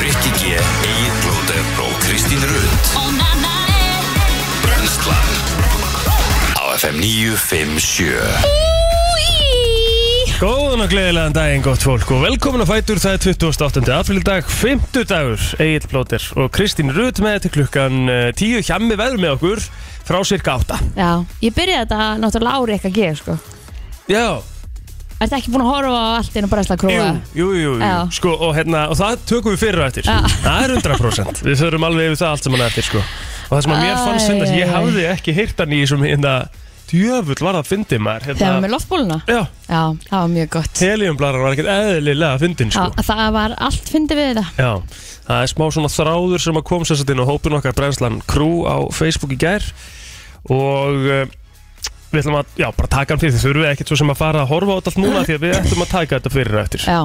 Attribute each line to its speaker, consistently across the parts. Speaker 1: Rikki G, Egil Blóter og Kristín Rund Brenslan Á FM 957
Speaker 2: Góðan og gleðilegan daginn, gott fólk og velkomin að fætur, það er 28. apríldag, 50 dagur, Egil Plóter og Kristín Rut með til klukkan eh, 10 hjemmi veður með okkur frá cirka 8
Speaker 3: Já, ég byrjaði þetta náttúrulega ári ekki að gefa sko
Speaker 2: Já,
Speaker 3: Er þetta ekki búin að horfa á allt inn og bara slá
Speaker 2: jú,
Speaker 3: króa?
Speaker 2: jú, jú, jú.
Speaker 3: Já.
Speaker 2: Sko, og, hérna, og það tökum við fyrir og eftir,
Speaker 3: Já.
Speaker 2: það er 100% Við förum alveg yfir það allt sem hann eftir sko. og það sem að mér
Speaker 3: Æ,
Speaker 2: fannst sem
Speaker 3: æ,
Speaker 2: þess,
Speaker 3: æ.
Speaker 2: ég hafði ekki heyrt hann í þessum hérna, djöfull var það að fyndi maður
Speaker 3: Þegar við
Speaker 2: hérna,
Speaker 3: með loftbóluna?
Speaker 2: Já,
Speaker 3: Já, það var mjög gott
Speaker 2: heliumblarar var ekkert eðlilega að fyndin sko.
Speaker 3: Já, það var allt fyndi við það
Speaker 2: Já, það er smá svona þráður sem að kom sérstætt inn á hópin okkar brennslan Crew á Facebook í gær og uh, við ætlum að, já, bara taka hann fyrir því þurfum við ekkert svo sem að fara að horfa á þetta allt núna því að við ætlum að taka þetta fyrir og eftir
Speaker 3: Já,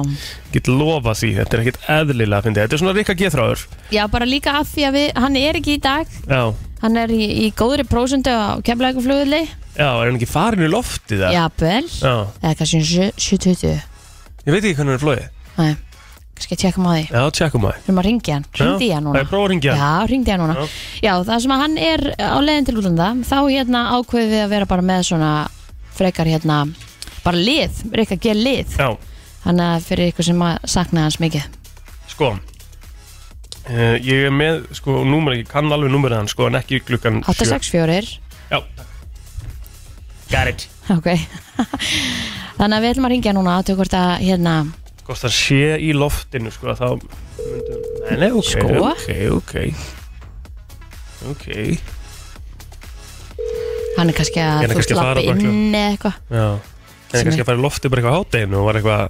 Speaker 2: get lofa því, þetta er ekkert eðlilega að fyndi þetta er svona rikka geðþráður
Speaker 3: Já bara líka af því að við, hann er ekki í dag
Speaker 2: Já,
Speaker 3: Hann er í, í góðri prósundu á kemlauguflugulli
Speaker 2: já, er hann ekki farin í loftið það?
Speaker 3: Jafnvel Eða kannski um sjö- 7.20
Speaker 2: ég veit ekki hvernig hann er flóið
Speaker 3: Nei, kannski að tjekka maður því
Speaker 2: Já, tjekkum að
Speaker 3: Þurfum að ringja hann, ringdi ég hann núna
Speaker 2: Það er prófa að ringja hann.
Speaker 3: Já, hringdi hann núna
Speaker 2: Já.
Speaker 3: Já. það sem að hann er á leiðin til útlanda þá hérna ákveðum við að vera bara með svona frekar hérna bara lið, Rikka G lið
Speaker 2: Já,
Speaker 3: hann að fyrir ykkur sem að sakna hans mikið
Speaker 2: sko Uh, ég er með, sko, númer, ég kann alveg númerið hann, sko, en ekki klukkan sjö.
Speaker 3: 864
Speaker 2: Já Got it
Speaker 3: ok þannig að við ætlum að ringja núna að tökur þetta hérna
Speaker 2: Hvort Sko, það sé í loftinu sko þá myndum Nei, nei, ok,
Speaker 3: Sko.
Speaker 2: ok, ok Ok
Speaker 3: hann er kannski
Speaker 2: Hann
Speaker 3: að
Speaker 2: er
Speaker 3: þú
Speaker 2: kannski að fara
Speaker 3: slappi
Speaker 2: bara klukkan.
Speaker 3: inn eða eitthvað
Speaker 2: Já En
Speaker 3: Sem
Speaker 2: kannski
Speaker 3: er-
Speaker 2: að fara í loftið bara eitthvað á hátteginu og var eitthvað,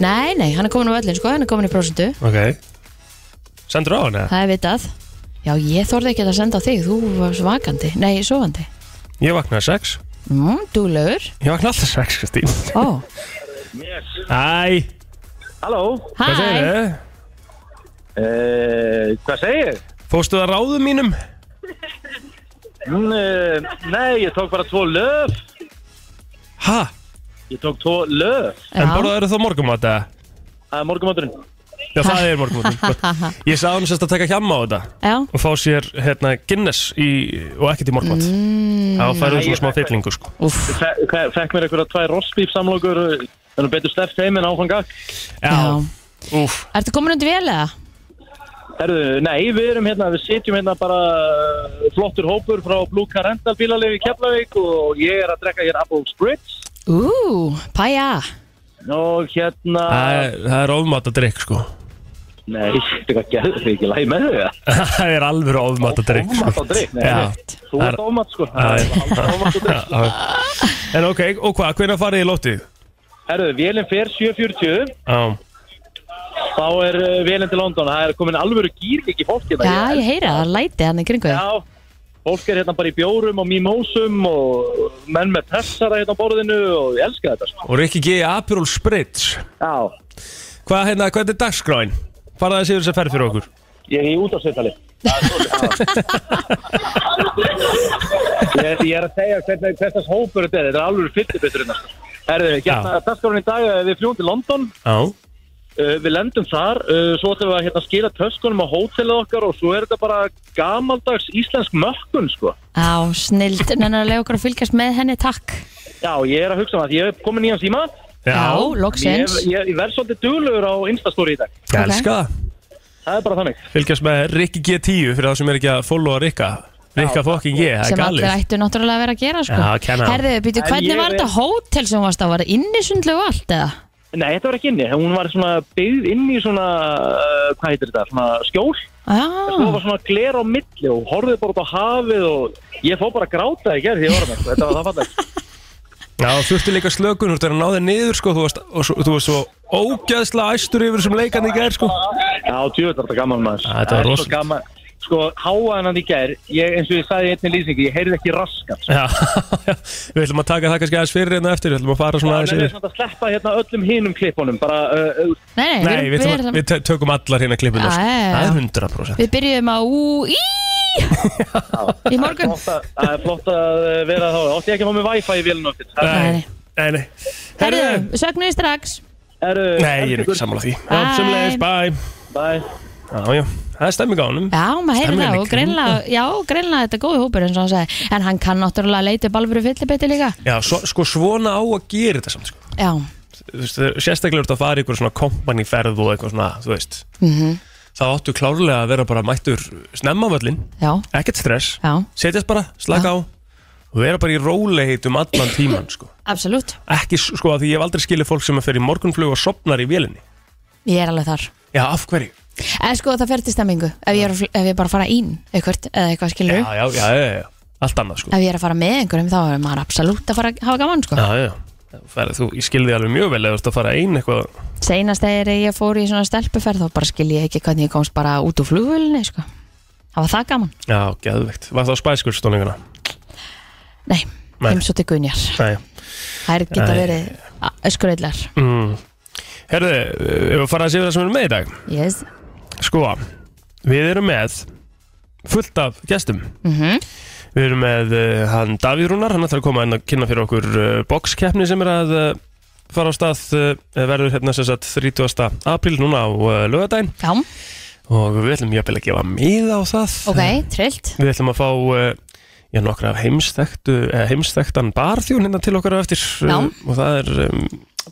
Speaker 3: nei, nei, hann er komin á öllin sko, hann er komin í prósentu
Speaker 2: ok Sendur á hann eða?
Speaker 3: það er vitað já, ég þorði ekki að senda á þig, þú var svakandi nei, sofandi
Speaker 2: Ég vaknaði sex
Speaker 3: mm, dúlegur
Speaker 2: Ég vaknaði alltaf sex, Kristín
Speaker 3: ó,
Speaker 2: Æ,
Speaker 4: Halló,
Speaker 2: hvað segir
Speaker 3: hæ,
Speaker 2: þið?
Speaker 4: uh, hvað segir?
Speaker 2: Fóstu það ráðum mínum?
Speaker 4: Mm, uh, nei, ég tók bara tvo löf.
Speaker 2: Ha?
Speaker 4: Ég tók tvo löf
Speaker 2: En borðaðu þau þá morgumat eða?
Speaker 4: að morgumátturinn.
Speaker 2: Já, það er morgumat Ég sá hann sérst að taka hjamma á þetta
Speaker 3: já,
Speaker 2: og fá sér hérna Guinness í, og ekkert í morgmat þá færðu svona smá fyllingu sko
Speaker 3: uff
Speaker 4: Fe, fe, fekk mér einhverja tvær rostbíf samlokur, en þú betur stefst heim en áfanga.
Speaker 3: Já.
Speaker 2: úf
Speaker 3: Ertu komin undir vel eða?
Speaker 4: Herðu, nei, við erum hérna, við sitjum hérna bara uh, flottur hópur frá Blue Car Rental bílalegu í Keflavík og ég er að drekka hér Apple Spritz
Speaker 3: Ú, pæja
Speaker 4: og hérna...
Speaker 2: Það er, það er ofmata drikk sko
Speaker 4: Nei, þetta er ekki að ekki læg með þau, ja.
Speaker 2: Það er alveg ofmata drikk sko.
Speaker 4: Ómat á drikk, nei,
Speaker 2: Já.
Speaker 4: nei. Þú ert ómat, sko.
Speaker 2: já.
Speaker 4: Ómat á drikk.
Speaker 2: En ok, og hvað, hvernig farið í lótið?
Speaker 4: Herðu, vélinn fer 7.40
Speaker 2: Já,
Speaker 4: Þá er uh, vélinn til London Það er komin alvöru gýr ekki fólk hérna
Speaker 3: Já, ég heyra það, læti hann í kringu þig.
Speaker 4: Já, fólk er hérna bara í bjórum og mimósum og menn með pressara hérna á borðinu og ég elska þetta sko.
Speaker 2: og Rikki G. Aperol Spritz
Speaker 4: Já,
Speaker 2: Hvað, hérna, hvernig er dagskráin? Farða þessi yfir þess að ferð fyrir okkur
Speaker 4: ég er í útafsveitali ég, ég er að segja hvernig hvernig þess hópur þetta er Þetta er alvöru fyllibittur hérna sko. Herðu, hérna, taskarinn í dag eh, við fljúum til London
Speaker 2: Já,
Speaker 4: Uh, við lendum þar, uh, svo ætlum við að hérna, skila töskunum á hótelið okkar og svo er þetta bara gamaldags íslensk mökkun, sko.
Speaker 3: Já, snild, nennar að lega okkur að fylgjast með henni, takk
Speaker 4: Já, ég er að hugsa um það, ég er komin í hans síma,
Speaker 3: Já,
Speaker 4: ég,
Speaker 3: loksins
Speaker 4: ég, ég verð svolítið duglegur á Instastory í dag.
Speaker 2: ég
Speaker 3: ok.
Speaker 2: elska það
Speaker 4: Það er bara þannig.
Speaker 2: Fylgjast með Rikki G10 fyrir það sem er ekki að followa Rikka Rikka fokkin G, það er
Speaker 3: sem allir
Speaker 2: galið
Speaker 3: ættu náttúrulega að vera að gera sko.
Speaker 2: Já, kenna á.
Speaker 3: Herðu, býtu,
Speaker 4: En
Speaker 3: hvernig
Speaker 4: ég
Speaker 3: var
Speaker 4: er-
Speaker 3: þetta hótel sem þú varst á? Var það innisundlu og allt eða?
Speaker 4: Nei, þetta var ekki inni, hún var svona byggð inn í svona, uh, hvað heitir þetta, svona skjól. Svo
Speaker 3: Já,
Speaker 4: var svona gler á milli og horfið bara út á hafið og ég fór bara að gráta í gerð því ég var með, þetta var það fallegt.
Speaker 2: Já, þurfti líka slökun, þú ert að ná þig niður sko, þú varst, og svo, þú varst svo ógæðslega æstur yfir sem leikan í gær sko
Speaker 4: Já, djöfull var þetta gaman maður.
Speaker 2: Já, þetta var
Speaker 4: Það er svo
Speaker 2: rosalegt.
Speaker 4: gaman. Sko, háaðan hann í gerð, ég, eins og ég sagði í einni lýsingi, ég heyrði ekki raskat. sko.
Speaker 2: Já, já, við ætlum að taka það kannski aðeins fyrir en eftir, við ætlum að fara svona aðeins
Speaker 4: Þannig að við
Speaker 2: yfir
Speaker 4: svona að sleppa hérna öllum hinum klippunum bara, uh, uh,
Speaker 3: nei, nei,
Speaker 2: Nei, við, ætlum, að-
Speaker 3: við,
Speaker 2: við tö- tökum allar hérna klippinu
Speaker 3: Já,
Speaker 2: sko.
Speaker 3: já, já, já.
Speaker 2: Það er 100%
Speaker 3: við byrjum á ú, í Í morgun
Speaker 4: flott að- það er flott að uh, vera þá Ótti ekki að fá með wifi í vélun okkur
Speaker 3: Nei,
Speaker 2: nei, nei
Speaker 3: Herðu, sögnum við strax
Speaker 4: Nei,
Speaker 2: Nei, ég er ekki sammála því Já,
Speaker 3: Bye.
Speaker 2: sem leiðis, bye
Speaker 5: Bye.
Speaker 2: Já, já, það er stemming á honum
Speaker 3: Já, maður heyrir
Speaker 2: Stemmin
Speaker 3: það
Speaker 2: í
Speaker 3: og
Speaker 2: kring.
Speaker 3: greinlega, já, greinlega þetta er góði hópur eins og hann segi, en hann kann náttúrulega leita upp alvöru fyllibeiti líka.
Speaker 2: Já, svo, sko svona á að gera þetta samt sko.
Speaker 3: Já,
Speaker 2: Þú veist, Sérstaklega ert að fara í einhver svona kompaniferð og eitthvað svona, þú veist
Speaker 3: Mhm.
Speaker 2: Þá áttu klárlega að vera bara mættur snemma á völlin,
Speaker 3: já,
Speaker 2: ekkert stress
Speaker 3: já,
Speaker 2: Setjast bara, slaka á og vera bara í rólehitum allan tíman sko.
Speaker 3: absolutt.
Speaker 2: Ekki s- sko að því ég hef aldrei skilið fólk sem að fer í morgunflug og sopnar í vélinni
Speaker 3: Ég er alveg þar.
Speaker 2: Já, af hverju?
Speaker 3: En sko það fer til stemmingu, ef ég, er, að fl- ef ég bara fara ín eitthvað, eða eitthvað skilur
Speaker 2: Já, sko. já, já, já, já, allt annað sko
Speaker 3: Ef ég er að fara með einhverjum þá er maður absolutt að fara að hafa gaman sko.
Speaker 2: Já, já, Þú ferð- þú, ég skilði alveg mjög vel eða þú ert að fara einn eitthvað
Speaker 3: Seinast þegar ég fór í svona stelpuferð þá bara skil ég ekki hvernig ég komst bara út úr flugvölinni sko. Það var það gaman.
Speaker 2: Já, geðveikt, var það á Spice Girls tónleikana?
Speaker 3: Nei,
Speaker 2: Nei.
Speaker 3: heimsótti Gunjar.
Speaker 2: Nei,
Speaker 3: Þær geta
Speaker 2: Æ.
Speaker 3: verið öskuröðlar.
Speaker 2: Mm. Herðu, ef við fara að séu það sem við erum með í dag
Speaker 3: Yes.
Speaker 2: Sko, við erum með fullt af gestum
Speaker 3: Mm
Speaker 2: Við erum með uh, hann Davíð Rúnar, hann ætlar að koma inn að kynna fyrir okkur uh, boxkeppni sem er að uh, fara á stað uh, verður hérna sem sagt 30. apríl núna á uh, lögadaginn
Speaker 3: Já,
Speaker 2: og við ætlum jafnvel að gefa miða á það
Speaker 3: ok, trillt.
Speaker 2: Við ætlum að fá uh, já, nokkra af heimsþektu, eh, heimsþektan barþjón hérna til okkar á eftir
Speaker 3: Já.
Speaker 2: uh, og það er um,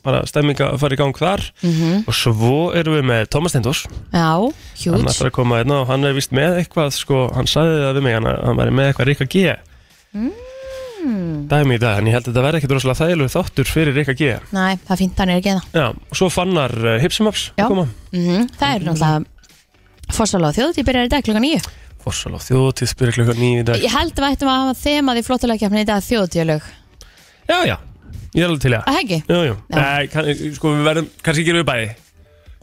Speaker 2: bara stemming að fara í gang þar
Speaker 3: Mm
Speaker 2: Og svo erum við með Tómas Stendors
Speaker 3: Já,
Speaker 2: Hann
Speaker 3: hjút.
Speaker 2: ætlar að koma hérna og hann er vist með eitthvað sko, Hann sagði það við mig, hann, hann væri með eitthvað Rikka G
Speaker 3: Mm.
Speaker 2: Dæmi í dag, en ég held að þetta verði ekkit rosalega þægilegu þáttur fyrir Rikka G
Speaker 3: Næ, það er fínt hann er ekki það.
Speaker 2: Já, og svo fannar uh, Hipsimaps
Speaker 3: Já.
Speaker 2: að koma
Speaker 3: Mm Það er náttúrulega Fossal á þjóðutíð byrjar í dag klukkan nýju.
Speaker 2: Forsal á þjóðtíð spyrir klukkan nýju í dag
Speaker 3: Ég held að við ættum að hafa þemað í flottulegkjafni í dag þjóðutíðalög.
Speaker 2: Já, já, ég er alveg til í það
Speaker 3: Það ekki?
Speaker 2: Jú, jú,
Speaker 3: Já.
Speaker 2: Nei, kann, sko við verðum, kannski gerum við bæði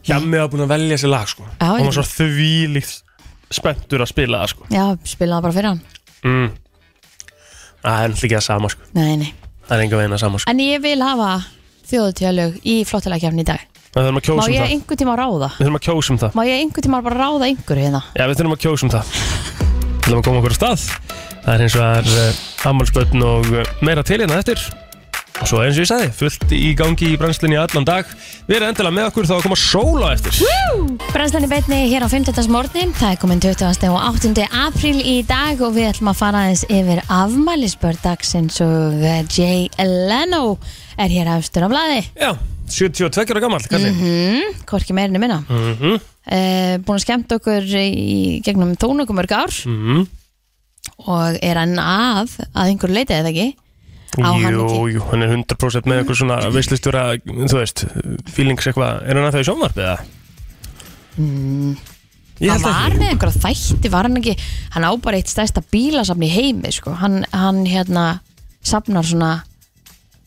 Speaker 2: Hjammi hafa búin að velja sér lag sko
Speaker 3: Já,
Speaker 2: Og
Speaker 3: ég-
Speaker 2: maður svo þvílíkt spenntur að spila það sko
Speaker 3: Já, spila það bara fyrir hann.
Speaker 2: mm. Það er náttúrulega ekki það sama sko
Speaker 3: Nei, nei.
Speaker 2: Það er enga veginn að sama sko
Speaker 3: En ég vil hafa þjóðutíðalög í flottulegkjafni í dag.
Speaker 2: Það þurfum að
Speaker 3: Má
Speaker 2: kjósa um
Speaker 3: ég
Speaker 2: það
Speaker 3: einhver tíma ráða?
Speaker 2: Við þurfum að kjósa um það
Speaker 3: Má ég einhver tíma bara ráða einhverju hérna?
Speaker 2: Já, við þurfum að kjósa um það Við þurfum að koma okkur á stað Það er eins og það er uh, ammálspötn og uh, meira til hérna eftir Og svo eins og ég sagði, fullt í gangi í brennslinni allan dag Við erum endilega með okkur þá að koma sól á eftir
Speaker 3: Brennslan í beinni hér á 15. morgnin, það er komin 20. og 8. apríl í dag og við ætlum að fara aðeins yfir afmælisbörn dagsins og eh, Jay Leno er hér afstur á blaði, Mhm.
Speaker 2: Já, 72 ára gamall, kalli
Speaker 3: hvorki meirinu minna. Mm
Speaker 2: Mhm.
Speaker 3: Eh, búin að skemmt okkur í gegnum tónöku mörg ár
Speaker 2: Mhm.
Speaker 3: og er hann að, að einhver leiti eða ekki? Á hann
Speaker 2: Jú,
Speaker 3: ekki.
Speaker 2: jú, hann er 100% með eitthvað svona veistlistjóra, þú veist, feelings eitthvað Er hann að það í sjónvarpið eða? Mm, ég
Speaker 3: Hann
Speaker 2: held
Speaker 3: var
Speaker 2: ekki
Speaker 3: með einhverja þætti, var hann ekki, hann á bara eitt stærsta bílasafni í heimi sko, hann, hann hérna safnar svona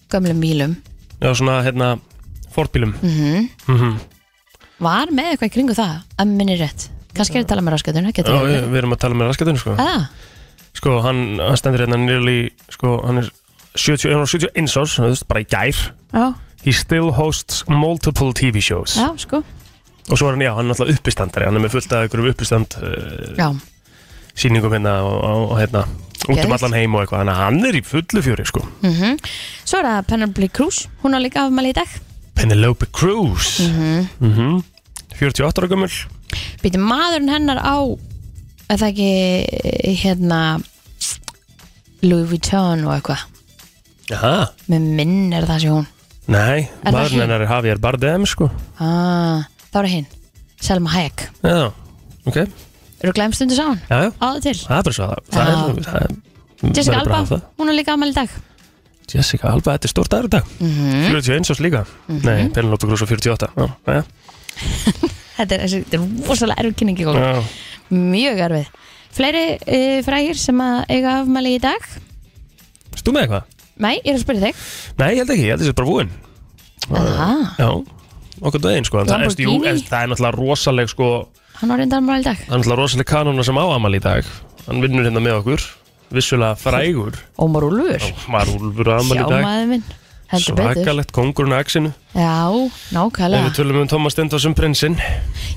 Speaker 3: gömlum bílum.
Speaker 2: Já, svona, hérna, Mhm. fordbílum
Speaker 3: Mm. var með eitthvað í kringu það að minni rétt, kannski er að tala með Ah, raskatunum
Speaker 2: Já,
Speaker 3: getur það
Speaker 2: við við erum að tala með raskatun, sko
Speaker 3: verið
Speaker 2: sko, hann, hann stendur hérna nearly, sko, hann er 70, hann er 71 árs, þú veist, bara í gær
Speaker 3: já,
Speaker 2: he still hosts multiple TV shows
Speaker 3: já, sko
Speaker 2: og svo er hann, já, hann er alltaf uppistandari hann er með fullt af einhverjum uppistand uh,
Speaker 3: já,
Speaker 2: sýningum hérna og, og, og hérna út um
Speaker 3: Geðveikt.
Speaker 2: allan heim og eitthvað, þannig að hann er í fullu fjöri, sko
Speaker 3: Mhm. svo er það Penelope Cruz hún á líka afmæli í dag
Speaker 2: Penelope Cruz mm
Speaker 3: Mhm.
Speaker 2: -hmm. 48 ára gömul
Speaker 3: býtum maðurinn hennar á er það ekki eh, hérna Louis Vuitton og eitthvað
Speaker 2: Jaha,
Speaker 3: með minn er það sé hún
Speaker 2: nei,
Speaker 3: Er það
Speaker 2: maðurinn
Speaker 3: hinn?
Speaker 2: hennar er Javier Bardem, sko
Speaker 3: ah, þá er hinn, Selma Hayek
Speaker 2: já, ok,
Speaker 3: eru glemstundu saman,
Speaker 2: já, já
Speaker 3: áður til
Speaker 2: það er bara svo það, það,
Speaker 3: Já.
Speaker 2: er, það er, Mm, verður
Speaker 3: Jessica
Speaker 2: bara að
Speaker 3: Alba,
Speaker 2: hafa það.
Speaker 3: hún á líka afmæli í dag
Speaker 2: Jessica Alba, þetta er stórt dagur í dag
Speaker 3: Mhm.
Speaker 2: 41 árs líka Nei, Penelope Cruz og 48 Já, já,
Speaker 3: þetta er, þetta er rosalega erfið kynningi góð
Speaker 2: já.
Speaker 3: mjög erfið fleiri uh, frægir sem að eiga afmæli í dag
Speaker 2: Veist þú með eitthvað?
Speaker 3: nei, ég er að spyrja þig
Speaker 2: Nei, ég held ekki, ég held þessi bara búinn
Speaker 3: Aha,
Speaker 2: Já, okkur döðin sko en það,
Speaker 3: Lamborghini?
Speaker 2: jú, en það er náttúrulega rosaleg sko
Speaker 3: hann á reyndar afmæli í dag
Speaker 2: Það er náttúrulega rosaleg kanona sem áamal í dag Hann vinnur hérna með okkur Vissulega frægur
Speaker 3: Ómar Úlfur,
Speaker 2: Var úlfur áamal
Speaker 3: sjá
Speaker 2: í dag
Speaker 3: maður minn heldur betur,
Speaker 2: Svakalegt kongurinn að exinu
Speaker 3: já,
Speaker 2: Ef við
Speaker 3: nákvæmlega
Speaker 2: tölum um Thomas Stendos um prinsinn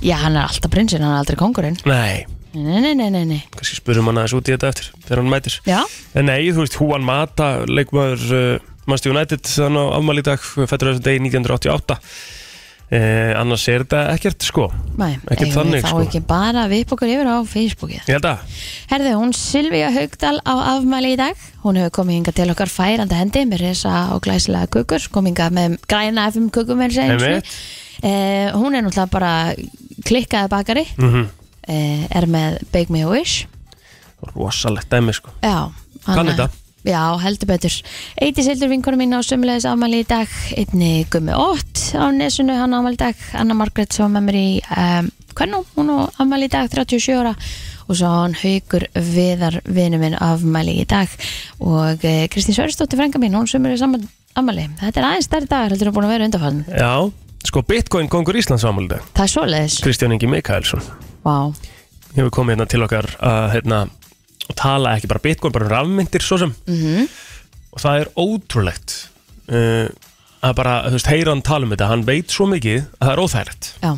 Speaker 3: já, hann er alltaf prinsinn, hann er aldrei kongurinn
Speaker 2: Nei,
Speaker 3: nei, nei, nei, nei, nei,
Speaker 2: kannski spurum hann aðeins út í þetta eftir Þegar hann mætir
Speaker 3: já,
Speaker 2: En nei, þú veist, Juan Mata, leikmaður uh, Manchester United, þannig á afmæli í dag, fættur á þessum degi 1988. eh, annars er þetta ekkert sko
Speaker 3: Nei,
Speaker 2: Ekkert
Speaker 3: eigum
Speaker 2: þannig,
Speaker 3: við þá
Speaker 2: sko.
Speaker 3: ekki bara við upp okkur yfir á Facebookið
Speaker 2: ég held að,
Speaker 3: Herðu, hún Silvíja Haugdal á afmæli í dag Hún hefur komið hingað til okkar færanda hendi með resa og glæsilega kukur komið hingað með græna FM kukur með reynslu
Speaker 2: Einmitt.
Speaker 3: eh, Hún er náttúrulega bara klikkaði bakari
Speaker 2: Mhm.
Speaker 3: eh, er með Bake Me A Wish
Speaker 2: rosalegt dæmi sko
Speaker 3: Já,
Speaker 2: Kann þetta.
Speaker 3: Já, heldur betur Eiti Sildur vinkonum mín á sömulegis afmæli í dag einni Gummi Ótt á nesunu hann á afmæli í dag Anna Margrét sem var með mér í um, Kvennum, hún á afmæli í dag 37 ára og svo hann haugur viðar vinnu minn afmæli í dag og eh, Kristín Sörnsdóttir frænga mín, hún sömulegis afmæli Þetta er aðeins stærri dagar heldur að búin að vera undanfæðan
Speaker 2: já, sko Bitcoin kongur Íslands ámældi
Speaker 3: Það er svoleiðis
Speaker 2: Kristján Ingi Mikaelsson
Speaker 3: Vá,
Speaker 2: hefur komið hérna til okkar að hérna, tala ekki bara Bitcoin, bara um rafmyndir svo sem
Speaker 3: Mhm.
Speaker 2: og það er ótrúlegt uh, að bara, þú veist, heyra hann tala um þetta hann veit svo mikið að það er óþægilegt
Speaker 3: já,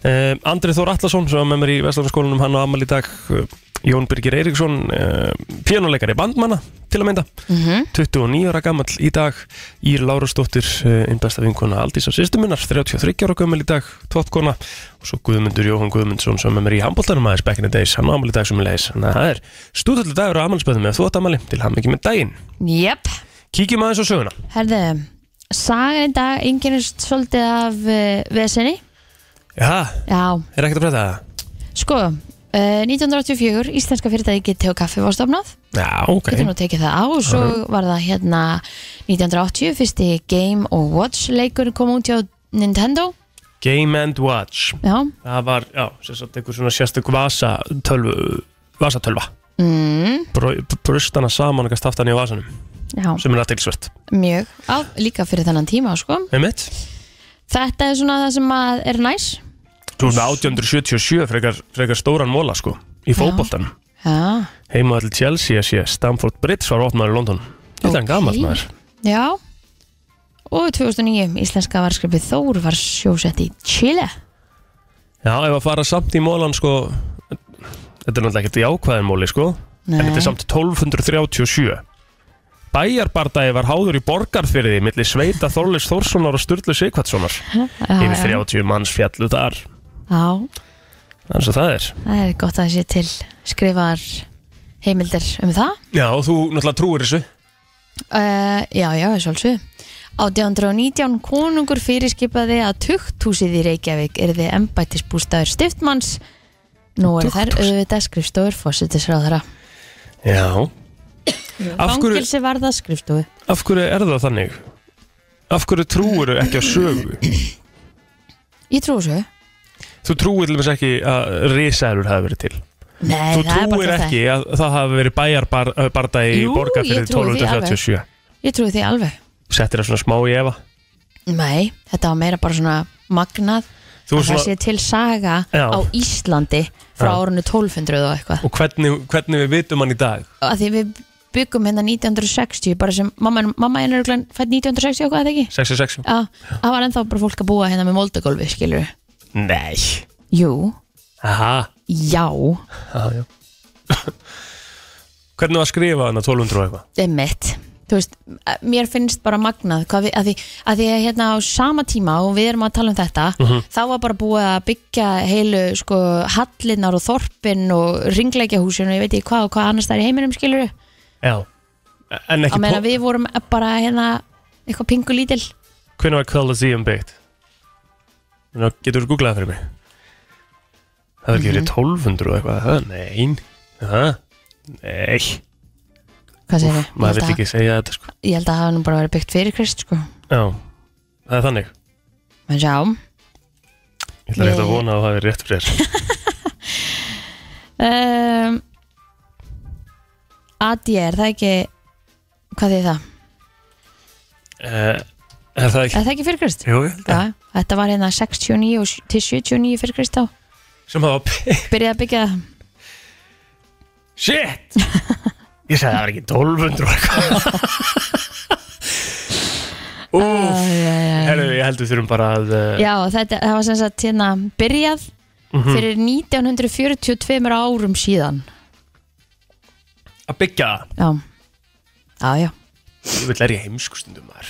Speaker 2: Uh, Andrið Þór Allarsson sem var með mér í Vestlandarskólanum hann á amal í dag uh, Jón Birgir Eiríksson uh, pjánuleikari bandmanna til að mynda
Speaker 3: Mhm.
Speaker 2: 29 ára gamall í dag Ír Lárasdóttir, uh, einn besta vinkona Aldís á sýstuminnar, 33 ára gamall í dag tóttkona og svo Guðmundur Jóhann Guðmundsson sem var með mér í handbóltanum aðeins back in the days, hann á amal í dag sem er leis þannig að það er stúdallu dagur á amalspöðum með þvótamali til hann ekki með daginn
Speaker 3: jöp
Speaker 2: kíkjum aðeins á söguna
Speaker 3: Herðu, sagan í dag yngirist svolítið af uh, vesenni
Speaker 2: Já,
Speaker 3: Já,
Speaker 2: er ekkert að breyta það?
Speaker 3: sko, uh, 1984 Íslenska fyrirtæki Teo Kaffi var stofnað
Speaker 2: Já, Ah, ok
Speaker 3: Getur nú tekið það á og svo var það hérna 1980 Fyrsti Game og Watch leikur kom út hjá Nintendo
Speaker 2: Game and Watch
Speaker 3: Já,
Speaker 2: það var, já, sem sagt einhver svona sérstök vasatölvu vasatölva,
Speaker 3: mm,
Speaker 2: Bru- brustana saman og gæst haft hann í vasanum,
Speaker 3: já
Speaker 2: sem er aðtilsvert
Speaker 3: mjög á, Líka fyrir þennan tíma, sko
Speaker 2: einmitt,
Speaker 3: Þetta er svona það sem að er næs
Speaker 2: svona 1877 frekar, frekar stóran móla sko, í fótboltan
Speaker 3: Já,
Speaker 2: heima allir Chelsea að sé, Stamford Bridge var opnaður í London, þetta er
Speaker 3: Ok.
Speaker 2: hann gamall maður
Speaker 3: já Og 2009, íslenska varskripi Þór var sjósett í Chile
Speaker 2: já, ef að fara samt í mólan sko þetta er náttúrulega ekkert jákvæðin móli sko en þetta er samt 1237 Bæjarbardagi var háður í borgarfyrði milli Sveita Þorleifs Þórssonar og Sturlu Sigvatssonar yfir 30 manns fjallu þar
Speaker 3: Já,
Speaker 2: eins og það er
Speaker 3: það er gott að það sé til skrifar heimildir um það
Speaker 2: Já, og þú náttúrulega trúir þessu
Speaker 3: uh, Já, já, ég svolsvið 1819 konungur fyrirskipaði að tukthúsið í Reykjavík er þið embættisbústaður stiftmanns Nú er þær
Speaker 2: Tukthús?
Speaker 3: auðvitað skrifstofur fósitisráðara
Speaker 2: Já, Af hverju-
Speaker 3: Fangilsi varða skrifstofu
Speaker 2: af hverju er það þannig? Af hverju trúir þau ekki á sögu?
Speaker 3: Ég trú þessu
Speaker 2: Þú trúir til dæmis ekki að risaður hafi verið til
Speaker 3: Nei,
Speaker 2: Þú
Speaker 3: það er
Speaker 2: trúir
Speaker 3: bara
Speaker 2: ekki að það hafi verið bæjarbardagi í
Speaker 3: Jú,
Speaker 2: borgarfyrði
Speaker 3: ég trúi því
Speaker 2: 1237
Speaker 3: það Ég trúi því alveg
Speaker 2: Settir það svona smá í efa
Speaker 3: Nei, þetta var meira bara svona magnað
Speaker 2: Þú er
Speaker 3: að það
Speaker 2: svona,
Speaker 3: sé til saga
Speaker 2: Já.
Speaker 3: á Íslandi frá
Speaker 2: Já.
Speaker 3: árunni 1200 og eitthvað
Speaker 2: Og hvernig, hvernig við vitum hann í dag?
Speaker 3: að því við byggum hérna 1960 bara sem, mamma, mamma hennar er fætt 1960 og hvað er það ekki?
Speaker 2: 66
Speaker 3: Já, það var ennþá bara fólk að búa hérna með moldagolfi, skilur
Speaker 2: Nei
Speaker 3: Jú,
Speaker 2: Aha,
Speaker 3: já,
Speaker 2: aha, já Hvernig var að skrifa hann að 1200 og eitthvað?
Speaker 3: emmitt Þú veist, eh, mér finnst bara magnað hvað við, að því, að því að hérna á sama tíma og við erum að tala um þetta
Speaker 2: Mhm.
Speaker 3: þá var bara búið að byggja heilu sko hallinnar og þorpin og ringleikjahúsin og ég veit ekki hvað og hvað annars það er í heiminum skilur
Speaker 2: Já En
Speaker 3: að
Speaker 2: ekki
Speaker 3: meina við vorum bara hérna eitthvað pingu lítil
Speaker 2: Hvernig var Colosseum byggt? Ná, getur þú googlað það fyrir mig? Það er ekki
Speaker 3: Mhm.
Speaker 6: Mhm.
Speaker 2: verið 1200 og eitthvað það? Nein það? Nei,
Speaker 3: Hvað segir ég?
Speaker 2: maður vill ekki segja þetta sko
Speaker 3: ég held að það hafa nú bara verið byggt fyrir krist sko.
Speaker 2: Já, það er þannig
Speaker 3: menn sjá
Speaker 2: Ég ætla rétt að
Speaker 3: Ég-
Speaker 2: vona að það er rétt fyrir þér
Speaker 3: um, AD er það ekki hvað þið það?
Speaker 2: Eh, Er það ekki?
Speaker 3: Er það ekki fyrir krist?
Speaker 2: Jú, ég held að
Speaker 3: Já, þetta var hérna 69 og s- til 79 fyrir krist þá
Speaker 2: Sem hafa byggt
Speaker 3: byrjaði að byggja það
Speaker 2: Shit! Ég sagði það var ekki 1200 og eitthvað Úf, herru, ég held við þurfum bara að eh, Mhm.
Speaker 3: já þetta það var sem sagt hérna byrjað fyrir 1942 árum síðan
Speaker 2: að byggja það
Speaker 3: já já já,
Speaker 2: Ég vil er ég heimskustundum þar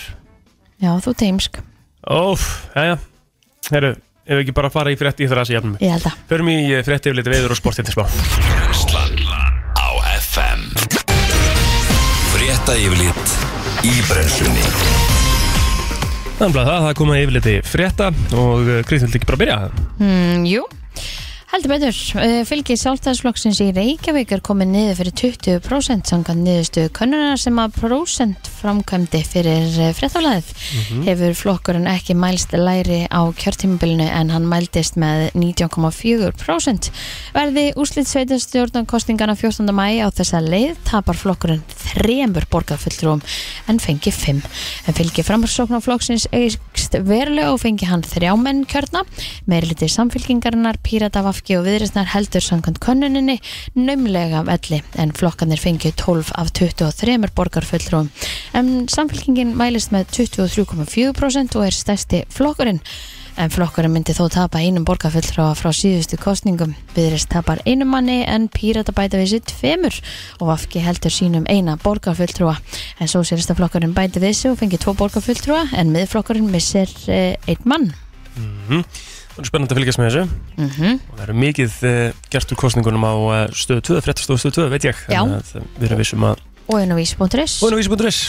Speaker 3: já þú teimsk
Speaker 2: Óf, já, já Herru, ef við ekki bara fara í frétt í þar að sé jafnum
Speaker 3: Ég held að
Speaker 2: Förum í eh, frétt yfir liti veður og sportið til smá
Speaker 1: Brennslan á FM Frétta yfirlit í brennslunni
Speaker 2: Þannig að það, það koma yfir liti frétta og Kristján vildi ekki bara byrja
Speaker 3: mm, Jú Heldur betur, Eh, fylgi sjálfstæðsflokksins í Reykjavík er komið niður fyrir 20% samkvæmt niðurstöðu könnunar sem að prosent framkvæmdi fyrir eh, fréttaflæðið.
Speaker 2: Mhm.
Speaker 7: Mhm.
Speaker 3: Hefur flokkurinn ekki mælst læri á kjörtímabilinu en hann mæltist með 19,4%. Verði úslit sveitarstjórnarkostingana 14. mæ á þessa leið tapar flokkurinn þremur borgarfulltrúum en fengi 5. En fylgi framsóknarflokksins eikst verulega og fengi hann þrjá menn kjörna meirliti samfylkingarinnar, pírata vafki og viðreysnar heldur samkvæmt könnuninni naumlega velli en flokkanir fengju 12 af 23 borgarfulltrúum en samfylkingin mælist með 23,4% og er stærsti flokkurinn en flokkurinn myndi þó tapa einum borgarfulltrúa frá síðustu kostningum viðreist tapar einum manni en pírata bæta við sér tveimur og vafki heldur sínum eina borgarfulltrúa en svo sérsta flokkurinn bæta við sér og fengi tvo borgarfulltrúa en miðflokkurinn missir eh, einn mann
Speaker 2: Mhm. Það er spennandi að fylgjast með þessu
Speaker 3: mhm
Speaker 2: og það eru mikið eh, gert úr kostningunum á eh, stöðu 2, fréttastofu stöðu 2 veit ég
Speaker 3: Já.
Speaker 2: Þannig að, eh, við erum vissum að
Speaker 3: og inn á vísi.is
Speaker 2: og inn á vísi.is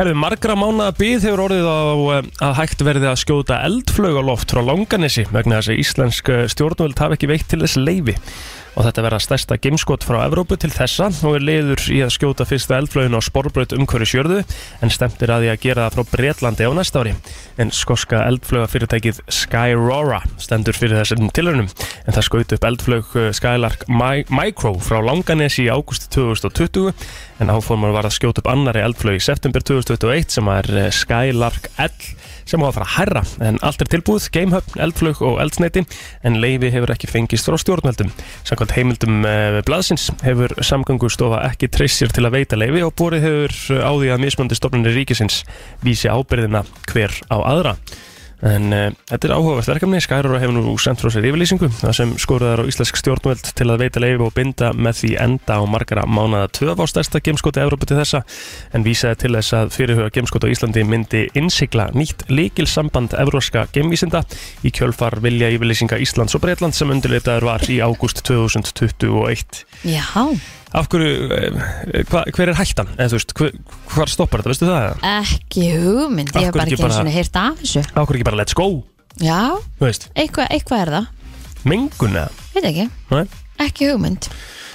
Speaker 2: Herðu, margra mánaða bíð hefur orðið á eh, að hægt verði að skjóta eldflög á loft frá Longanesi vegna þess að íslensk eh, stjórnvöld hafi ekki veitt til þess leifi og þetta verða stærsta gameskot frá Evrópu til þessa og er liður í að skjóta fyrsta eldflögin á sporbraut umhverju sjörðu en stemtir að því að gera það frá Bretlandi á næsta ári en skoska eldflögafyrirtækið Skyrora stendur fyrir þessum tilhörnum en það skaut upp eldflög eh, Skylark Mi- Micro frá Langanes í águst 2020 en áformar var að skjóta upp annari eldflög í september 2021 sem er eh, Skylark L sem á að fara að herra en allt er tilbúið, gamehöfn, eldflög og eldsneiti en leifi hefur ekki fengist frá stjórnveldum. Samkvæmt heimildum eh, blaðsins hefur samgangustofa ekki treyst sér til að veita leifi og borið hefur eh, á því að mismöndi stofnunni ríkisins vísi ábyrðina hver á aðra. En uh, þetta er áhugavert verkefni, Skærur hefur nú sendt frá sér yfirlýsingu þar sem skoruðar á íslensk stjórnvöld til að veita leifi og binda með því enda á margara mánada töf á stærsta gemskoti Európa til þessa en vísaði til þess að fyrirhuga gemskoti á Íslandi myndi innsigla nýtt líkilsamband evróska gemvísinda í kjölfar vilja yfirlýsinga Íslands og Breitland sem undirleitaður var í ágúst 2021.
Speaker 3: já,
Speaker 2: Af hverju, uh, hva, hver er hættan? Eða þú veist, hver, hvar stoppar þetta, veistu það? eða?
Speaker 3: ekki hugmynd
Speaker 2: Af
Speaker 3: ég
Speaker 2: hverju
Speaker 3: hef bara
Speaker 2: ekki
Speaker 3: ekki eins
Speaker 2: bara-
Speaker 3: og hýrt af þessu
Speaker 2: Af hverju ekki bara let's go?
Speaker 3: já,
Speaker 2: Þú veist,
Speaker 3: eitthvað, eitthvað er það,
Speaker 2: mengun eða?
Speaker 3: veit ekki
Speaker 2: Nei.
Speaker 3: ekki hugmynd,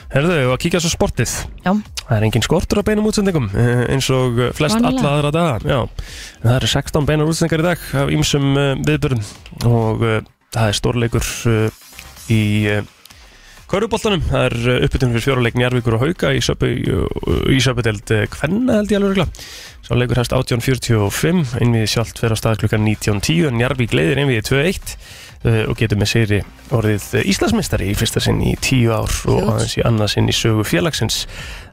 Speaker 2: Herðu, við að kíkja svo sportið
Speaker 3: já,
Speaker 2: Það er engin skortur á beinum útsendingum eh, eins og eh, flest
Speaker 3: Vanalega.
Speaker 2: alla aðra daga Já, En það eru 16 beinar útsendingar í dag af ýmsum eh, viðbörn og eh, það er stórleikur eh, í Köruboltanum, það er eh, uppbytun fyrir fjóruleik Njarvíkur og Hauka í söpudeld Kvenna held ég alveg regla Sá leikur hefst 18.45 innviði sjálft fer á stað klukkan 19.10 en Njarvík leiðir innviði 2.1 eh, og getur með sigri orðið eh, Íslandsmeistari í fyrsta sinn í 10 ár og
Speaker 3: Flott.
Speaker 2: aðeins í annað sinn í sögu félagsins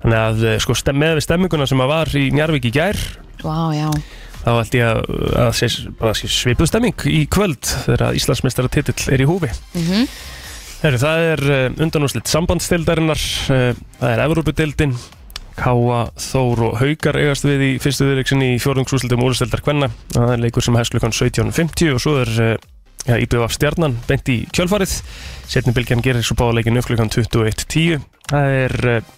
Speaker 2: Þannig að eh, sko, stem- með við stemminguna sem að var í Njarvík í gær
Speaker 3: vá, já
Speaker 2: þá held ég að, að sé, bara sé svipuð stemming í kvöld þegar að Íslandsmeistara titill er í húfi
Speaker 3: mm
Speaker 2: Heru, það er uh, undanúslitt sambandstildarinnar, uh, það er Evrópudildin, Káa, Þór og Haukar eigast við í fyrstu viðreiksinni í fjórðungsúslitum úlustildar Kvenna. Það er leikur sem hefst klukkan 17.50 og svo er uh, ja, IBF Stjarnan beint í kjölfarið. Setni bylgjan gerir svo báleikin upp klukkan 21.10. Það er uh,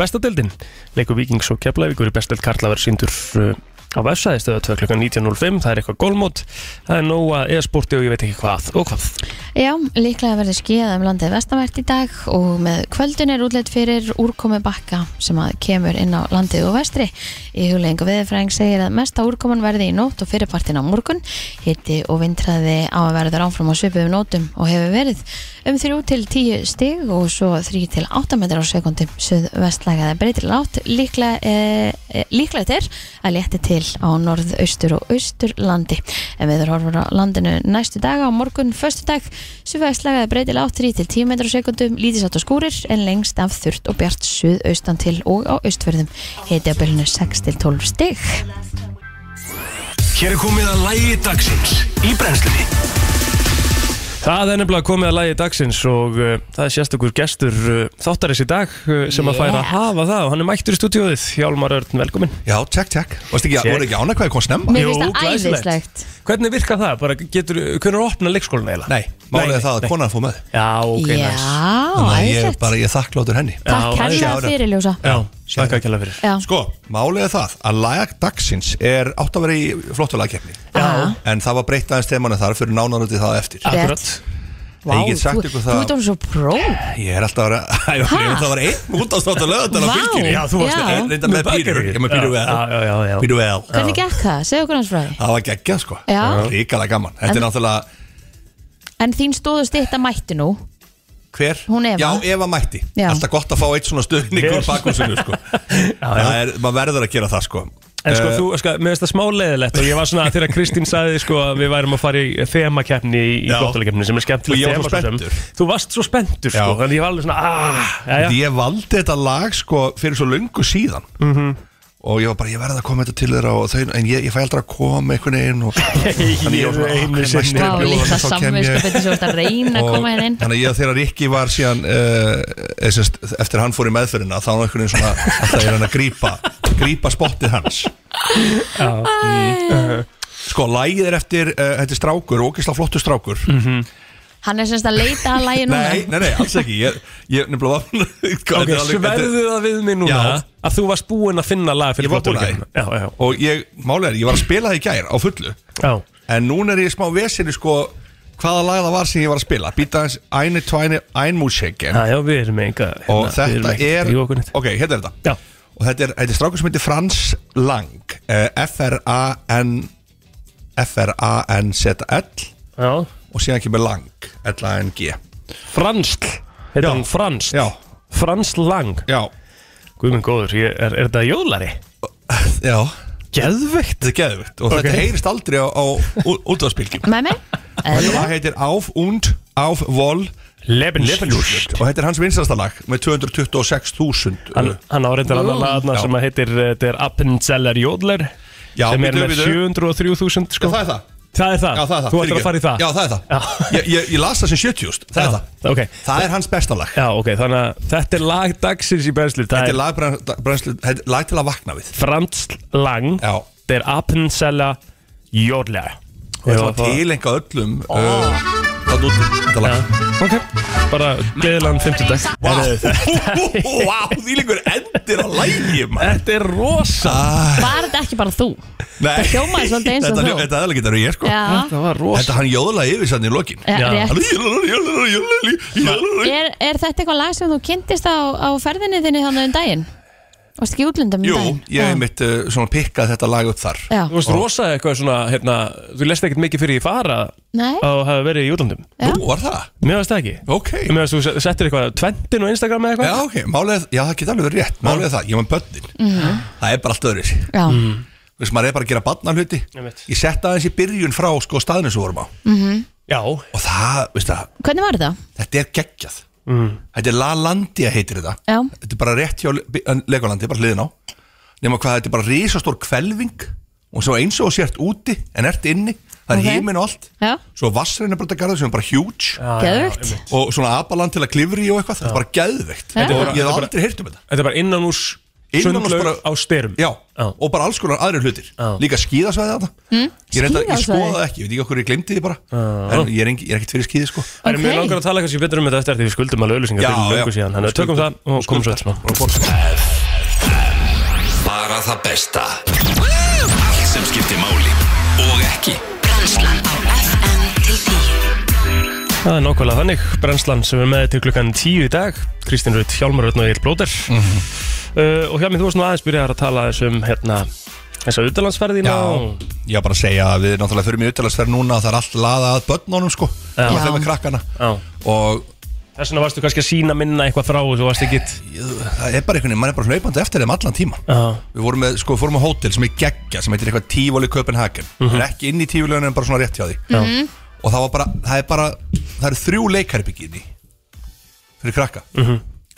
Speaker 2: bestadildin, leikur Víkings og Keflavíkur í bestadild Karla verður síndur uh, á vefsæði stöða 2 klukkan 19.05. Það er eitthvað gólmót, það er nóa e-sporti og ég veit ekki hvað og hvað.
Speaker 3: Já, líklega verður skíðað um landið vestanvert í dag og með kvöldin er útleitt fyrir úrkomi bakka sem að kemur inn á landið og vestri. Í huglegingu viðfræðing segir að mesta úrkoman verði í nótt og fyrirpartin á morgun. Hitti og vintraði á að verður áfram á svipuðum nótum og hefur verið um 3 til 10 stig og svo 3 til 8 metrar á sekundi. Suð vestlægaði breytir látt. Líklega, eh, líklega er að létti til á norðaustur og austurlandi. En við erum horfum á landinu næstu daga á morgun, förstu dag, suðvægslagaði breyti látt 3 til 10 metrar á sekundum, lítisátt og skúrir en lengst af þurrt og bjart suðaustan til og á austverðum. Hiti á bylunu 6 til 12 stig.
Speaker 1: Hér er komið að lægi dagsins í brennslunni
Speaker 2: Það er nefnilega komið að lagi dagsins og uh, það er sérstakur gestur uh, þáttarins í dag uh, sem að færa að
Speaker 3: Yeah.
Speaker 2: hafa það og hann er mættur í stúdíóið, Hjálmar Örn, velkomin
Speaker 6: Já, tjekk, tjekk Varst ekki,
Speaker 2: Tjekk.
Speaker 6: voru ekki ánæg hvað ég kom snemma?
Speaker 3: Mér
Speaker 2: Jú,
Speaker 3: finnst það
Speaker 2: glæsilegt.
Speaker 3: æðislegt
Speaker 2: Hvernig virka það? Bara getur, hvernig opna leikskólan eiginlega?
Speaker 6: Nei, málið er það að konan fór með
Speaker 2: Já, ok,
Speaker 3: Já,
Speaker 2: næs
Speaker 6: Þannig að ég er
Speaker 3: æðislegt
Speaker 6: bara, ég er þakkláttur henni
Speaker 2: Já,
Speaker 3: Takk
Speaker 6: æðislegt.
Speaker 3: kærlega fyrir Ljósa
Speaker 2: Já, þakka ekki alveg fyrir
Speaker 3: Já,
Speaker 6: Sko, málið er það að lag dagsins er átt að vera í flottu lagkeppni
Speaker 3: Já.
Speaker 6: En það var breytt aðeins temanna þar fyrir nánanöndi það á eftir
Speaker 3: Rétt.
Speaker 2: Akkurat
Speaker 3: vá,
Speaker 6: Ég get sagt
Speaker 3: þú-
Speaker 6: ykkur það-
Speaker 3: Þú ert orðin svo pró
Speaker 6: Ég er alltaf að vera, Æ, ég
Speaker 3: Ha?
Speaker 6: er alltaf að vera einn útastáttu lögðan á
Speaker 3: Vá.
Speaker 6: fylgjunni
Speaker 3: Já, þú varst- Já.
Speaker 6: Ég er Reynda með Pítur, ég er með Pítur
Speaker 2: Já, já, já, já.
Speaker 6: vel Pítur vel
Speaker 3: Hvernig gekk það? Segðu okkur hans frá því
Speaker 6: Það var geggjað sko
Speaker 3: Já.
Speaker 6: Ríkala gaman Þetta er náttúrulega
Speaker 3: En þín stóðu stýtt að mætti nú
Speaker 6: Hver?
Speaker 3: Hún Eva.
Speaker 6: Já, Eva mætti
Speaker 3: Já.
Speaker 6: Alltaf gott að fá eitt svona stöðning
Speaker 2: Vel.
Speaker 6: úr bakhúsinu sko Það er, maður verður að gera það sko
Speaker 2: En sko,
Speaker 6: Eh,
Speaker 2: þú, sko, mér finnst það smá leiðilegt og ég var svona þegar Kristín sagði sko að við værum að fara í þemakeppni í, í
Speaker 6: Já.
Speaker 2: gottalikeppni sem er
Speaker 6: Og
Speaker 2: skemmtileg
Speaker 6: ég var
Speaker 2: þema,
Speaker 6: svo
Speaker 2: svo sem.
Speaker 6: spenntur.
Speaker 2: Þú varst svo spenntur sko,
Speaker 6: Já.
Speaker 2: þannig ég var alveg svona aah, já,
Speaker 6: Því ég valdi þetta lag sko fyrir svo löngu síðan
Speaker 2: Mhm.
Speaker 6: og ég var bara, ég verði að koma þetta til þeirra og þau, en ég, ég fæ aldrei að koma einhvern veginn og
Speaker 2: Ég
Speaker 6: ég var svona,
Speaker 2: einu
Speaker 6: "Ah, hver er
Speaker 2: sinni.
Speaker 6: næsti
Speaker 3: Vá,
Speaker 6: bjóður?"
Speaker 3: litla
Speaker 6: Þá kem ég-
Speaker 3: samvinsku betur svo ert að reyna að
Speaker 6: og
Speaker 3: koma henn inn
Speaker 6: þannig að ég að þegar Rikki var síðan uh, sest, eftir að hann fór í meðferðina þá var einhvern veginn svona alltaf ég er hann að grípa grípa spottið hans
Speaker 2: Mm.
Speaker 3: Æ.
Speaker 6: sko, lagið er eftir, uh, þetta er strákur ógisla flottur strákur
Speaker 2: Mhm.
Speaker 3: Hann er semst að leita að lægi núna
Speaker 6: nei, nei, nei, alls ekki ég, ég nefnilega var
Speaker 2: Ok,
Speaker 6: sko, Þetta er alveg- þetta er-
Speaker 2: sverðu það við mig núna
Speaker 6: Já.
Speaker 2: að þú varst búinn að finna lag fyrir
Speaker 6: Ég var búinn að
Speaker 2: Gottalikeppnina. Já, já,
Speaker 6: og ég, málega er, ég var að spila það í gær á fullu
Speaker 2: já
Speaker 6: En núna er ég í smá vesinu sko hvaða lag það var sem ég var að spila Býta hans Æni Tvæni Ænmúshekin
Speaker 2: Já, já, við erum enga
Speaker 6: Og þetta er
Speaker 2: Já,
Speaker 6: Ok, hérna er þetta Og þetta er, þetta er strákur sem heitir Frans Lang eh, F-R-A-N F-R-A-N-Z-L
Speaker 2: já
Speaker 6: Og síðan kemur Lang L-A-N-G
Speaker 2: Fransl, heitir
Speaker 6: Já.
Speaker 2: hann Fransl
Speaker 6: Já,
Speaker 2: Fransl Lang,
Speaker 6: já,
Speaker 2: guð minn góður, ég, er, er þetta jólari?
Speaker 6: já
Speaker 2: Geðveikt
Speaker 6: Þetta er geðvitt Og
Speaker 2: Ok.
Speaker 6: þetta heyrist aldrei á, á útvarspilgjum
Speaker 3: Með mig?
Speaker 6: Þetta lag heitir Auf und Auf Voll
Speaker 2: Lebenslust
Speaker 6: Lepenlust Og þetta er hans vinstastalag með 226.000
Speaker 2: Hann, hann áreindar annan lagarna
Speaker 6: uh, Já.
Speaker 2: sem að heitir eh, Þetta er Appenzeller Jódler
Speaker 6: Já,
Speaker 2: sem er
Speaker 6: bíddu,
Speaker 2: með
Speaker 6: bíddu.
Speaker 2: 703.000
Speaker 6: Já,
Speaker 2: sko.
Speaker 6: það er það
Speaker 2: það er það,
Speaker 6: Já, það er það
Speaker 2: þú ætlar að fara í það
Speaker 6: Já, það er
Speaker 2: Já.
Speaker 6: það Ég, ég, ég las það sem 70 Það er það
Speaker 2: ok,
Speaker 6: Það er hans besta lag
Speaker 2: já, ok, þannig að þetta er lag dagsins í benslu
Speaker 6: Þetta
Speaker 2: það
Speaker 6: er
Speaker 2: er
Speaker 6: lag, brenn- brennslu- þetta er lag til að vakna við
Speaker 2: Frans Lang
Speaker 6: Já.
Speaker 2: þetta er Appenzeller Jódler
Speaker 6: Og þetta var tilenga öllum uh, Það út Þetta lag
Speaker 2: ok, bara geðlan 50 dag
Speaker 6: Vá, Vá, því líkur endir á lægi
Speaker 2: þetta er rosa
Speaker 3: Var þetta ekki bara þú?
Speaker 6: Það
Speaker 3: hljómaði svolítið eins og þú.
Speaker 6: Ah, Þetta aðlega getur ég sko
Speaker 3: Já,
Speaker 2: það var rosa
Speaker 6: Þetta hann jóðlaði yfir sann í lokin
Speaker 3: já.
Speaker 2: Já.
Speaker 3: rétt
Speaker 6: Jú,
Speaker 3: er, er þetta eitthvað lag sem þú kynntist á, á ferðinni þinni þannig um daginn? Varst ekki í útlöndum um daginn?
Speaker 6: ég hef mitt uh, svona pikkað þetta lag upp þar
Speaker 3: Já,
Speaker 2: Þú veist rosa eitthvað svona, hérna, þú lest ekkert mikið fyrir í fara
Speaker 3: Nei.
Speaker 2: að þú hafa verið í útlandum
Speaker 3: Já.
Speaker 6: Nú var það
Speaker 2: Mér veist það ekki
Speaker 6: Ok
Speaker 2: Ég meðan þú settir eitthvað tventin á Instagram eða eitthvað
Speaker 6: Já, ok, málið, já það geta alveg verið rétt Málið er það, ég var með börnin
Speaker 3: Mhm.
Speaker 6: Það er bara allt öðru Þú
Speaker 3: já, Mm.
Speaker 6: veist, maður er bara að gera barnan hluti
Speaker 2: Einmitt.
Speaker 6: Ég setta aðeins í byrjun frá sko staðinu sem við vorum á
Speaker 2: Já,
Speaker 6: Og það, veist það,
Speaker 3: Mhm. hvernig var þetta?
Speaker 6: þetta er geggjað
Speaker 2: Mm.
Speaker 6: Þetta er La Landia heitir þetta
Speaker 3: Já.
Speaker 6: Þetta er bara rétt hjá Le- en Legolandi, bara hliðin á Nefnum hvað, þetta er bara risastór kvelving Og svo eins og þú sért úti en ert inni Það er
Speaker 3: Ok.
Speaker 6: okay. heimin og allt
Speaker 3: Já,
Speaker 6: Svo vassreina bara þetta garður sem er bara huge
Speaker 3: geðvögt
Speaker 6: Og svona apaland til að klifri og eitthvað Þetta er bara geðveikt
Speaker 3: Já.
Speaker 6: Og Ég
Speaker 2: Þetta er
Speaker 6: hef
Speaker 2: bara-
Speaker 6: aldrei heyrt um þetta
Speaker 2: þetta er bara innan úr
Speaker 6: Innanhúss
Speaker 2: sundlaug
Speaker 6: bara-
Speaker 2: á styrum
Speaker 6: Já,
Speaker 2: Já.
Speaker 6: og bara alls konar aðrir hlutir
Speaker 2: Já.
Speaker 6: Líka skíðasvæði þarna mm? Ég, reynda, ég
Speaker 3: skíðasvæði?
Speaker 6: skoða það ekki, ég veit ekki okkur ég glemdi því bara En ég er, engi, ég er ekkert fyrir skíði sko
Speaker 2: Það er mjög
Speaker 3: Ok.
Speaker 2: langar að tala kannski betur um þetta eftir því við skuldum alveg auðlýsingar
Speaker 6: Já,
Speaker 2: fyrir löngu
Speaker 6: já.
Speaker 2: síðan Þannig að tökum
Speaker 6: Skuldum-
Speaker 2: það og komum svo eftir smá
Speaker 1: Bara það besta Allt sem skiptir máli Og ekki
Speaker 8: Brennslan á FM til 10
Speaker 2: Það er nákvæmlega þannig, brennslan sem er með til klukkan 10 í dag Kristín Rutt, Hjálmar Rutt og Egil Blóter
Speaker 6: Mhm.
Speaker 2: uh, Og hjá mér þú varst nú aðeins byrjar að tala þessum hérna Þessa utalansferðina
Speaker 6: Já, ég var bara að segja að við náttúrulega förum í utalagsferð núna og Það er allt laðað að börnunum sko
Speaker 2: Já.
Speaker 6: Bara
Speaker 3: Já.
Speaker 6: þeim með krakkana
Speaker 2: Já.
Speaker 6: Og
Speaker 2: Þess vegna varstu kannski að sína minna eitthvað frá og þú varst ekki
Speaker 6: ég, það er bara einhvern veginn, maður er bara hlaupandi eftir þeim allan tíman
Speaker 2: Já.
Speaker 6: Við vorum með, sko, fórum á hótel sem er geggja Sem heitir eitthvað Tífóli Köpenhagen Það er ekki inn í Tífóliunum en bara svona rétt hjá því
Speaker 2: Mhm. Já.
Speaker 3: Mhm.
Speaker 6: Og
Speaker 2: Mhm.
Speaker 6: það var bara, það er bara Það eru þrjú leikarbyggið í því Fyrir krakka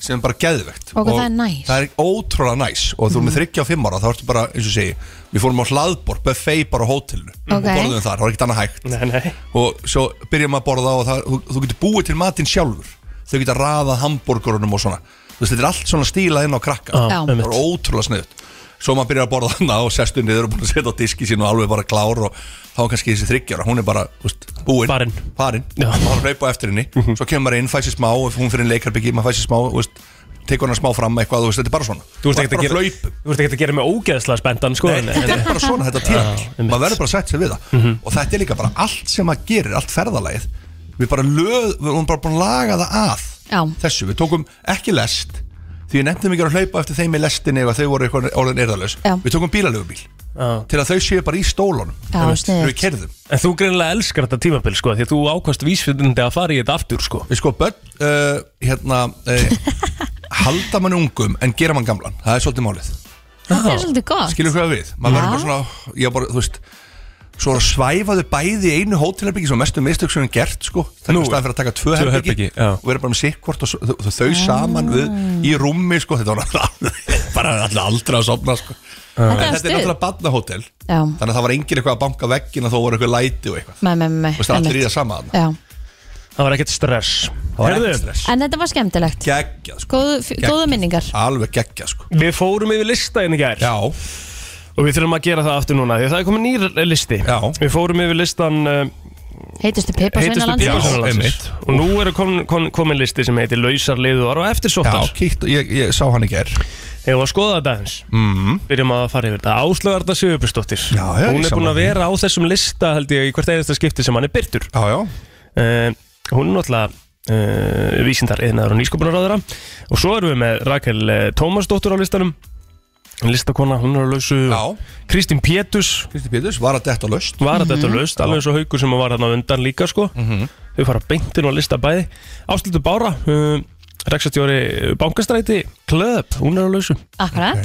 Speaker 6: sem er bara geðvegt
Speaker 3: Og hvað það er næs.
Speaker 6: það er ótrúlega næs og þú erum með 35 ára þá ertu bara, eins og ég segi, við fórum á hlaðbor buffet bara á hótelinu og
Speaker 3: Ok.
Speaker 6: borðum þar, það var ekkert annað hægt
Speaker 2: Nei, nei
Speaker 6: og svo byrjum að borða og það, þú, þú getur búið til matinn sjálfur þau getur raðað hambúrgurunum og svona þú veist, þetta er allt svona stílað inn á krakka
Speaker 2: Já,
Speaker 6: það
Speaker 2: einmitt.
Speaker 6: er ótrúlega sniðut svo maður byrjar að borða hana og sestu niður og búin að setja á diski sín og alveg bara klár og þá er kannski þessi þryggjara, hún er bara þú veist, búin,
Speaker 2: Farin.
Speaker 6: farin.
Speaker 2: Já. Mhm.
Speaker 6: og hann reypa eftir henni svo kemur maður inn, fæsir smá, ef hún fyrir leikarbyggi maður fæsir smá, þú veist, tekur hana smá fram eitthvað, þú veist, þetta er bara svona
Speaker 2: Þú veist
Speaker 6: Og
Speaker 2: ekki að
Speaker 6: bara
Speaker 2: gera
Speaker 6: hlaup.
Speaker 2: Þú veist ekki að gera með ógeðslega spenntan sko en-
Speaker 6: Nei, þetta er bara svona þetta
Speaker 2: Já,
Speaker 6: tíðanbíl
Speaker 2: einmitt. Mhm.
Speaker 6: maður verður bara að setja sig við það og þetta er líka bara allt sem maður gerir, allt ferðalagið við bara löð, við erum bara búin að laga það að
Speaker 3: Já.
Speaker 6: þessu, við tókum ekki lest því við nefndum ekki að hlaupa eftir þeim í lestinni ef að þau voru eitthvað orðin erðalös
Speaker 3: Já.
Speaker 6: við tókum bílalögubíl
Speaker 2: Já.
Speaker 6: til að þau séu bara í stólunum
Speaker 3: Já,
Speaker 6: þegar við
Speaker 3: sniðugt.
Speaker 6: kerðum
Speaker 2: En þú greinilega elskar þetta tímabil sko Því að þú ákvæmst vísfjöndandi að fara í þetta aftur sko
Speaker 6: við sko börn uh, hérna uh, halda mann ungum en gera mann gamlan það er svolítið málið
Speaker 3: Það er svolítið gott
Speaker 6: skilur hvað við maður
Speaker 3: Já.
Speaker 6: verður bara svona ég bara, þú veist svo að svæfa þau bæði í einu hótelherbyggi sem er mestu mistök sem er gert sko það
Speaker 2: Nú.
Speaker 6: er staðan fyrir að taka tvö
Speaker 2: Tvö
Speaker 6: herbyggi
Speaker 2: herbergi, já.
Speaker 6: og vera bara með sikkvort og svo- þau, þau
Speaker 3: Ah.
Speaker 6: saman við í rúmi sko þetta var alveg- bara alltaf aldrei að sopna sko
Speaker 2: Ah.
Speaker 3: Þetta
Speaker 6: En
Speaker 3: er
Speaker 6: þetta er
Speaker 3: stuð.
Speaker 6: náttúrulega badnahótel
Speaker 3: Já.
Speaker 6: þannig að það var engin eitthvað að banka veggin og þó voru eitthvað læti og eitthvað
Speaker 3: Með, með, með
Speaker 6: Þú veist, það er allir í það sama þarna.
Speaker 3: Já,
Speaker 2: Það var ekkert stress
Speaker 6: það var
Speaker 2: Heyrðu,
Speaker 6: ekkert stress
Speaker 3: en þetta var skemmtilegt
Speaker 6: geggjað sko
Speaker 3: Góðu, f-
Speaker 6: Gegn-
Speaker 3: góðu minningar
Speaker 6: alveg geggjað sko
Speaker 2: Við fórum yfir lista inn í gær
Speaker 6: já
Speaker 2: Og við þurfum að gera það aftur núna Því að það er komið nýr eh, listi
Speaker 6: Já.
Speaker 2: Við fórum yfir listan uh,
Speaker 3: Heitustu piparsveina
Speaker 2: Heitustu
Speaker 3: landsins
Speaker 6: Já,
Speaker 2: bílasöðarlandsins
Speaker 6: einmitt.
Speaker 2: Og nú er komin, komin, komin listi sem heitir Lausar liðuar og
Speaker 6: já
Speaker 2: eftirsóttar
Speaker 6: kíkt ég, ég sá hann ekki er
Speaker 2: Hefur að skoða þetta eins mm. Byrjum að fara yfir þetta Áslaugarda Sigurbjörnsdóttir
Speaker 6: Já,
Speaker 2: Hún
Speaker 6: já, ég
Speaker 2: er búin
Speaker 6: sammála
Speaker 2: að
Speaker 6: því.
Speaker 2: vera á þessum lista held ég í hvert einasta skipti sem hann er byrtur
Speaker 6: já já
Speaker 2: uh, Hún er náttúrulega uh, vísindar eðnaður og nýsköpunaráðara og svo erum við með Rakel uh, Tómasdóttur á listanum En listakona, hún er að lausu
Speaker 6: Já.
Speaker 2: Kristín Pétus
Speaker 6: Kristi Péturs var að detta löst
Speaker 2: var að
Speaker 6: Mhm.
Speaker 2: þetta laust, alveg eins og haugur sem var þarna á undan líka sko. þau fara beintin og lista bæði Áslildu Bára uh, Rexatjóri Bankastræti Klöp, hún er að lausu
Speaker 3: Akkurat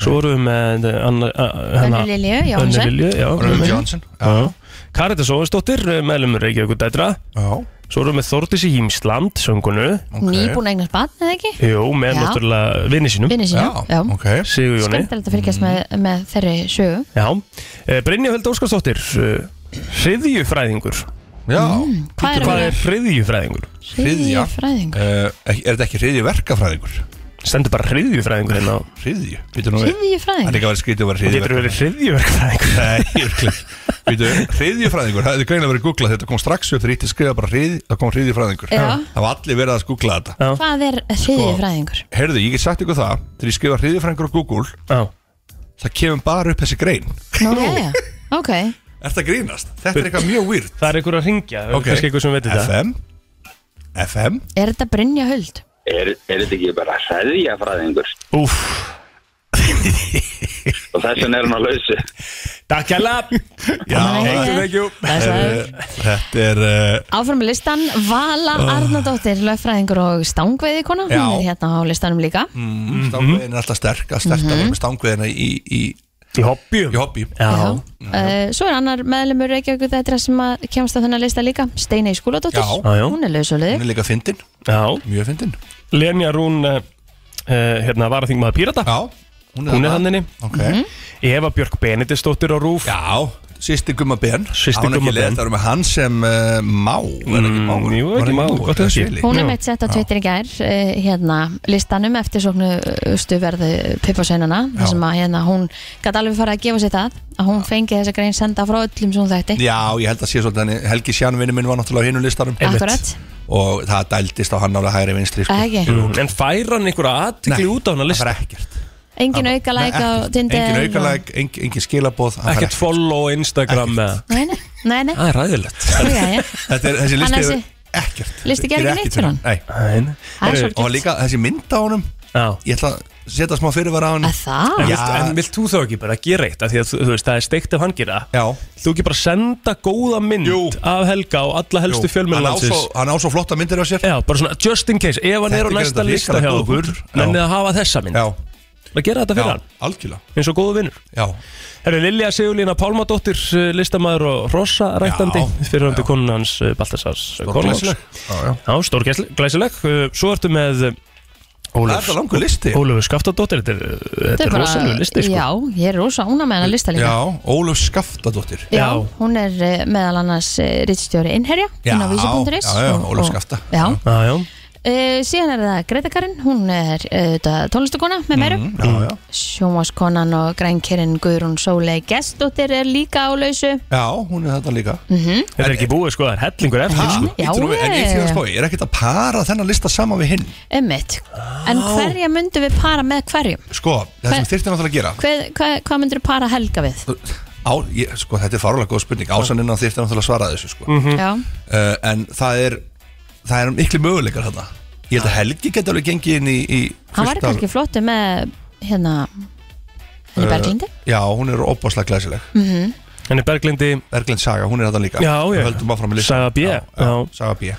Speaker 2: Svo vorum við með eh, Anna- eh, hana-
Speaker 3: Önnu Lilju Jóhansen.
Speaker 2: Önnu Lilju, já,
Speaker 6: Röðum
Speaker 2: með-
Speaker 6: Johnson
Speaker 2: Já. Karitas Óvinsdóttir, meðlum Reykjavík dætra
Speaker 6: Já,
Speaker 2: Svo vorum við með Þórdísi Hímsland, söngunu
Speaker 6: ok
Speaker 3: Nýbúin að eignast batn, eða ekki?
Speaker 2: Jú, með
Speaker 3: Já.
Speaker 2: náttúrulega vinni sínum
Speaker 3: Vinni sínum, já,
Speaker 6: ok
Speaker 2: Sigur Jóni
Speaker 3: Skemmtilegt að fylgjast með, með þeirri sögu
Speaker 2: Já, eh, Brynja Hölda Óskarsdóttir eh, Hriðjufræðingur
Speaker 6: Já,
Speaker 3: Mm, Hvað er að
Speaker 2: Hvað er
Speaker 3: vera
Speaker 2: hriðjufræðingur?
Speaker 6: hryðja.
Speaker 3: fræðingur?
Speaker 6: Uh, er þetta ekki hriðju verkafræðingur?
Speaker 2: Stendur bara hriðjufræðingur hérna á
Speaker 6: Hriðju? Býtu nú við
Speaker 3: Hriðju
Speaker 6: Það er
Speaker 3: fræðingur?
Speaker 6: ekki að vera skrítið að vera hriðju
Speaker 2: Getur verið hriðjuverkfræðingur
Speaker 6: verkafræðingur Býtu, hriðjufræðingur, það er greinilega verið að googla þetta kom strax upp þegar ég ítti að skrifa bara hrið það kom hriðjufræðingur
Speaker 3: Já.
Speaker 6: Það var allir verið að googla þetta
Speaker 3: Hvað er hriðju fræðingur?
Speaker 6: Herðu, ég get sagt ykkur það, þegar ég skrifa hriðjufræðingur á Google
Speaker 2: Já,
Speaker 6: það kemur bara upp þessi grein
Speaker 3: Nú, jæja, ok
Speaker 6: Er þetta grínast? Þetta er eitthvað mjög weird
Speaker 2: það er einhver að ringja Það er kannski einhver sem veitir það
Speaker 6: FM FM
Speaker 3: Er þetta Brynja Huld?
Speaker 9: er, er þetta ekki bara hræðjafræðingur
Speaker 2: Úf,
Speaker 9: og þess vegna er hann að lausu
Speaker 2: takk hérlega
Speaker 6: Já,
Speaker 3: Nei.
Speaker 6: það-
Speaker 2: you
Speaker 3: Blessaður.
Speaker 6: þetta er uh,
Speaker 3: Áfram með listan, Vala Arnardóttir, lögfræðingur og stangveiðikona,
Speaker 6: Já.
Speaker 3: hún er hérna á listanum líka.
Speaker 6: mm,
Speaker 2: Mhm.
Speaker 6: stangveiðin er alltaf sterk að sterta mm -hmm. stangveiðina í, í,
Speaker 2: Í hoppjum
Speaker 6: í hobby
Speaker 2: Já,
Speaker 3: Uh, svo er annar meðlumur Reykjavík þetta sem að kemst á þennan lista líka, Steinei Skúladóttir,
Speaker 6: Já.
Speaker 2: Já, já.
Speaker 3: hún er lausöluðið.
Speaker 6: hún er líka fyndin,
Speaker 2: já
Speaker 6: mjög fyndin
Speaker 2: Lenja Rún uh, Hérna, varaþingmaður Pírata
Speaker 6: já,
Speaker 2: Hún er
Speaker 6: þarna.
Speaker 2: þannig
Speaker 6: ok,
Speaker 3: Mhm.
Speaker 2: Eva Björk Benedistóttir á Rúf
Speaker 6: já, sýsti gumma ben
Speaker 2: Systir
Speaker 6: Á hún
Speaker 2: Gumma
Speaker 6: ekki leið
Speaker 2: Ben.
Speaker 6: það eru með hann sem uh, má, er það ekki má
Speaker 2: Mm, jú, ekki Má, gott að sé.
Speaker 3: Hún er
Speaker 2: Já.
Speaker 3: meitt sett á Twitter í gær uh, hérna, listanum eftir sóknustu verðu Pippasveinana
Speaker 6: Já.
Speaker 3: þar sem að hérna, hún gæti alveg farið að gefa sér það að hún fengi þessa grein senda frá öllum sem hún þætti
Speaker 6: já, ég held að sé svolítið þannig, Helgi Sjánvinni minn var náttúrulega á hinu listanum
Speaker 3: Akkurat,
Speaker 6: og það dældist á hann alveg hægri vinstri sko.
Speaker 3: eða ekki?
Speaker 2: Mm, En fær hann einhverja aðtikli út á hana
Speaker 6: það
Speaker 2: list
Speaker 6: var ekkert
Speaker 3: Engin auka læk á
Speaker 6: Nei, ekkert.
Speaker 3: Tinder
Speaker 6: engin
Speaker 3: og-
Speaker 6: aukalæk, engin, engin skilaboð hann fær
Speaker 2: Ekkert follow á Instagram eða
Speaker 3: Nei, nei, nei, nei.
Speaker 2: Það er ræðilegt
Speaker 3: Jú, jæja.
Speaker 6: Þetta er þessi listi
Speaker 3: Hann þessi-
Speaker 6: hefur ekkert
Speaker 3: Listi gerði
Speaker 6: Gerir
Speaker 3: ekki neitt
Speaker 6: ekkert
Speaker 3: fyrir hann.
Speaker 6: Nei,
Speaker 3: Það er
Speaker 6: og
Speaker 3: svolítið
Speaker 6: líka þessi mynd á honum
Speaker 2: Já
Speaker 6: Ég ætla að setja smá fyrirvara á hann
Speaker 3: Að það?
Speaker 2: En
Speaker 6: Já.
Speaker 2: vilt, en vilt þú þá ekki bara gera eitt af því að þú, þú veist, það er steikt ef hann gera það?
Speaker 6: Já.
Speaker 2: Þú ekki bara senda góða mynd
Speaker 6: Jú.
Speaker 2: af Helga og alla helstu
Speaker 6: hann, á svo,
Speaker 2: fjölmjörnlandsins
Speaker 6: hann á svo flotta myndir á sér
Speaker 2: Já, bara svona just in case, ef hann
Speaker 6: Þetta
Speaker 2: er á
Speaker 6: gerir
Speaker 2: næsta
Speaker 6: þetta
Speaker 2: lista
Speaker 6: hrikalega
Speaker 2: hjá
Speaker 6: góð
Speaker 2: okkur
Speaker 6: punktur. Já.
Speaker 2: mennið að hafa þessa mynd
Speaker 6: Já,
Speaker 2: að gera þetta
Speaker 6: já,
Speaker 2: fyrir hann,
Speaker 6: algjörlega
Speaker 2: eins og góðu vinnur
Speaker 6: Já,
Speaker 2: Herru, Lilja Sigurlína Pálmadóttir, eh, listamaður og rosa ræktandi
Speaker 6: Já.
Speaker 2: fyrirhandi konun hans
Speaker 10: Sko,
Speaker 2: eh, Baltasars Konráðs.
Speaker 6: Já, já
Speaker 2: Já, stór glæsileg Svo ertu með eh,
Speaker 6: Það er það langur listi
Speaker 2: Ólöfur Skaftadóttir, þetta er, þetta er
Speaker 3: bara-
Speaker 2: rosalega listi sko.
Speaker 3: Já, ég er rosa ána með hennar lista líka
Speaker 6: Já, Ólöf Skaftadóttir
Speaker 3: Já,
Speaker 2: Já.
Speaker 3: hún er eh, meðal annars rittstjóri innherja
Speaker 6: Já,
Speaker 3: inn á vísi.is
Speaker 6: já, já,
Speaker 3: og-
Speaker 6: Ólöf
Speaker 3: og-
Speaker 6: Skafta.
Speaker 3: Já,
Speaker 2: Já, já,
Speaker 3: uh, síðan er það Greta Karin, hún er uh, tónlistakona með meiru
Speaker 2: Mhm.
Speaker 3: mm,
Speaker 6: Já, já.
Speaker 3: Sjómaskonan og grænkerinn Guðrún Sólei Gestdóttir er líka á lausu
Speaker 6: já, hún er þetta líka
Speaker 2: þetta er ekki búið sko, það er hellingur eftir
Speaker 6: Ha,
Speaker 2: sko.
Speaker 3: Já,
Speaker 6: bíddu nú við, En ég því að
Speaker 3: ég-
Speaker 6: spá, ég er ekkert að para þennan lista saman við hinn
Speaker 3: Ummitt, en hverja myndum við para með hverjum?
Speaker 6: Sko, það sem þyrfti náttúrulega að gera
Speaker 3: Hver, hver, hvað myndur við para helga við?
Speaker 6: á, ég, sko, Þetta er farulega góð spurning Ásaninnan þyrfti náttúrulega að svara þessu sko.
Speaker 2: Mhm.
Speaker 3: Já,
Speaker 6: uh, En það er Það er miklu möguleikar þarna Ég held að Helgi geti alveg gengið inn í, í
Speaker 3: hann var
Speaker 6: fullt af-
Speaker 3: kannski flottu með hérna
Speaker 6: Eh,
Speaker 3: henni Berglindi
Speaker 6: Já, hún er óbáslega glæsileg
Speaker 3: Mhm.
Speaker 2: Henni Berglindi,
Speaker 6: Berglind Saga, hún er þetta líka
Speaker 2: Já, já.
Speaker 6: Við höldum áfram með
Speaker 2: Saga B,
Speaker 6: já, já.
Speaker 2: já.
Speaker 6: Saga B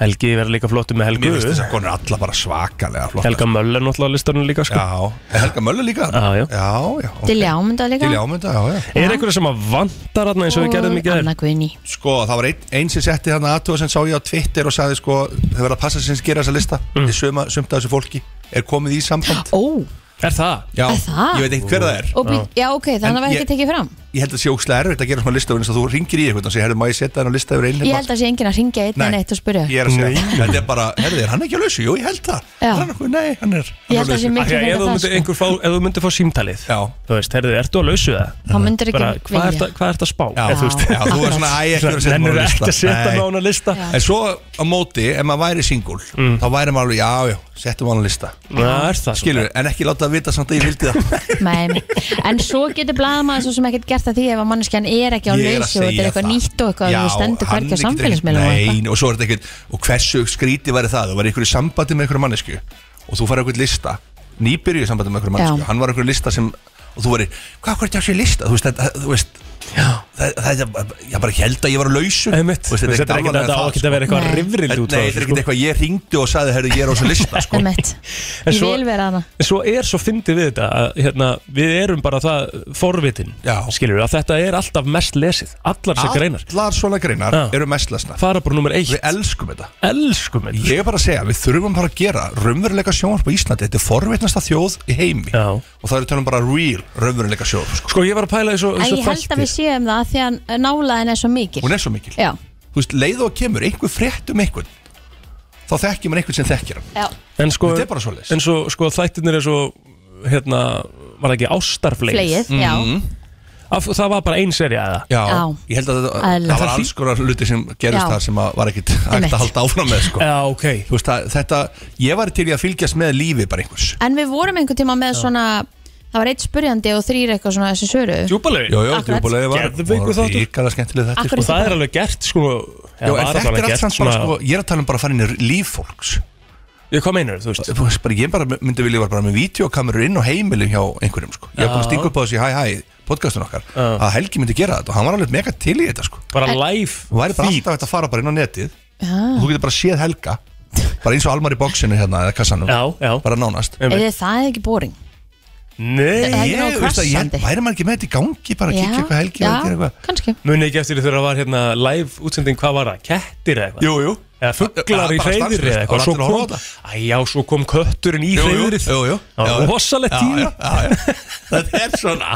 Speaker 2: Helgi verður líka flottur með
Speaker 6: Mér finnst þess
Speaker 2: Helgu
Speaker 6: að konur alla bara svakalega flott
Speaker 2: Helga Möller náttúrulega á listanum líka sko.
Speaker 6: Já, er Helga Möller
Speaker 2: Já,
Speaker 6: líka
Speaker 2: já.
Speaker 6: já, já ok.
Speaker 3: Dilja ámynda líka
Speaker 6: Dilja ámynda, já, já
Speaker 2: Er einhverju sem að vantar þarna eins og við gerðum í
Speaker 3: og
Speaker 2: gerð?
Speaker 3: Anna Guðni
Speaker 6: Sko, það var einn ein sem setti hann aðtöð sem sá ég á Twitter og sagði sko Þau verða að passa sem gera þessa lista
Speaker 2: Mm.
Speaker 6: Þið suma, sumt af þessu fólki er komið í samband
Speaker 3: Ó,
Speaker 2: Er það?
Speaker 6: Já,
Speaker 3: Er það?
Speaker 6: ég veit ekkert hver það er
Speaker 3: Ah. og být, já ok, þannig að það var
Speaker 6: ég-
Speaker 3: ekki tekið fram
Speaker 6: Ég held að það sé ókslega erfitt að gera svona lista vegna þess að þú ringir í eitthvað og segir, herðu, má ég setja hann á lista yfir einhvern
Speaker 3: Ég held að sé enginn að ringja einn en eitt og spurja
Speaker 6: Ég er að segja, þetta er bara, herðu, er hann ekki á lausu? Jú, ég held það
Speaker 3: Já.
Speaker 6: Hann er nokkuð, nei, hann er hann
Speaker 3: Ég
Speaker 6: er
Speaker 3: held að það sé
Speaker 6: á lausu.
Speaker 2: Af því að
Speaker 3: miklu
Speaker 2: Ef
Speaker 3: meira
Speaker 2: þú
Speaker 3: það
Speaker 2: myndir
Speaker 3: sko.
Speaker 2: einhver fá, ef þú myndir fá símtalið
Speaker 6: Já.
Speaker 2: Þú veist, herðu, ertu að lausu það?
Speaker 3: Þá myndir ekki
Speaker 2: Bara, hvað
Speaker 3: vilja.
Speaker 2: ert að- Hvað ert að spá?
Speaker 6: Já,
Speaker 2: Eða, þú veist,
Speaker 6: já, þú er svona æ, ekki verið að setja
Speaker 2: Nennir
Speaker 6: mig á
Speaker 2: ekki að setja mig
Speaker 6: Nei.
Speaker 2: á hana lista
Speaker 3: Já.
Speaker 6: En svo á móti, ef maður væri singul Þá væri maður alveg, já, já, settum hann á lista
Speaker 2: Mm. Já, er það
Speaker 6: Skilur, en ekki láta það vita samt að ég vildi það
Speaker 3: Nei, nei. En svo getur blaðamaður svo sem ekkert gert að því ef að manneskjan er ekki á
Speaker 6: Ég er að
Speaker 3: lausu og þetta
Speaker 6: segja
Speaker 3: er eitthvað
Speaker 6: það.
Speaker 3: nýtt og eitthvað
Speaker 6: Já,
Speaker 3: og þú stendur hvergi
Speaker 6: hann
Speaker 3: á
Speaker 6: getur ekkert-
Speaker 3: samfélagsmiðlum
Speaker 6: Nei, og svo er þetta ekkert Og hversu skríti væri það, þú væri ykkur í sambandi með ykkur mannesku Og þú farið ykkur lista Nýbyrju í sambandi með ykkur mannesku
Speaker 3: Já.
Speaker 6: Hann var ykkur lista sem, og þú væri Hvað hvort ég á sér lista, þú veist, þetta, þú veist Það, það, það, ég bara held að ég var á lausu
Speaker 2: Einmitt,
Speaker 6: Þú veist, þetta er ekkert
Speaker 2: ekki
Speaker 6: annað en
Speaker 2: þetta á sko.
Speaker 6: það,
Speaker 2: ekki að vera
Speaker 6: sko.
Speaker 2: eitthvað
Speaker 3: Nei.
Speaker 2: rifrild
Speaker 6: Nei,
Speaker 2: út
Speaker 6: þetta er ekkert eitthvað Ég ringdi og sagði, herru, ég er á þessu lista sko.
Speaker 3: Emmett,
Speaker 2: En
Speaker 3: ég
Speaker 2: svo-
Speaker 3: vil vera hana
Speaker 2: En svo er svo fyndið við þetta að hérna, við erum bara það forvitin
Speaker 6: Já.
Speaker 2: skilur við að þetta er alltaf mest lesið allar þessar greinar
Speaker 6: Allar svona greinar
Speaker 2: Já.
Speaker 6: eru mest lesna
Speaker 2: fara bara nummer eitt
Speaker 6: Við elskum þetta
Speaker 2: elskum þetta
Speaker 6: Ég er bara að segja, við þurfum bara að gera raunveruleika sjónvarp á Íslandi, þetta er forveitnasta þjóð í heimi
Speaker 2: Já.
Speaker 6: og það er tölum um bara real raunveruleika sjónvarp sko.
Speaker 2: sko ég var að pæla í svo,
Speaker 3: En
Speaker 2: svo
Speaker 3: ég held að við séum það af því að nálaðin er svo mikil
Speaker 6: hún er svo mikil
Speaker 3: Já,
Speaker 6: Þú veist, leið og kemur einhver frétt um einhvern þá þekkir maður einhvern sem þekkir hann
Speaker 3: já,
Speaker 2: en sko,
Speaker 6: Þetta er bara svoleiðis.
Speaker 2: en svo sko þættirnir er svo hérna var það ekki ástarflegið Mhm.
Speaker 3: flegið, já
Speaker 2: Af, það var bara ein serja eða
Speaker 6: Já,
Speaker 3: Já.
Speaker 6: ég held að það,
Speaker 3: Æðilegt.
Speaker 6: það var alls konar hluti sem gerist
Speaker 3: Já.
Speaker 6: það sem að var ekkit hægt
Speaker 3: Einmitt.
Speaker 6: að halda áfram með sko.
Speaker 2: já ok
Speaker 6: Þú veist, það, þetta, ég var til í að fylgjast með lífi bara einhvers
Speaker 3: En við vorum einhvern tíma með svona Það var eitt spurjandi og þrýr eitthvað svona þessi svöru
Speaker 2: djúbalegu
Speaker 6: Jó, jó,
Speaker 3: Akkurat.
Speaker 6: djúbulega var
Speaker 2: Geðveikur þáttur.
Speaker 6: ríkala skemmtilega þetta
Speaker 3: Akkur
Speaker 2: og það er alveg gert sko
Speaker 6: Já, en þetta er allt samt bara, sko, ég er að tala um bara að fara inn í líf fólks
Speaker 2: ég kom einur þú veist
Speaker 6: Þú veist, bara, Ég bara myndi vilja vera bara með videokamerur inn á heimilum hjá einhverjum sko. Ég hef búin að stinga upp á þessu hæ hæ podcastun okkar að Helgi myndi gera þetta og hann var alveg mega til í þetta sko.
Speaker 2: bara
Speaker 3: En- Ah.
Speaker 2: live
Speaker 6: Þú væri bara
Speaker 2: feed.
Speaker 6: alltaf hægt að fara bara inn á netið
Speaker 3: Já.
Speaker 6: og þú getur bara séð Helga bara eins og Almar í bóksinu hérna eða kassanum
Speaker 2: já, já
Speaker 6: bara nánast
Speaker 3: Eða það er ekki boring
Speaker 2: Nei,
Speaker 3: Það er ekki
Speaker 6: Ég,
Speaker 3: nógu
Speaker 6: veist að ég,
Speaker 3: krassandi.
Speaker 6: væri maður ekki með þetta í gangi bara að kikja eitthvað Helgi
Speaker 3: já,
Speaker 6: var að gera eitthvað
Speaker 3: kannski
Speaker 2: muni ekki eftir því þegar það var hérna live útsending, hvað var það, kettir eða eitthvað?
Speaker 6: Jú, jú
Speaker 2: Eða fugglar í
Speaker 6: Bara
Speaker 2: hreyðir
Speaker 6: stanslaust,
Speaker 2: eða eitthvað
Speaker 6: bara
Speaker 2: Svo
Speaker 6: allir að horfa á
Speaker 2: kom, æjá, svo kom kötturinn í
Speaker 6: Jú, jú,
Speaker 2: hreyðrið
Speaker 6: jú, jú.
Speaker 2: Það
Speaker 6: Já,
Speaker 2: var
Speaker 6: já.
Speaker 2: rosalegt
Speaker 6: Já,
Speaker 2: tíma
Speaker 6: já, já, já. Þetta er svona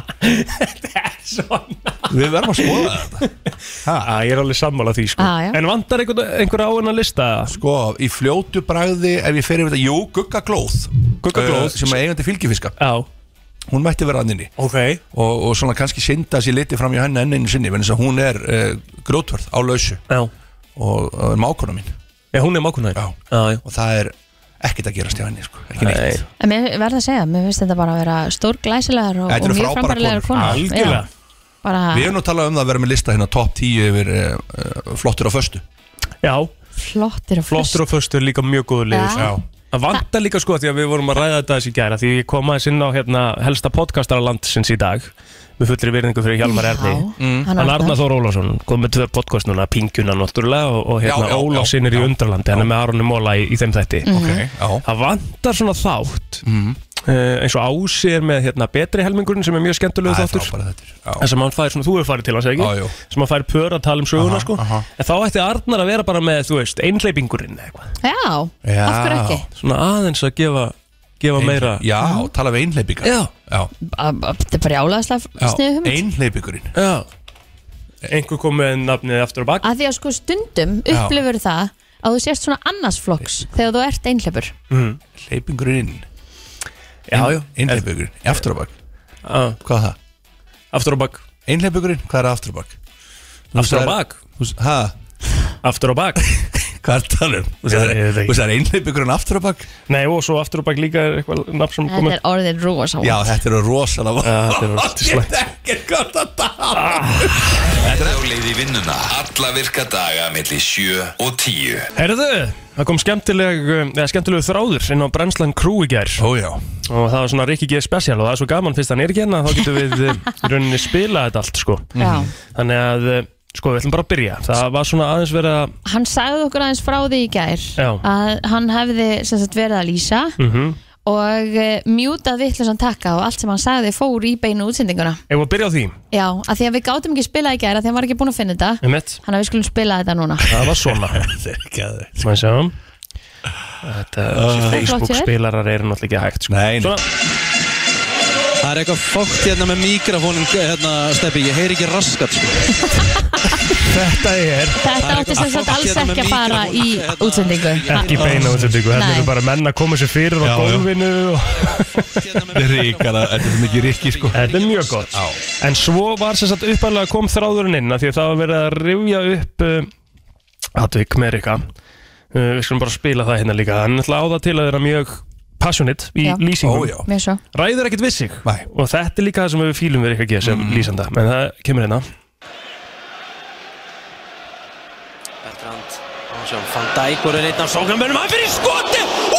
Speaker 2: Þetta er svona
Speaker 6: Við verðum að skoða þetta
Speaker 2: Æ, ég er alveg sammála því sko
Speaker 3: Ah, Já, já.
Speaker 2: En vantar einhver, einhver á hennar lista
Speaker 6: Sko, í fljótu bragði ef ég fer yfir þetta, jú, guggaglóð
Speaker 2: Guggaglóð.
Speaker 6: Eh, sem er eigandi fylgifiska
Speaker 2: Já,
Speaker 6: hún mætti vera anninni
Speaker 2: ok
Speaker 6: og, og svona kannski synda sér litið fram í henni enn einu sinni vegna þess að hún er uh, grótvörð á lausu
Speaker 2: Já,
Speaker 6: og og er mákona mín
Speaker 2: já hún er mákunnæg
Speaker 6: Já.
Speaker 2: já, já
Speaker 6: og það er ekkert að gerast hjá henni sko, ekki
Speaker 2: Nei.
Speaker 6: neitt
Speaker 3: En mér verða að segja, mér finnst þetta bara að vera stór glæsilegar og, og
Speaker 6: Þetta eru
Speaker 3: mjög
Speaker 6: frábærar
Speaker 3: frambarilegar
Speaker 6: konur.
Speaker 3: konur
Speaker 2: Algjörlega.
Speaker 3: Já, bara,
Speaker 6: Við erum nú að tala um það að vera með lista hérna top 10 yfir uh, uh, flottur á föstu
Speaker 2: Já,
Speaker 3: flottir og flottir
Speaker 2: flottur og föstur líka mjög góðu liður
Speaker 3: Já. Já.
Speaker 2: Það vantar líka sko því að við vorum að ræða þetta þessi gæra Því ég kom aðeins inn á hérna, helsta podcastaralandsins í dag Með fullri virðingu fyrir Hjalmar Erni
Speaker 3: Mm.
Speaker 6: Mm.
Speaker 3: hann
Speaker 2: Hann Arnar
Speaker 3: Arnar
Speaker 2: Þór Ólásson kom með tvö podcast núna, Pingjuna náttúrulega og, og hérna
Speaker 6: Já, já,
Speaker 2: Ólásinn er í
Speaker 6: já,
Speaker 3: Mhm.
Speaker 2: Undralandi, hann er með Arunni Móla í, í þeim þætti
Speaker 6: Ok, já Mm.
Speaker 2: Það vantar svona þátt uh, eins og Ási er með hérna, betri helmingurinn sem er mjög skemmtulegu
Speaker 6: Það er
Speaker 2: þáttur
Speaker 6: frábæra þetta
Speaker 2: En sem hann fær, svona, þú hefur farið til hans, eða
Speaker 6: Já,
Speaker 2: ekki?
Speaker 6: jú.
Speaker 2: sem hann fær pör að tala um söguna,
Speaker 6: Aha,
Speaker 2: sko
Speaker 6: aha.
Speaker 2: En þá ætti Arnar að vera bara með, þú veist, einhleipingurinn eða eitthvað
Speaker 3: Já,
Speaker 6: Já.
Speaker 3: af hverju ekki?
Speaker 2: Svona aðeins að gefa, gefa meira
Speaker 6: Já, tala við einhleipingar
Speaker 2: Já.
Speaker 6: já,
Speaker 3: A- a- Þetta er bara jálaðislega sniðu hugmynd
Speaker 6: Einhleipingurinn
Speaker 2: Já. Einhver kom með nafnið aftur á bak
Speaker 3: að því að sko stundum upplifur það að þú sést svona annars flokks þegar þú ert einhleipur
Speaker 6: Leipingurinn
Speaker 2: Mhm. Já, já
Speaker 6: Einhleipingurinn Aftur á bak
Speaker 2: Já.
Speaker 6: Hvað er það?
Speaker 2: Aftur á bak
Speaker 6: Einhleipingurinn Hvað er aftur á bak?
Speaker 2: Aftur
Speaker 6: Þú
Speaker 2: á
Speaker 6: sagðir-
Speaker 2: bak
Speaker 6: þú s- Ha?
Speaker 2: Aftur á bak
Speaker 6: Hvað er talum? um? Þú
Speaker 2: Ég- ég veit
Speaker 6: sagðir-
Speaker 2: ekki.
Speaker 6: þú sagðir einhleipingurinn aftur á bak
Speaker 2: Nei, og svo aftur á bak líka er eitthvað nafn sem
Speaker 3: Þetta
Speaker 2: komið
Speaker 3: er orðin rosa
Speaker 6: Já, þetta eru rosalega
Speaker 2: þetta er rosalega slæmt.
Speaker 6: Þetta er Ah. ekkert gott að tala um.
Speaker 1: Þetta er á leið í vinnuna Alla virka daga millir 7 og 10
Speaker 2: Herðu, það kom skemmtileg, um, eða skemmtilegu þráður inn á Brennslan Crew í gær
Speaker 6: Ó já
Speaker 2: og það var svona Rikki G. Special og það er svo gaman fyrst hann er ekki hérna þá getum við um, í rauninni spila þetta allt sko
Speaker 3: Já.
Speaker 2: Þannig að, uh, sko, við ætlum bara að byrja Það var svona aðeins verið að
Speaker 3: Hann sagði okkur aðeins frá því í gær
Speaker 2: Já.
Speaker 3: að hann hefði sem sagt, verið að lýsa
Speaker 2: Mhm.
Speaker 3: og uh, mjútað vittlusan takka og allt sem hann sagði fór í beinu útsendinguna
Speaker 2: Ef við að byrja á því,
Speaker 3: Já, að því að við gátum ekki spilað í gær að því að hann var ekki búin að finna þetta
Speaker 2: um mitt
Speaker 3: Þannig að við skulum spila þetta núna
Speaker 2: Það var svona
Speaker 6: Þetta er ekki að þau
Speaker 2: Má ég sjá Þetta, þessi Facebook spilarar eru náttúrulega ekki hægt sko.
Speaker 6: Nei, nei.
Speaker 2: Svona,
Speaker 11: Það er eitthvað fókt hérna með mikrofónin hérna, Steppi, ég heyri ekki raskat sko.
Speaker 2: Þetta er
Speaker 3: Þetta átti sem sagt alls
Speaker 11: Hérna með
Speaker 3: ekki að fara í
Speaker 11: mikrofón. Hérna-
Speaker 3: útsendingu
Speaker 2: ekki beina útsendingu Þetta
Speaker 3: Nei.
Speaker 2: eru bara menn að koma sér fyrir á
Speaker 6: Já, já.
Speaker 2: gólfinu og...
Speaker 6: Þetta er ríkara, þetta er mikið ríkki sko
Speaker 2: Þetta er mjög gott En svo var sem sagt uppalega kom þráðurinn inn af Því að það var verið að rifja upp uh, Atvík með Rika uh, Við skulum bara spila það hérna líka Hann ætla á það til að vera mjög passionate í
Speaker 3: Já.
Speaker 2: lýsingum
Speaker 6: Ó já
Speaker 3: Mér svo
Speaker 2: Ræður ekkert við sig
Speaker 6: Nei. Mm.
Speaker 2: Og þetta er líka það sem við fílum við Rika G sem lýsanda En það kemur hérna
Speaker 11: Bertrand, hann sjá, Van Dijk voru einn af sóknarmönnum, hann fyrir skoti! Ú!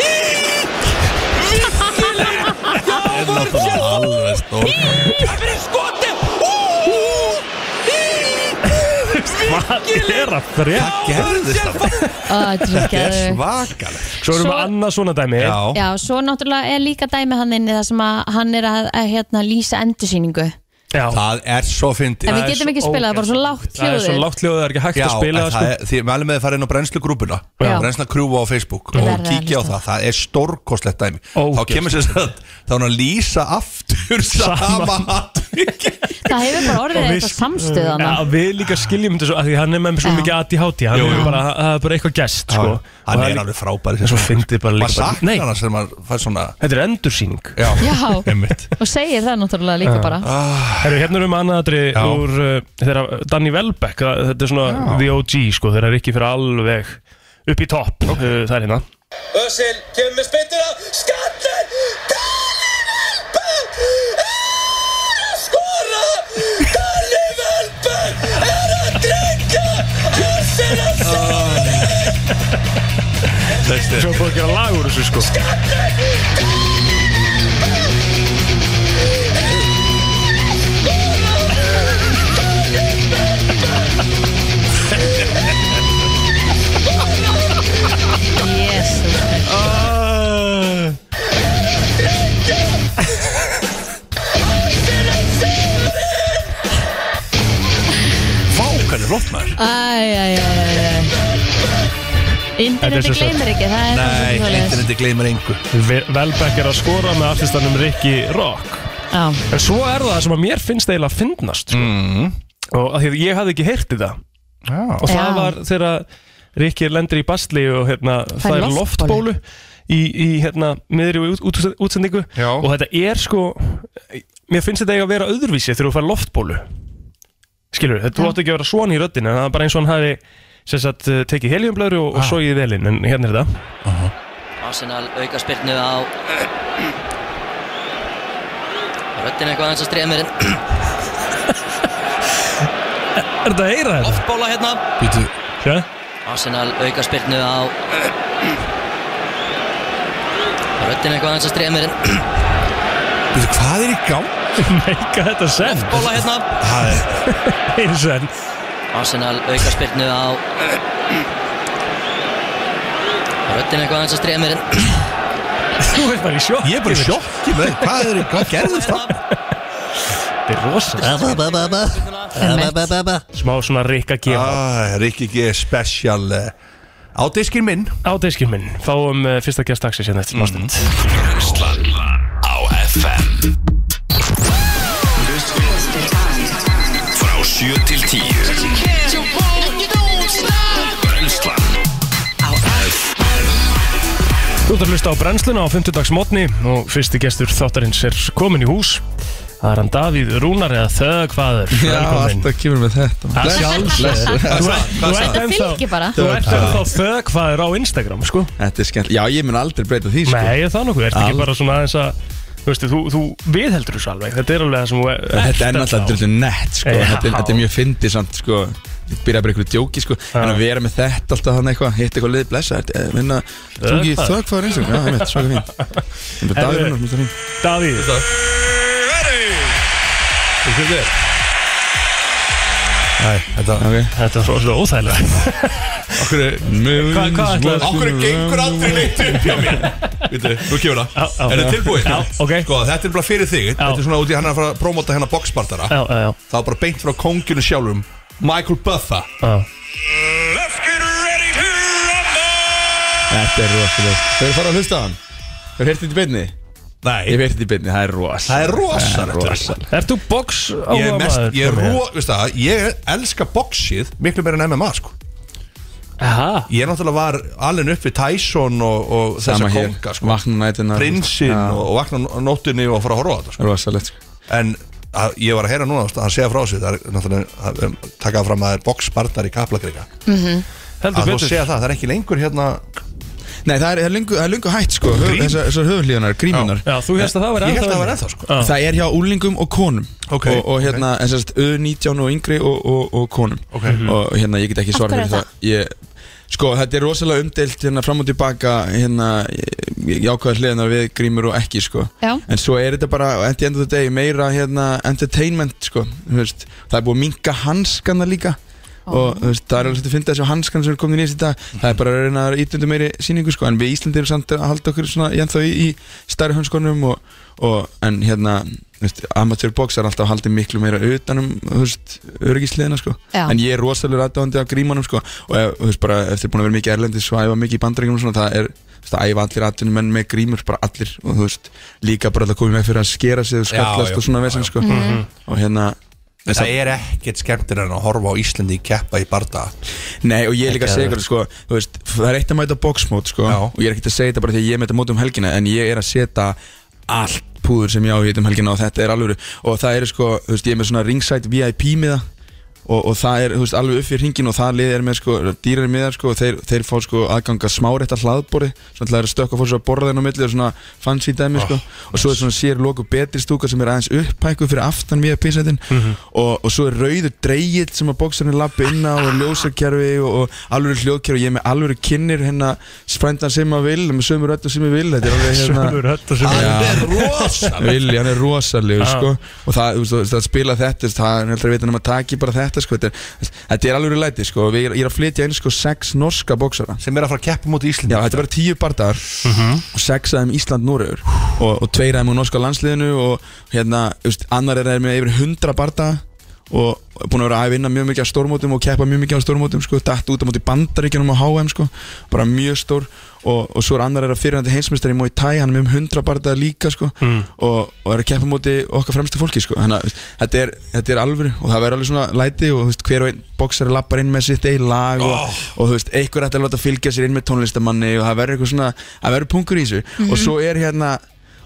Speaker 11: Í! Virkilega! Já,
Speaker 6: Þetta er
Speaker 11: Marcel!
Speaker 6: alveg stór
Speaker 11: Hann fyrir skoti! Ú! Í!
Speaker 2: Hvað er að frétta?
Speaker 6: Hvað gerðist það?
Speaker 3: Ó, þetta er svo
Speaker 6: Þetta er
Speaker 3: geðveikt.
Speaker 6: svakalegt
Speaker 2: Svo erum við
Speaker 3: Svo-
Speaker 2: annað svona dæmi
Speaker 6: Já,
Speaker 3: Já, svo náttúrulega er líka dæmi hann inni þar sem að hann er að, að hérna, lýsa endursýningu
Speaker 2: Já.
Speaker 6: það er svo fyndið
Speaker 3: En
Speaker 2: Það
Speaker 3: við
Speaker 2: er
Speaker 3: getum
Speaker 2: svo
Speaker 3: ekki spilað, það er bara svo lágt hljóðið
Speaker 2: Það er svo lágt hljóðið, það er ekki hægt
Speaker 6: Já,
Speaker 2: að spila
Speaker 6: en
Speaker 2: það, sko.
Speaker 6: það er, því mælum við að fara inn á brennslugrúpuna
Speaker 3: Já.
Speaker 6: Brennslugrúfa á Facebook
Speaker 3: Ég
Speaker 6: og
Speaker 3: verð að
Speaker 6: kíkja á
Speaker 3: hlusta.
Speaker 6: það, það er stórkostlegt dæmi Þá
Speaker 2: Ógeðslegt.
Speaker 6: kemur sér satt, þá er hann að lýsa aftur sama atvik
Speaker 3: Það hefur bara orðið
Speaker 2: Og við-
Speaker 3: eitthvað
Speaker 2: Mm.
Speaker 3: samstöðana
Speaker 2: Já, við líka skiljum þetta svo af Því hann er með mér svo
Speaker 3: Já.
Speaker 2: mikið ADHD Hann er bara, það er bara eitthvað gest sko. Og
Speaker 6: Hann
Speaker 2: það
Speaker 6: er
Speaker 2: líka-
Speaker 6: alveg frábæri
Speaker 2: Svo fyndið bara líka
Speaker 6: Maður
Speaker 2: bara- Nei.
Speaker 6: saknar hann sem maður fær svona
Speaker 2: Þetta er endursýning
Speaker 6: Já,
Speaker 3: Já.
Speaker 6: einmitt
Speaker 3: Og segir það náttúrulega líka bara
Speaker 2: Herru, hérna erum við annaðatri
Speaker 6: Já.
Speaker 2: úr uh, þeirra Danny Welbeck það- Þetta er svona The OG, sko, þeirra er ekki fyrir alveg upp í topp uh, Það er hérna
Speaker 12: Özil kemur með spytuna Skallin Dalli Velberg er að skora Dalli Velberg er að drengja Özil að skora
Speaker 2: Svo búið að gera lag úr þessu, sko
Speaker 3: Jesus
Speaker 6: Vá, hvað er flott maður
Speaker 3: Æjæjæjæjæ
Speaker 2: Þetta er
Speaker 3: Interneti
Speaker 2: svo svo-
Speaker 3: gleymir ekki, það er
Speaker 6: Nei, interneti gleymir engu
Speaker 2: Ve- Welbeck er að skora með artistanum Ricky Rock
Speaker 3: Já,
Speaker 2: En svo er það sem að mér finnst eiginlega að finnast sko. Og að því að ég hafði ekki heyrt þetta Og það
Speaker 3: Já.
Speaker 2: var þegar Rikki lendir í basli og hérna Það er loftbólu
Speaker 3: loftbólu.
Speaker 2: í, í hérna miðri út, út, útsendingu
Speaker 6: Já.
Speaker 2: Og þetta er sko Mér finnst þetta eiga að vera öðruvísi þegar þú fær loftbólu Skilur, þetta þú átti ekki að vera svona í röddin En það er bara eins og hann hafi sem sagt, eh, tekið heljumblöðru og, og sogið velin En hérna er þetta
Speaker 13: Arsenal auka spyrnu á Röddin eitthvað aðeins að stríða mér inn
Speaker 2: Er þetta að heyra þetta?
Speaker 13: Bóla hérna
Speaker 6: Býtu,
Speaker 2: Ja?
Speaker 13: Arsenal auka spyrnu á Röddin eitthvað aðeins að stríða mér inn
Speaker 6: býtu, hvað er í gang?
Speaker 2: Nei, hvað þetta sem?
Speaker 13: Bóla hérna
Speaker 6: Það er
Speaker 2: Eins og enn
Speaker 13: Arsenal auka spyrnu á Röddin eitthvað aðeins að stríða mér inn
Speaker 2: Þú veist bara í sjokki
Speaker 6: Ég er bara í sjokki með því. Hvað er- hvað gerðist þarna?
Speaker 2: Þetta er rosa Smá svona Rikka G
Speaker 6: ah, Rikki G special eh, Á diskin minn
Speaker 2: Á diskin minn Fáum uh, fyrsta gæst dagsins hérna eftir mm
Speaker 1: Brenslan á FM Frá 7 til 10 Brenslan á FM
Speaker 2: Þú ert að hlusta á brennsluna á 50 dags mótni og fyrsti gestur þáttarins er komin í hús Það er hann Davíð Rúnar eða Þögvaður
Speaker 14: Já, alltaf kemur með þetta
Speaker 2: Að sjálfsögðu. Þú ert- þú ert
Speaker 3: Þetta
Speaker 2: ennþá-
Speaker 3: fylgir bara.
Speaker 2: Þú ert ennþá þögfaður á Instagram sko
Speaker 14: Þetta er skemmt, já ég mun aldrei breyta því sko.
Speaker 2: Nei, það nokkuð, ert ekki
Speaker 14: Al-
Speaker 2: bara svona aðeins að Þú veistu, þú, þú viðheldur þessu alveg Þetta er alveg það sem þú e- ert
Speaker 14: Þetta er náttúrulega
Speaker 2: ennþá.
Speaker 14: alltaf nett
Speaker 2: Já.
Speaker 14: sko. þetta, er- þetta er mjög fyndið samt sko. Byrja bara einhverju djóki sko. En að vera með þetta alltaf hann eitthvað Hitt eitthvað liðið blessa Minna, þú ekki
Speaker 2: Þögfaður.
Speaker 14: þögfæður eins og Já, einmitt, svaka fín Ég er bara
Speaker 2: Herðu.
Speaker 14: Dagur Rúnar, mjög fín
Speaker 2: Davíð
Speaker 6: Nei, þetta
Speaker 14: okay.
Speaker 2: Þetta er svolítið óþægilega
Speaker 14: Okkur er Hvað
Speaker 2: hvað ætlaðu-
Speaker 6: Okkur gengur aldrei neitt upp hjá mér Vittu, nú kemur
Speaker 2: Já, já.
Speaker 6: það Er það tilbúið?
Speaker 2: Já, ok.
Speaker 6: Sko, þetta er bara fyrir þig Þetta er svona út í hann er að fara að hérna promóta hennar boxbartara
Speaker 2: Já, já, já
Speaker 6: Það er bara beint frá konginu sjálfum Michael Buffa
Speaker 2: Já.
Speaker 14: Þetta er rosalega Þau eru farið að hlusta á hann Þau eru hirtið í beinni
Speaker 6: Nei
Speaker 14: Ég hirtið í beinni, það er rosalega
Speaker 6: Það er rosalegt,
Speaker 14: Það er
Speaker 6: þetta.
Speaker 14: rosalega
Speaker 2: Ert þú box
Speaker 6: Ég er mest,
Speaker 2: áhugaður?
Speaker 6: ég er ró, veist það Ég elska boxið miklu meira en MMA, sko
Speaker 2: Aha,
Speaker 6: Ég náttúrulega var alveg upp við Tyson og, og þessa
Speaker 14: Sama hér,
Speaker 6: konga, sko
Speaker 14: vakna nætina
Speaker 6: Prinsinn og, og vakna á nóttinni og fara að horfa á þetta, sko
Speaker 14: Rosalegt sko.
Speaker 6: en að, ég var að heyra núna að hann segja frá sér það er náttúrulega að, um, taka fram að það er boxbarnar í Kaplakrika
Speaker 2: Mhm. heldur
Speaker 6: að þú
Speaker 2: betur
Speaker 6: segja það, það er ekki lengur hérna
Speaker 14: Nei, það er, það er lungu, það er lungu hætt sko, höf, þessar, þessar höfulíðunar, grímunar
Speaker 2: Já, þú hérst að það væri
Speaker 6: ég held að
Speaker 2: ennþá
Speaker 6: það var
Speaker 2: inni.
Speaker 6: ennþá sko
Speaker 2: Já.
Speaker 14: Það er hjá úlingum og konum
Speaker 6: Ok,
Speaker 14: og, og hérna, en sérst, U19 og yngri og, og, og konum
Speaker 6: Ok.
Speaker 2: Mhm.
Speaker 14: Og hérna, ég get ekki
Speaker 3: Af
Speaker 14: svara
Speaker 3: hverju
Speaker 14: fyrir það, ég, Sko, þetta er rosalega umdelt hérna fram og tilbaka hérna, jákvæða hliðunar við grímur og ekki sko
Speaker 3: Já.
Speaker 14: En svo er þetta bara, at the end of the day, meira hérna, entertainment sko þú veist, Það er búið að minka hanskana líka og þú veist, það er alveg svolítið að finna þessu hanskan sem er komin í nýjast í dag það er bara að reyna að ítundu meiri síningu sko, en við Íslandi erum samt að halda okkur svona ennþá í, í stærri hanskonum og, og, en hérna þú veist, amatörboks er alltaf haldið miklu meira utanum þú veist, örgisliðina sko.
Speaker 3: Já.
Speaker 14: en ég er rosalega aðdáðandi af grímanum sko, og ef, þú veist, bara, eftir búin að vera mikið erlendis og æfa mikið í bandaríkjum og svona, það er þú veist, að æfa allir aðtunum menn með grímur bara allir og þú veist, líka bara að koma með fyrir að skera sig og skallast
Speaker 6: já, Mhm.
Speaker 14: og svona vesen sko.
Speaker 2: Mhm.
Speaker 14: og hérna
Speaker 6: það, er ekkert skemmtir en að horfa á Íslandi í keppa í barda
Speaker 14: Nei og ég er líka að segja ykkur sko, þú veist, Það er eitt að mæta boxmót sko,
Speaker 6: Já.
Speaker 14: Og ég er ekkert að segja þetta bara því að ég er með þetta mót um helgina En ég er að setja allt púður sem ég á í þetta um helgina Og þetta er alveg Og það eru sko, þú veist, ég er með svona ringside VIP miða Og, og það er þú veist, alveg upp fyrir hringin og það lið er með sko, dýrar miðar sko, og þeir, þeir fá sko, aðganga smárétta hlaðbori svona til að þeir stökka fór svo að borða þeirn á milli og svona fancy dæmi sko. og svo er svona sér loku betri stúka sem er aðeins upphækuð fyrir aftan við að písætin og, og svo er rauður dreigill sem að bóksarinn lappi inn á og ljósakjærfi og, og alvöru hljóðkjærfi og ég er með alvöru kynir hérna sprændan sem að vil með sömur öll og sem ég vil þetta er alveg hérna
Speaker 2: Sömur hötta sem
Speaker 14: Já.
Speaker 6: það er rosa
Speaker 14: Vili, hann er rosalegur
Speaker 2: Já.
Speaker 14: sko. og það, þú veist, það- það spila þetta þú veist, það er aldrei að vita nema að taki bara þetta sko. þetta, er, þetta er alveg læti sko. Við- ég er að flytja einu sko, sex norska bóksara
Speaker 6: sem er að fara að keppa múti Íslandi
Speaker 14: Já, þetta verður tíu bardagar og sex af þeim Ísland-Noregur og, og tveir af þeim á norska landsliðinu og hérna, þú veist, annar er þeim með yfir hundra bardaga og er búin að vera að vinna mjög mikið á stórmótum og keppa mjög mikið á stórmótum sko, dætt út á móti bandaríkjunum á HM sko, bara mjög stór og, og svo er annar er að fyrirhandi heimsmeistari í Muay Thai, hann er með um hundra bardaga líka sko, og, og er að keppa á móti okkar fremstu fólki sko, þannig að þú veist, þetta er, þetta er alvöru og það verður alveg svona læti og þú veist, hver og einn boksari lappar inn með sitt eigin lag og,
Speaker 6: Oh.
Speaker 14: og þú veist, einhver ætti að láta fylgja sér inn með tónlistamanni og það verður eitthvað svona, það verður punkur í þessu
Speaker 3: Mhm.
Speaker 14: og svo er hérna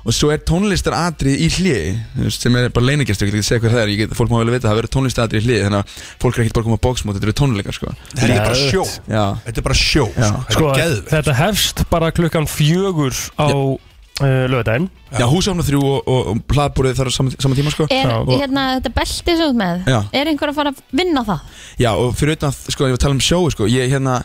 Speaker 14: og svo er tónlistaratrið í hliði sem er bara leinagestur, ég get ekki að segja hvað það er ég get, fólk má vel vita, það verður tónlistaratrið í hliði þannig að fólk er ekkert bara að koma að bóksmót, þetta eru tónleikar sko.
Speaker 6: þetta er bara
Speaker 2: Geðveikt.
Speaker 6: sjó
Speaker 14: Já.
Speaker 6: þetta er bara sjó
Speaker 14: Já.
Speaker 6: sko.
Speaker 2: Sko,
Speaker 6: þetta er geðveikt.
Speaker 2: þetta hefst bara klukkan fjögur á uh, lögdæn
Speaker 14: Já, húsafna þrjú og, og, og hlaðbúrið þar á sama, sama tíma sko.
Speaker 3: Er
Speaker 2: Já, og-
Speaker 3: hérna þetta belti svo með
Speaker 14: Já.
Speaker 3: Er einhver að fara að vinna það?
Speaker 14: Já, og fyrir utan að, sko, ég var að tala um sjóu, sko, ég hérna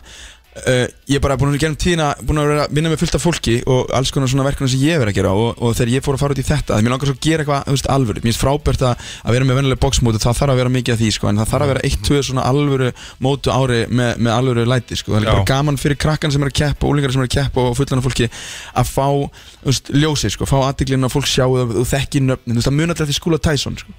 Speaker 14: Uh, ég er bara búin að gera um tíðina búin að vera að vinna með fullt af fólki og alls konar svona verkefni sem ég hef verið að gera og, og þegar ég fór að fara út í þetta mér langar svo að gera eitthvað þú veist, alvöru mér finnst frábært að, að vera með vennileg boxmóti það þarf að vera mikið af því sko, en það þarf að vera eitt, tvö svona alvöru mótu ári með, með alvöru læti sko. það er líka
Speaker 6: Já.
Speaker 14: bara gaman fyrir krakkan sem er að keppa úlingar sem er að keppa og fullana fólki að fá þú veist, ljósið, sko, fá aðtiklinn og fólk sjáu það og þekki nöfnin, þú veist, það muna allir eftir skúla Tyson sko.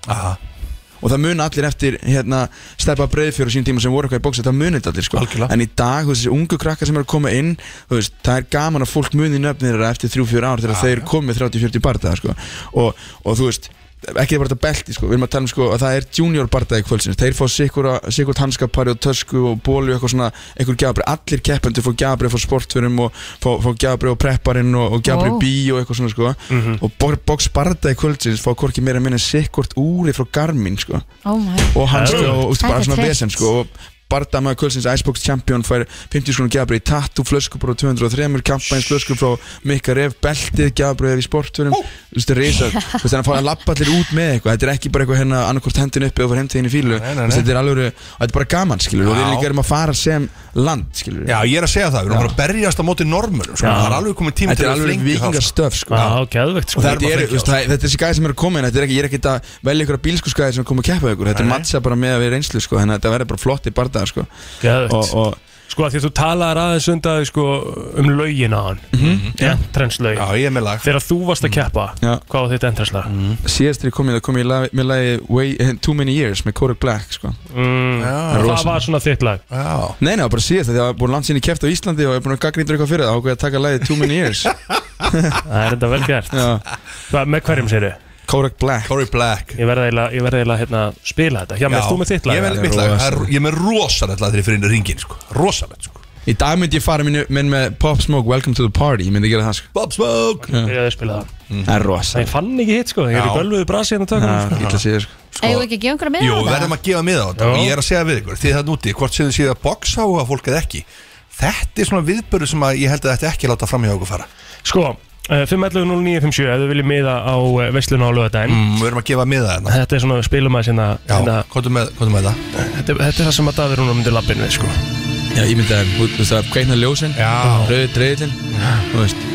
Speaker 14: og það muna allir eftir hérna, stefa breyðfjör og sín tíma sem voru eitthvað í bóksi, það muna þetta allir sko. en í dag, þú veist, þessi ungu krakkar sem eru að koma inn þú veist, það er gaman að fólk muni nöfnir þeirra eftir 3-4 ár þegar þeir komið 30-40 barða sko. og, og þú veist ekki bara þetta belti, sko. við erum að tala um sko, að það er junior bardaði kvöldsins, þeir fá sikkura- sikkurt handskapari og tösku og bólu eitthvað svona, einhver gjafabri, allir keppendur fá gjafabri fá sportförum og fá, fá gjafabri og prepparinn og, og gjafabri
Speaker 6: Ó.
Speaker 14: wow. bí og eitthvað svona sko.
Speaker 6: Mhm.
Speaker 14: og boks bardaði kvöldsins fá hvorki meira minna sikkurt úri frá Garmin sko
Speaker 3: Oh my
Speaker 14: og hann sko, og, úst,
Speaker 3: Þetta
Speaker 14: bara
Speaker 3: er
Speaker 14: svona
Speaker 3: tryggt.
Speaker 14: vesen sko, og Bardamaður Kvölsins Icebox Champion fær 50 skrúnum gjabrið í tattu, flöskubróð 203, kampæns flöskur frá Mikka Ref, beltið gjabrið í sportförum, þú veist, reysa þannig að hann fá að lappa allir út með eitthvað þetta er ekki bara eitthvað hérna annarkort hendin uppi og fara heimtegin í fílu
Speaker 6: nei, nei.
Speaker 14: Þú veist, þetta er alveg, þetta er bara gaman skilur, og við
Speaker 6: Já.
Speaker 14: líka erum að fara sem land skilur
Speaker 6: Já, ég er að segja það, við erum bara að berjast á móti normur sko. Það er alveg komið tíma
Speaker 14: Þetta er alveg vikingastöf sko.
Speaker 2: geðvegt
Speaker 14: Og þetta er, þú veist, það- þetta er þessi gæði sem eru að koma inn þetta er ekki, ég er ekki að velja ykkur að bílskurskæði sem er að koma að keppa við ykkur, þetta er mattsa bara með að við reynslu sko, þannig að þetta verður bara flott í bardaða sko.
Speaker 2: Geðvegt.
Speaker 14: og, og
Speaker 2: Sko að því að þú talaðir aðeins undan sko, um lögin á hann Mm-hmm. Entrance-lögin
Speaker 6: Mhm. Já, ég er með lag Mm.
Speaker 2: Þegar þú varst að keppa,
Speaker 14: Já.
Speaker 2: hvað var þitt entrance-lag?
Speaker 14: síðast þegar ég kom í það kom ég í lag- með lagi Way, eh, Too Many Years með Kodak Black sko.
Speaker 2: Mm,
Speaker 14: Það er
Speaker 2: það
Speaker 14: rosa.
Speaker 2: var svona þitt lag
Speaker 6: Já.
Speaker 14: Nei, nei, það var bara síðast þegar það var búin langt sinni kæft á Íslandi og ég er búin að gaggríndur eitthvað fyrir það ákveði að taka lagið Too Many Years
Speaker 2: Það er enda vel gert Hvað- Með hverjum segir þau?
Speaker 14: Kodak Black
Speaker 6: Kodak Black
Speaker 2: Ég verði eiginlega- ég verði eiginlega hérna, spila þetta Já, með þú með þitt lag
Speaker 6: Ég er með mitt lag, það er- ég er með rosalegt lag þegar ég fyrir inn í ringin sko. Rosalegt sko.
Speaker 14: Í dag myndi ég fara minn, minn með Pop Smoke Welcome to the Party, ég myndi gera það sko.
Speaker 6: Pop Smoke
Speaker 2: Ég hefði spilað það
Speaker 14: Það er rosa
Speaker 2: Ég fann ekki hitt sko, ég er í
Speaker 6: Já.
Speaker 2: bölvuðu brasi hérna tökum
Speaker 14: Já, illa séð sko.
Speaker 3: Eigum við ekki að gefa einhverja með
Speaker 6: Jú, við verðum að gefa miða á þetta
Speaker 2: Já.
Speaker 6: og ég er að segja við ykkur, þið það núti, hvort sem þið séu að boxa á að fólk eða ekki Þetta er svona viðbörðu sem að ég held að þetta ekki láta fram hjá okkur fara
Speaker 2: Sko, eh, 511-0957 ef þið viljið miða á eh, veisluna á lögadaginn
Speaker 6: mm, Við erum að gefa miða hérna
Speaker 2: Þetta er svona, við spilum að sinna hérna.
Speaker 6: Já, hvað er með, hvað er með það?
Speaker 2: Þetta, er- þetta er það sem að Davíð Rúnar myndi lappin við sko
Speaker 14: Já, ég myndi að, þú veist það, kveikna ljósin
Speaker 6: Já.
Speaker 14: Rauði dreifillin Þú veist,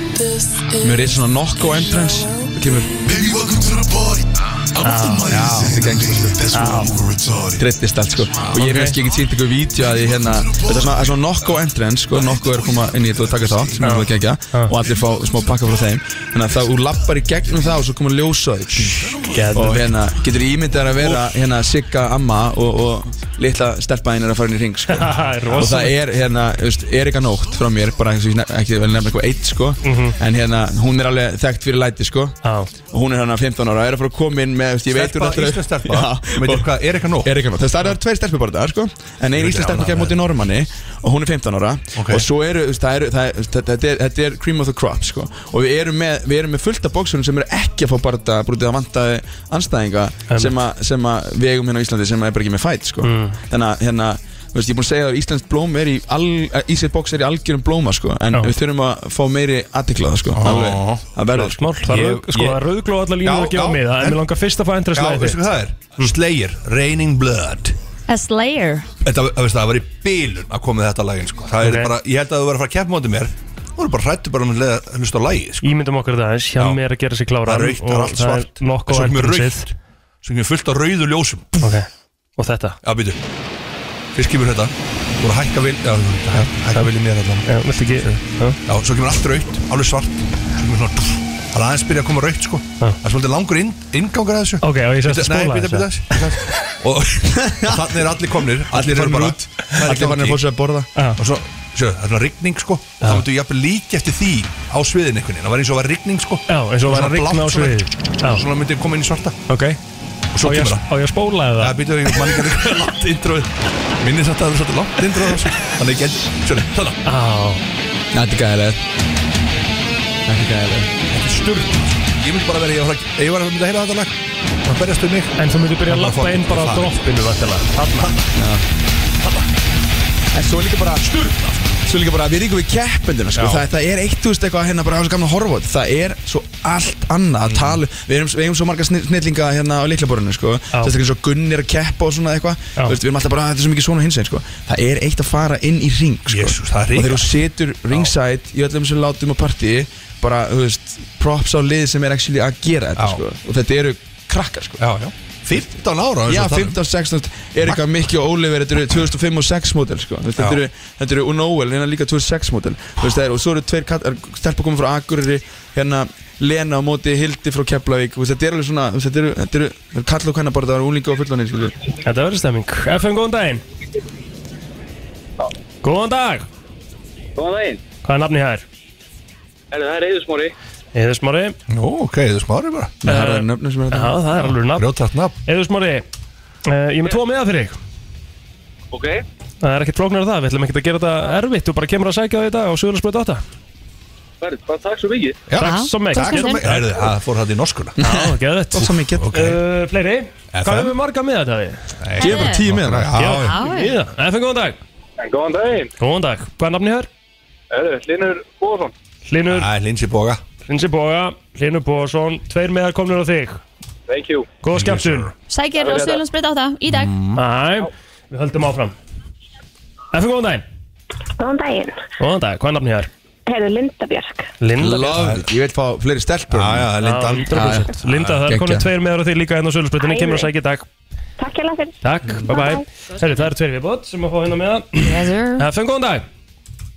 Speaker 14: mér er svona nokko entrance Það kemur Ah.
Speaker 12: Baby, welcome to the party. I'm from my
Speaker 14: þetta gengst sko
Speaker 12: That's why I'm over retarded.
Speaker 14: Drittist allt sko Og ég hef ekki ekki sýnt eitthvað vídeo að ég hérna Þetta er svona, það er svona nokko entrance sko Nokko er að koma inn í þetta og taka þátt Sem er alveg gegja Og allir fá smá pakka frá þeim Þannig að það úr lappar í gegnum það Og svo koma ljósaði Og hérna, getur ímyndar að vera Hérna Sigga amma og, og litla stelpaðin er að fara inn í ring sko
Speaker 2: Það er
Speaker 14: Og það
Speaker 2: rosalegt.
Speaker 14: er hérna, þú veist, Erika Nótt frá mér, bara ekki, ekki vel nefna eitthvað eitt sko
Speaker 6: Mhm.
Speaker 14: En hérna, hún er alveg þekkt fyrir læti sko
Speaker 2: Já.
Speaker 14: Og hún er hérna 15 ára, er að fara að koma inn með, þú veist, ég veit hún
Speaker 6: Stelpa,
Speaker 14: náttúrulega-
Speaker 6: Íslands stelpa,
Speaker 14: Já,
Speaker 6: Hún
Speaker 14: og-
Speaker 6: veitir hvað, er eitthvað nóg?
Speaker 14: Er ekki nóg, þess að það eru tveir stelpur bara það, sko En ein
Speaker 6: Ég veit
Speaker 14: íslensk stelpur
Speaker 6: ekki
Speaker 14: kemur
Speaker 6: annað.
Speaker 14: út í Normanni Og hún er 15 ára
Speaker 6: Ok.
Speaker 14: Og svo eru, þú veist, það eru, það er, þetta, þetta er, þetta er cream of the crop, sko Og við erum með, við erum með fullt af bóksunum sem eru ekki að fá barða Brútið að vantaði anstæðinga
Speaker 2: Einmitt.
Speaker 14: sem, að- sem að við eigum hérna á Íslandi sem er bara ekki með fæt, sko Þannig að, hérna, þú veist, ég er búin að segja að Íslands blóm er í al, Íslands bóks er í algjörum blóma, sko En
Speaker 2: Já.
Speaker 14: við þurfum að fá meiri aðtiklaða, sko Alveg, það verður, sko
Speaker 2: Mál, það er
Speaker 6: Ég-
Speaker 2: rauð- sko,
Speaker 6: ég-
Speaker 2: það er rauðgló allar línu
Speaker 6: Já,
Speaker 2: að gefa
Speaker 6: já,
Speaker 2: miða En
Speaker 6: en-
Speaker 2: mér langar fyrst að fá
Speaker 6: Já,
Speaker 2: endræslega
Speaker 6: veistu hvað það er? Slayer, Raining Blood
Speaker 3: A Slayer
Speaker 6: Þetta, það, veistu, það var í bílun að koma með þetta lagin sko. Það
Speaker 2: Ok.
Speaker 6: er bara, ég held að þú verður að fara að keppa móti mér Þú verður bara hrættu bara um að leiða- að hlusta á lagið sko.
Speaker 2: Ímyndum okkur það aðeins, hjá
Speaker 6: Já.
Speaker 2: mér að gera sig klára
Speaker 6: Það er raukt, það er allt svart
Speaker 2: Nokko
Speaker 6: Svo kemur
Speaker 2: endransið
Speaker 6: raukt Svo kemur fullt af rauðu ljósum
Speaker 2: um Ok, og þetta
Speaker 6: Já, býtu Fyrst kemur þetta Þú voru að hækka vil Já, þú voru að hækka vil í mér allan
Speaker 2: Já, viltu ekki Já,
Speaker 6: Já, svo kemur allt raukt, alveg svart Svo kemur svona dúff. Það er aðeins byrja að koma raukt sko Það er svolítið langur inn, inngangur að þessu
Speaker 2: Ok, og ég sem sagt
Speaker 6: Nei,
Speaker 2: spóla
Speaker 6: býta, býta
Speaker 2: þessu.
Speaker 6: þessu. Og þannig er allir komnir Allir eru
Speaker 14: farin
Speaker 6: bara
Speaker 14: út.
Speaker 6: Það er í
Speaker 14: Allir farin að
Speaker 6: gangi.
Speaker 14: fá sér að borða
Speaker 6: og svo, sjö, það er svona rigning sko og það myndu jafnvel líka eftir því á sviðin einhvern veginn, það var eins og var rigning sko
Speaker 2: Já, eins og væri að
Speaker 6: Svona
Speaker 2: rigna á
Speaker 6: blátt svona,
Speaker 2: sviðið. Já.
Speaker 6: svona myndi koma inn í svarta
Speaker 2: ok
Speaker 6: og svo
Speaker 2: Á ég
Speaker 6: kemur
Speaker 2: á
Speaker 6: það
Speaker 2: ég að spóla eða?
Speaker 6: Það býtur ég mann ekki langt introið Minni satt að það er svolítið langt introið á þessu. Þannig ég get, sjöna, þannig
Speaker 2: Á,
Speaker 14: Þetta er gæðilegt Þetta er gæðilegt
Speaker 6: Þetta er styrn Ég myndi bara vera, ég var að, ef ég var að mynda að heyra þetta lag Það berjast um mig
Speaker 2: en þú myndir byrja að
Speaker 6: Þarna
Speaker 2: lappa
Speaker 6: fór-
Speaker 2: inn bara á
Speaker 6: það.
Speaker 2: droppinu vantilega
Speaker 6: Þarna
Speaker 14: En svo er líka bara
Speaker 6: Sturla
Speaker 14: Svo líka bara við ríkum við keppendina sko.
Speaker 15: Já.
Speaker 14: það, það er eitt, þú veist, eitthvað hérna bara á þessu gamla horfot Það er svo allt annað
Speaker 6: Mm.
Speaker 14: að tala um- Við erum, við erum svo marga snill- snillinga hérna á leiklaborinu sko. Það er ekki eins og Gunn er að keppa og svona eitthvað
Speaker 6: Já.
Speaker 14: Þú veist, Við erum alltaf bara, þetta er svo mikið svona hins einn sko. Það er eitt að fara inn í ring sko. Jesus, Og þegar þú setur ringside í öllum sem látum á partíi Bara, þú veist, props á lið sem er actually að gera þetta sko. Og þetta eru krakkar sko.
Speaker 6: Já, já 15 ára eins og
Speaker 14: Já,
Speaker 6: við tala um.
Speaker 14: 15, 16 Er eitthvað Mikki og Oliver Þetta eru 2005 og 6 mótel sko. Þú veist, Þetta
Speaker 6: Já.
Speaker 14: eru, þetta eru Unoel Hérna líka 2006 mótel Og svo eru tveir katt- er- stelpur komið frá Akureyri Hérna Lena á móti Hildi frá Keflavík Þú veist, Þetta eru alveg svona þú veist, Þetta eru, þetta eru, þetta eru kall og kannar bara Það eru úlinga og fullonir
Speaker 2: Þetta verður stemming FM, góðan daginn Góðan dag
Speaker 9: Góðan daginn.
Speaker 2: Hvað er nafni hér?
Speaker 9: Herru, það er Eðusmóri.
Speaker 2: Eður Smári Nú, ok, Eður Smári bara
Speaker 14: Það eru nöfnum sem er
Speaker 2: Já, það er alveg nafn Rjóttart nafn Eður Smári, uh, ég er með tvo miða fyrir þig
Speaker 9: Ok.
Speaker 2: Það er ekkert flóknar það, við ætlum ekkert að gera þetta erfitt Þú bara kemur að sækja það í dag á Suðurlandsbröð 8
Speaker 9: Verður, bara takk svo mikið.
Speaker 2: Já. Takk svo mikið. Takk svo mikið.
Speaker 6: Heyrðu, Það fór hætti í norskuna
Speaker 2: Já, geðvett
Speaker 6: Takk svo mikið.
Speaker 2: Ok. Uh, Fleiri, hvað höfum við marga miða þetta við?
Speaker 6: Ég er bara tíu miða núna. Já, já.
Speaker 2: Miða, FN góðan dag
Speaker 9: Góðan daginn.
Speaker 2: Góðan dag, hvað er nafni hér?
Speaker 9: Herru, Linur Bóðsson.
Speaker 2: Hlinur Hlinsi Boga Hlinsi Boga, Hlinur Bóðarsson Tveir miðar komnir á þig
Speaker 9: Thank you.
Speaker 2: Góða skemmtun
Speaker 3: Sækir og Suðlandsbreyt á það í dag
Speaker 2: Næ, við höldum áfram FN góðan daginn
Speaker 16: Mm. Góðan daginn.
Speaker 2: Góðan dag, hvað er nafni hér?
Speaker 16: Heyrðu, Linda Björk.
Speaker 2: Linda
Speaker 14: Love it. Ég vil fá fleiri stelpur
Speaker 6: Já, já, Linda.
Speaker 2: Já, 100%. Linda, það er komin tveir meðar á því líka hérna á Sölusbrutinni, kemur að sækja í dag
Speaker 16: Takk hjá fyrir.
Speaker 2: Takk, bye bye Herri, það eru tveir viðbót sem að fá hérna með það FN, góðan dag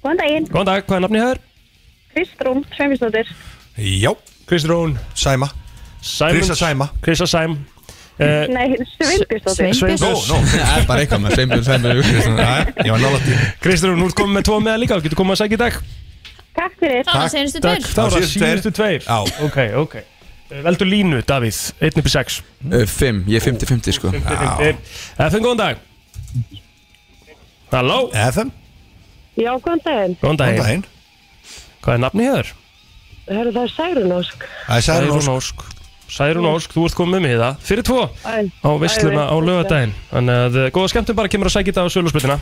Speaker 16: Góðan daginn.
Speaker 2: Góðan dag, hvað er nafni hér?
Speaker 16: Kristrún, Sveinbjörnsdóttir.
Speaker 2: Já Kristrún Sæma
Speaker 6: Krista Sæma.
Speaker 2: Krista Sæm Eh,
Speaker 16: Nei, Sveinbjörnsdóttir.
Speaker 14: bara eitthvað með Sveinbjörn, Sveinbjörn Kristján.
Speaker 2: Ég var nála til Kristrún, nú ert komin með tvo meða líka Þú getur komið að sækja í dag
Speaker 16: Takk fyrir.
Speaker 2: Takk, þá er það síðustu tveir Já Ok, ok Eh, Veldu línu, Davíð 1 upp í 6
Speaker 14: 5, ég er 50-50 sko.
Speaker 2: FN, Eh, góðan dag Halló FN
Speaker 16: Já, góðan daginn.
Speaker 2: Góðan daginn. Hvað er nafni hér?
Speaker 16: Heyrðu, það er Særun Ósk.
Speaker 2: Það er Særún Ósk Særún Ósk, þú ert komið með það Fyrir tvo
Speaker 16: Æ,
Speaker 2: á veisluna á
Speaker 16: æ,
Speaker 2: lögadaginn Þannig að eh, góða skemmtum bara kemur að sækja þetta á sölusbyrðina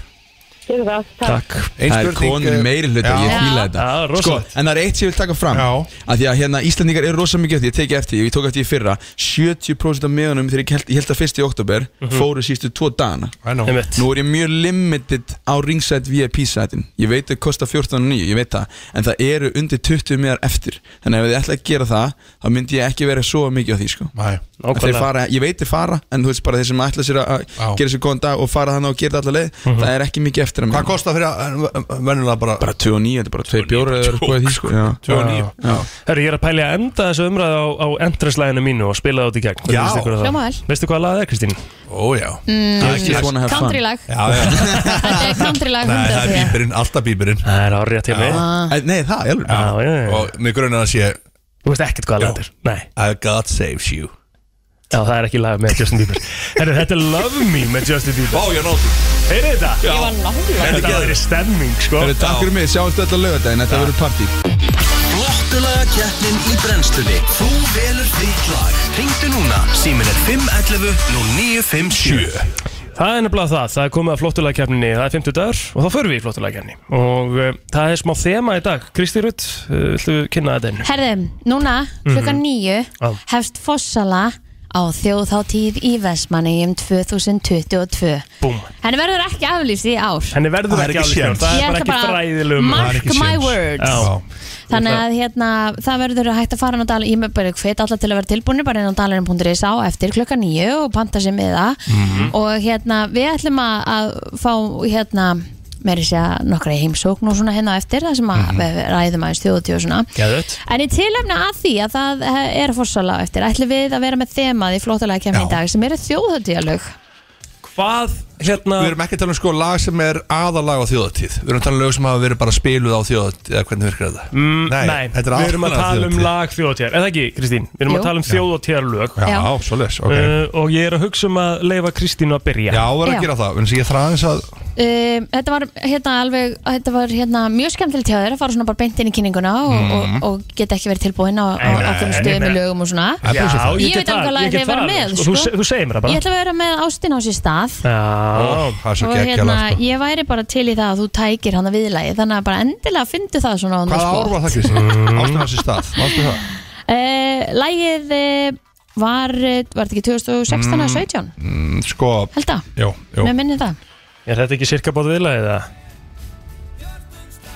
Speaker 16: Gerðu það.
Speaker 2: Takk
Speaker 14: Ein Það er spurning, konur í meiri hluta, ég fíla þetta
Speaker 2: Já,
Speaker 14: sko,
Speaker 2: rosalegt
Speaker 14: En það er eitt sem ég vil taka fram að Því að hérna, Íslandingar eru rosa mikið eftir, ég teki eftir, ég tók eftir í fyrra 70% af meðanum þegar ég held, ég held að fyrst í oktober
Speaker 15: Mhm.
Speaker 14: fóru sístu tvo dagana
Speaker 2: Einmitt.
Speaker 14: Nú er ég mjög limited á ringside VIP sætin Ég veit að kosta 14.9, ég veit það En það eru undir 20 meðar eftir Þannig að ef þið ætla að gera það þá myndi ég ekki vera svo mikið á því sko. En þeir
Speaker 15: Nákvæmlega.
Speaker 14: fara, Ég veit þið fara, en þú veist bara þeir sem ætla sér að
Speaker 6: Já.
Speaker 14: gera sér góðan dag og fara þannig og gera þetta alla leið Það er ekki mikið eftir
Speaker 6: Hvað kostar fyrir að vennulega bara
Speaker 14: Bara 2 og 9, þetta er bara 2 bjóra eða eitthvað í því sko já.
Speaker 6: Tvö og níu.
Speaker 14: Já.
Speaker 2: Herru, ég er að pæli að enda þessu umræð á, á endreslæginu mínu og spila það út í gegn
Speaker 14: Já.
Speaker 3: Hljóma vel.
Speaker 2: Veistu hvað lagað er, Kristín?
Speaker 6: Ó, já
Speaker 3: Mm,
Speaker 2: I just wanna have fun.
Speaker 3: country lag.
Speaker 6: Já, já
Speaker 3: Þetta er country lag
Speaker 6: Nei, það er
Speaker 3: 100%
Speaker 6: bíberinn, alltaf bíberinn
Speaker 2: Það er árið til mig.
Speaker 14: Nei, það, ég
Speaker 6: alveg Og mig grunar að sé
Speaker 2: Þú veist ekkert hvað landir Nei
Speaker 6: God saves you
Speaker 2: Já, það er ekki lag með Justin Bieber Herru, þetta er Love Me með Justin Bieber
Speaker 6: Vá, ég nátti
Speaker 2: Heyrðu þetta?
Speaker 6: Já. Ég
Speaker 2: var náttúrulega Þetta var í stemming, sko
Speaker 14: Heyrðu, takk fyrir mig, sjáumstu öll á laugardaginn, þetta verður partí
Speaker 15: Flottulaga keppnin í brennstunni Þú velur þitt lag Ringdu núna, símin er 511 0957
Speaker 2: Það er nefnilega það, það er komið að flottulegkefninni, það er 50 dagur og þá förum við í flottulegkefni og uh, það er smá þema í dag, Kristi Rutt, uh, viltu kynna þetta einu?
Speaker 3: Herðu, núna klukkan
Speaker 2: Mhm.
Speaker 3: nýju
Speaker 6: Ah.
Speaker 2: Já.
Speaker 3: hefst Fossala á þjóðháttíð í Vestmannegjum 2022
Speaker 2: Búm.
Speaker 3: Henni verður ekki aflýst í ár
Speaker 2: Henni verður ekki alveg fjár, það
Speaker 3: Ég
Speaker 2: er bara
Speaker 3: ætla
Speaker 2: ekki um-
Speaker 3: bara að
Speaker 2: fræðilum
Speaker 3: mark my words. Þannig að hérna, það verður að hægt að fara inn á dal Ég með bara hvet alltaf til að vera tilbúinir bara inn á dalurinn.is á eftir klukkan nýju og panta sér miða
Speaker 4: Mhm.
Speaker 3: og hérna, við ætlum að, að fá hérna, meiri sé að nokkra í heimsókn og svona hérna á eftir það sem að
Speaker 2: Mhm.
Speaker 3: við ræðum aðeins þjóðutíu og svona
Speaker 2: Gæðut
Speaker 3: En í tilefna að því að það eh, er fórsala á eftir ætlum við að vera með þemað í flóttalega kemni í dag sem eru þjóðhættíalög
Speaker 2: Hvað, hérna
Speaker 6: Við erum ekki að tala um sko lag sem er aðalag á þjóðatíð Við erum að tala um lög sem hafa verið bara spiluð á þjóðatíð Eða hvernig virkar þetta
Speaker 2: Mm, nei,
Speaker 6: þetta er
Speaker 2: við erum að
Speaker 6: allt annað
Speaker 2: tala um
Speaker 6: þjóðhátíð.
Speaker 2: lag þjóðatíðar, eða ekki Kristín? Við erum
Speaker 6: Jú.
Speaker 2: að tala um þjóðatíðarlög
Speaker 6: Já, Já. svoleiðis, ok.
Speaker 2: Eh, Og ég er að hugsa um að leifa Kristínu að byrja
Speaker 6: Já, við erum að gera það, en ég þraði eins að
Speaker 3: Um, þetta var hérna alveg þetta var hérna mjög skemmtilegt hjá þér að fara svona bara beint inn í kynninguna og,
Speaker 2: Mhm.
Speaker 3: og, og geta ekki verið tilbúin á
Speaker 2: Nei, nei,
Speaker 3: ákveðum
Speaker 2: nei,
Speaker 3: stöðum
Speaker 2: nei,
Speaker 3: í
Speaker 2: nei.
Speaker 3: lögum og
Speaker 2: Það
Speaker 3: svona
Speaker 2: er plusið það.
Speaker 3: ég,
Speaker 2: Ég
Speaker 3: veit
Speaker 2: get
Speaker 3: alveg
Speaker 2: það,
Speaker 3: hvað
Speaker 2: ég
Speaker 3: ég
Speaker 2: get
Speaker 3: verið
Speaker 2: það,
Speaker 3: með
Speaker 2: sko.
Speaker 3: sko.
Speaker 2: Þú se- þú segir mér það bara.
Speaker 3: ég ætla að vera með ástin á sér stað
Speaker 2: Já, það
Speaker 3: og hérna
Speaker 6: sko.
Speaker 3: ég væri bara til í það að þú tækir hann að viðlægi þannig að bara endilega fyndu það svona sko. on the
Speaker 6: Hvaða
Speaker 3: spot.
Speaker 6: ár var það, Kristján? Ástæðan sér stað, ástu það?
Speaker 3: Eh, Lægið eh, var, eh, var þetta ekki 2016 eða
Speaker 6: Mm.
Speaker 3: 17?
Speaker 6: Mm, Sko
Speaker 3: Held að?
Speaker 6: Jó, jó
Speaker 3: Mér minni það
Speaker 2: Er þetta ekki sirka bóð viðlagið það?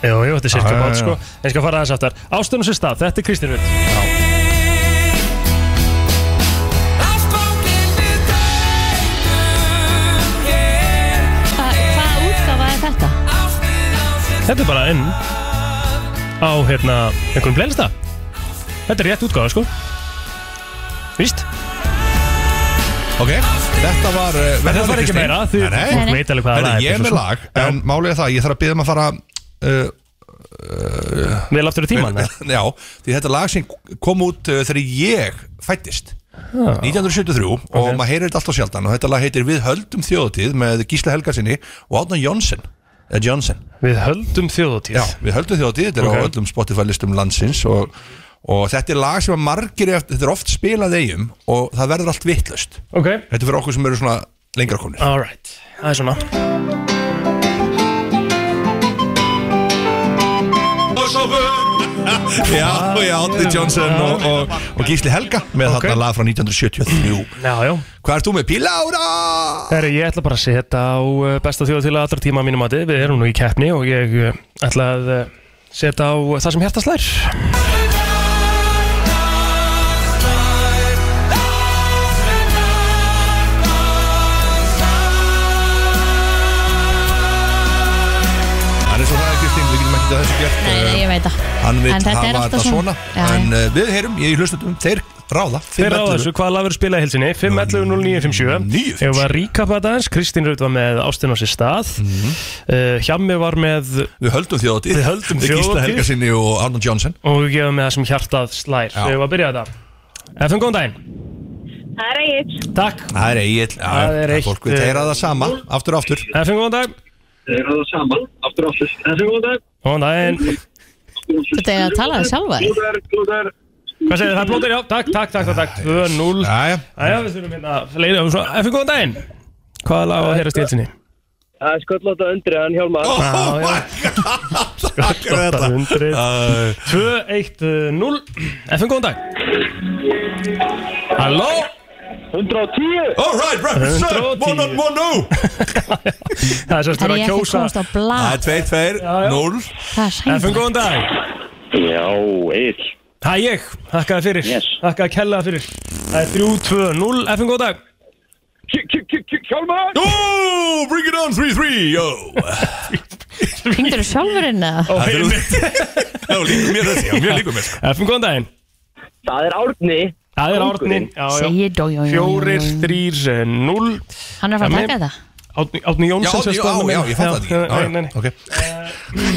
Speaker 2: Jú, jú, þetta er sirka
Speaker 6: Já, já,
Speaker 2: bóð
Speaker 6: já.
Speaker 2: sko En ég skal fara aðeins aftar Ástunum sér stað, þetta er Kristín Rutt
Speaker 3: Hva, Hvaða útgafa er þetta?
Speaker 2: Þetta er bara inn Á hérna, einhvern blensta Þetta er rétt útgáða sko Víst?
Speaker 6: Ok, þetta var uh,
Speaker 2: Þetta var ekki meira, því fólk veit alveg hvað það er,
Speaker 6: er
Speaker 2: þetta
Speaker 6: Ég er
Speaker 2: er
Speaker 6: með
Speaker 2: svo-
Speaker 6: lag, en málið er það Ég þarf að byggja um að fara uh,
Speaker 2: Vel aftur í tímann,
Speaker 6: Já, því þetta er lag sem kom út uh, þegar ég fættist
Speaker 2: Já.
Speaker 6: 1973 og maður heyrir þetta alltaf sjaldan og þetta lag heitir Við höldum þjóðatíð með Gísla Helgarsinni og Átna Jónsson eða Johnson
Speaker 2: Við höldum þjóðatíð
Speaker 6: Já, við höldum þjóðatíð, þetta er
Speaker 2: Ok.
Speaker 6: á öllum Spotify-listum landsins og, og þetta er lag sem að margir, eftir- þetta er oft spilað eigum og það verður allt vittlust
Speaker 2: okay.
Speaker 6: Þetta er fyrir okkur sem eru svona lengra konir
Speaker 2: Alright, það er svona
Speaker 6: Já, já, Átni Johnson og, og, og Gísli Helga með þarna lag frá 1973
Speaker 2: Já, já
Speaker 6: Hvað ert þú með? Pílára!
Speaker 2: Herri, ég ætla bara að setja á uh, besta þjóða til aðra tíma að mínum mati Við erum nú í keppni og ég uh, ætla að uh, setja á uh, það sem hérta slær
Speaker 6: Hann er svo það, Kristín, við getum ekki þetta þessu gert eh,
Speaker 3: Nei, nei, ég veit það
Speaker 6: Hann vil
Speaker 3: En þetta er
Speaker 6: hafa
Speaker 3: alltaf
Speaker 6: þetta svona,
Speaker 3: svona. Já, já.
Speaker 6: En uh, við heyrum, ég hlustutum, þeir ráða
Speaker 2: Þeir á þessu, hvað lag verður spilað í hilsinni? 5.11.09.57 Ég var ríkapað aðeins, Kristín Raut var með Ástin á sér stað uh, Hjammi var með
Speaker 6: Mhm. Við höldum þjóðatíð
Speaker 2: Við höldum
Speaker 6: Við Gísla
Speaker 2: þjóðatíð.
Speaker 6: Helgarsinni og Arnold Johnson
Speaker 2: Og við gefum með það sem hjartað slær Þegar við varum að byrja þetta FM, góðan daginn
Speaker 16: Það er eitt
Speaker 2: Takk
Speaker 6: Það er eigill
Speaker 2: Það er eitt,
Speaker 6: Fólk vil
Speaker 2: eh,
Speaker 6: heyra það sama, aftur og aftur
Speaker 2: FM, góðan dag
Speaker 9: Þeir eru það saman, aftur aftur. Þessi góðan dag.
Speaker 2: Góðan daginn
Speaker 3: Þetta er að tala þér sjálfa
Speaker 9: Glúðar, glúðar.
Speaker 2: Hvað segir þið? Það er blóður, já, takk, takk, takk, takk, takk 2-0
Speaker 6: Jæja
Speaker 2: Jæja, við þurfum hérna að leira um svona FM, góðan daginn Hvaða lag var að heyrast í hilsinni?
Speaker 5: Það er sköllóta undrið hann Hjálmar
Speaker 2: Oh my Skotta 100 2-1-0 FM, góðan dag Halló
Speaker 5: 110
Speaker 6: Alright, represent,
Speaker 2: 110.
Speaker 6: one on one, oh. no
Speaker 2: Það er sérst
Speaker 3: Það er
Speaker 2: verið
Speaker 3: ég
Speaker 2: að
Speaker 3: ekki komst
Speaker 2: kjósa
Speaker 3: á blað
Speaker 6: Það er tveir, tveir, núl
Speaker 3: Það er
Speaker 2: FM,
Speaker 3: sæðilegt.
Speaker 2: góðan dag
Speaker 9: Já, eitt.
Speaker 2: Það er ég, þakkaði fyrir yes. Þakkaði kellaði fyrir Það er 3-2-0, FM góð dag
Speaker 9: Hjálmar!
Speaker 6: Jú, bring it on, 3-3, yo
Speaker 3: Hringdirðu sjálfur inn eða?
Speaker 2: Ó, heimi.
Speaker 6: Já, líka mér þessi, já, mér líka mér sko.
Speaker 2: FM góðan daginn
Speaker 5: Það er Árni
Speaker 2: Það er Árni já, já.
Speaker 3: Segir dó, jó, jó, jó, jó.
Speaker 2: Fjórir, þrýr, eh, núll
Speaker 3: Hann er að fara að
Speaker 2: Hemmi.
Speaker 3: taka þetta
Speaker 2: Árni, Árni
Speaker 6: Já,
Speaker 2: Jónsson
Speaker 6: já,
Speaker 2: sem
Speaker 6: já,
Speaker 2: stóð með
Speaker 6: já,
Speaker 2: mér.
Speaker 6: ég fatt það ekki Já,
Speaker 2: Nei,
Speaker 6: já,
Speaker 2: nei, nei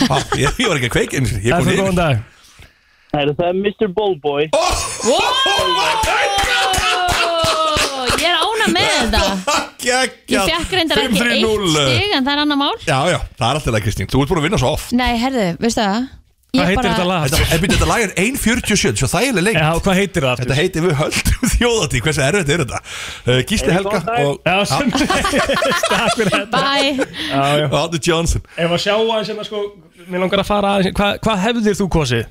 Speaker 6: ok. Á, Ég ég var ekki að kveika einu sinni, Ég
Speaker 2: FM
Speaker 6: kom
Speaker 2: góðan dag
Speaker 6: niður
Speaker 5: Það er það Mr. Ballboy
Speaker 3: Ó, Ég er ána með þetta
Speaker 6: Gekkja
Speaker 3: Ég fekk reyndar ekki eitt stig en það er annar mál
Speaker 6: Já, já, það er alltaf leið Kristín Þú ert búin að vinna svo oft
Speaker 3: Nei, herðu, veistu það? Ég bara-
Speaker 6: Þetta, en býttu, þetta lag er 1.47, svo þægileg lengt
Speaker 2: Já, hvað heitir það?
Speaker 6: Þetta heitir við höldum þjóðatí, hversu erfitt er þetta? Uh, Gísli Helga og
Speaker 2: Já, sem Takk fyrir þetta
Speaker 3: Bye
Speaker 2: Já, já.
Speaker 6: Átni Johnson
Speaker 2: Ef að sjá aðeins hérna sko Mér langar að fara aðeins Hvað hva hefðir þú kosið?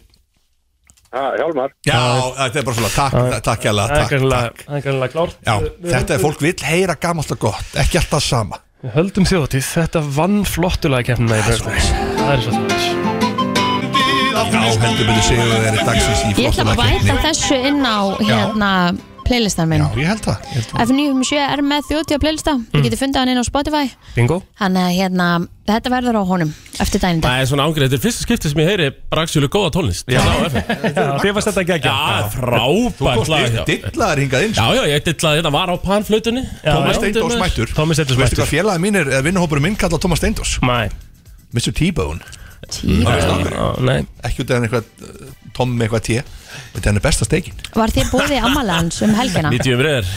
Speaker 9: Hjálmar.
Speaker 6: Já, þetta er bara svona, takk, takk,
Speaker 2: Það
Speaker 6: jælega,
Speaker 2: er
Speaker 6: takk,
Speaker 2: greinilega-
Speaker 6: takk
Speaker 2: það er kannilega klárt
Speaker 6: Já,
Speaker 2: Við-
Speaker 6: þetta er fólk vill heyra gamalt og gott, ekki alltaf sama
Speaker 2: Við höldum þjóðatíð, þetta vann flottulega keppnina í Bröðslands Það er svo þess
Speaker 6: Já, heldur byrju segjum við þeirri dagsins í
Speaker 3: Ég ætla að bæta þessu inn á hérna playlistan minn
Speaker 6: Ég held það, ég held það
Speaker 3: F97 um er með 30 playlista Þið getur fundið hann inn á Spotify
Speaker 2: Bingo
Speaker 3: Þannig að hérna, þetta verður á honum Eftir daginn í dag
Speaker 4: Það er svona ángreð, þetta er fyrsta skipti sem ég heyri Braxjölu góða tónlist Já,
Speaker 2: Þið varst þetta geggja
Speaker 4: Já,
Speaker 6: Þú
Speaker 4: frábært
Speaker 6: komst
Speaker 4: lag
Speaker 6: í-
Speaker 4: já.
Speaker 6: dillaðar hingað inn sko.
Speaker 4: Já, já, ég dillaði hérna, var á panflutunni
Speaker 6: Tómas Steindós mættur
Speaker 2: Tómas Steindós
Speaker 6: Veistu hvað félagið mín er, eða vinnahópurum minn kallar Tómas Steindós
Speaker 2: Mæ
Speaker 6: Mr. T-Bone
Speaker 3: T-Bone.
Speaker 6: Það veistu af hverju.
Speaker 2: Já, nei.
Speaker 6: Ekki út af hann eitthvað uh, Tom með eitthvað T Þetta hann er besta steikin
Speaker 3: Var þið búið í ammala hans um helgina?
Speaker 4: 90 umriðir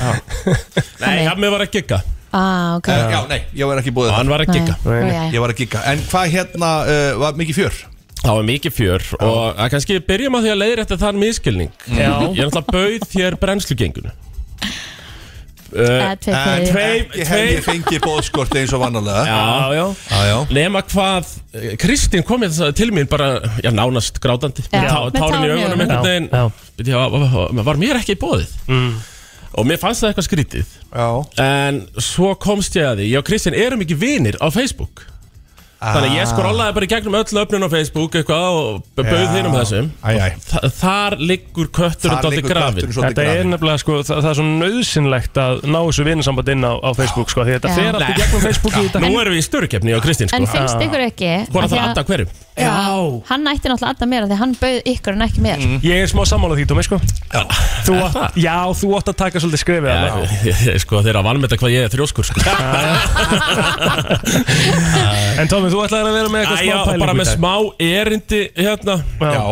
Speaker 4: Nei, hann var að gigga
Speaker 3: ah, ok
Speaker 6: Eh, Já, nei, ég var ekki búið Hann
Speaker 4: var
Speaker 3: að gigga. Nei. Nei, nei.
Speaker 6: Ég var að gigga En hvað hérna uh, var mikið fjör?
Speaker 4: Það var mikið fjör og að kannski byrjum á því að leiðir þetta þann miskilning Ég
Speaker 2: Já.
Speaker 4: er náttúrulega bauð þér brennslugengunu
Speaker 6: Eh,
Speaker 4: Uh,
Speaker 6: tveir fyrir. Eh, Ekki hefði ég fengið bóðskort eins og vannalega
Speaker 4: Já, já,
Speaker 6: já, já.
Speaker 4: Nema hvað, eh, Kristín kom ég þess að til mín bara, já, nánast grátandi
Speaker 2: Já,
Speaker 4: Með tá-
Speaker 2: með
Speaker 4: tárin í augunum einhvern veginn Bíddu, já, var- var- Var mér ekki í bóðið mm. Og mér fannst það eitthvað skrítið já. En svo komst ég að því Ég og Kristín erum ekki vinir á Facebook Þannig að ég
Speaker 10: sko
Speaker 4: skrollaði bara í gegnum öll öfnun á Facebook eitthvað og b- bauð
Speaker 2: Já.
Speaker 4: þínum þessum
Speaker 6: Æ, æ.
Speaker 4: Þa, Þar liggur kötturinn dálítið grafin
Speaker 2: Þetta er nefnilega sko, það, það er svo nöðsynlegt að ná þessu vinnasamband inn á, á Facebook sko, því þetta
Speaker 3: Já.
Speaker 2: fer allt í
Speaker 4: Nei.
Speaker 2: gegnum Facebook í dag
Speaker 4: Nú erum við í störukefni á Kristín sko
Speaker 3: En finnst ykkur ekki
Speaker 4: Hvor
Speaker 3: af
Speaker 4: að
Speaker 3: því
Speaker 4: það
Speaker 3: að-
Speaker 4: adda hverjum?
Speaker 3: Já, hann ætti náttúrulega alltaf mér af því að hann bauð ykkur en ekki mér
Speaker 2: Mm. Ég er smá sammála því, Dómi, sko Já, þú átt, já, þú átt að taka svolítið skrifið
Speaker 4: Já,
Speaker 2: þarna.
Speaker 4: ég- ég- Sko þeir að vanmeta hvað ég er þrjóskur sko.
Speaker 2: En Tómi, þú ætlaðir að vera með eitthvað
Speaker 4: Æ, já,
Speaker 2: smá pælingu
Speaker 4: bara með
Speaker 2: í dag.
Speaker 4: smá erindi hérna
Speaker 2: Já.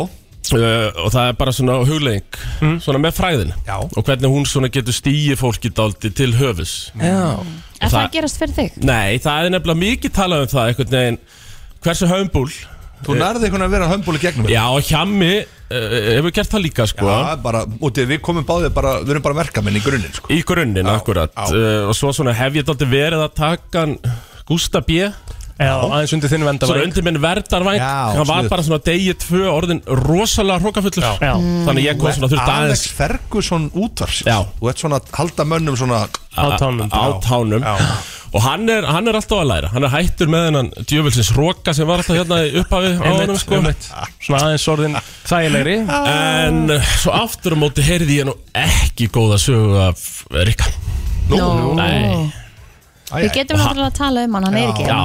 Speaker 4: Uh, og það er bara svona huglegging
Speaker 2: Mm.
Speaker 4: svona með fræðin já. og hvernig hún svona getur stíi fólki dálítið til höfus
Speaker 6: Mm.
Speaker 2: Já.
Speaker 4: Mm.
Speaker 3: En það gerast fyrir þig
Speaker 4: Nei, það er nefnilega mikið talað um það einhvern veginn, hversu hömbúl
Speaker 6: Þú nærði einhvern veginn að vera hömbúl í gegnum
Speaker 4: Já, og hjammi uh, hefur gert það líka sko
Speaker 6: Já, bara, úti, við komum báðið bara, við erum bara verkamenn í grunninn sko.
Speaker 4: Í grunninn, akkurat uh, Og svo svona hef ég dálítið verið að taka hann Gústa B Já,
Speaker 2: aðeins undir þinn vendarvæng.
Speaker 4: Svona undir minn verdarvæng
Speaker 2: Já,
Speaker 4: Hann var
Speaker 2: absolutt.
Speaker 4: bara svona degi tvö orðin rosalega hrókafullur
Speaker 2: Já.
Speaker 4: Þannig ég kom svona þurft aðeins
Speaker 6: Mm. Alex Ferguson útvars Þú ert svona að halda mönnum svona
Speaker 4: Á tánum. Á tánum Og hann er, hann er alltaf að læra Hann er hættur með hennan djöfulsins róka sem var alltaf hérna í upphafi á
Speaker 2: Einmitt,
Speaker 4: honum sko
Speaker 2: einmitt. Svona aðeins orðin þægilegri
Speaker 4: En uh, svo aftur á móti heyrði ég nú ekki góða sögu af Rikka
Speaker 3: Nú? Nú.
Speaker 4: Nei
Speaker 3: Við getum náttúrulega að tala um hann, hann er ekki
Speaker 4: Já,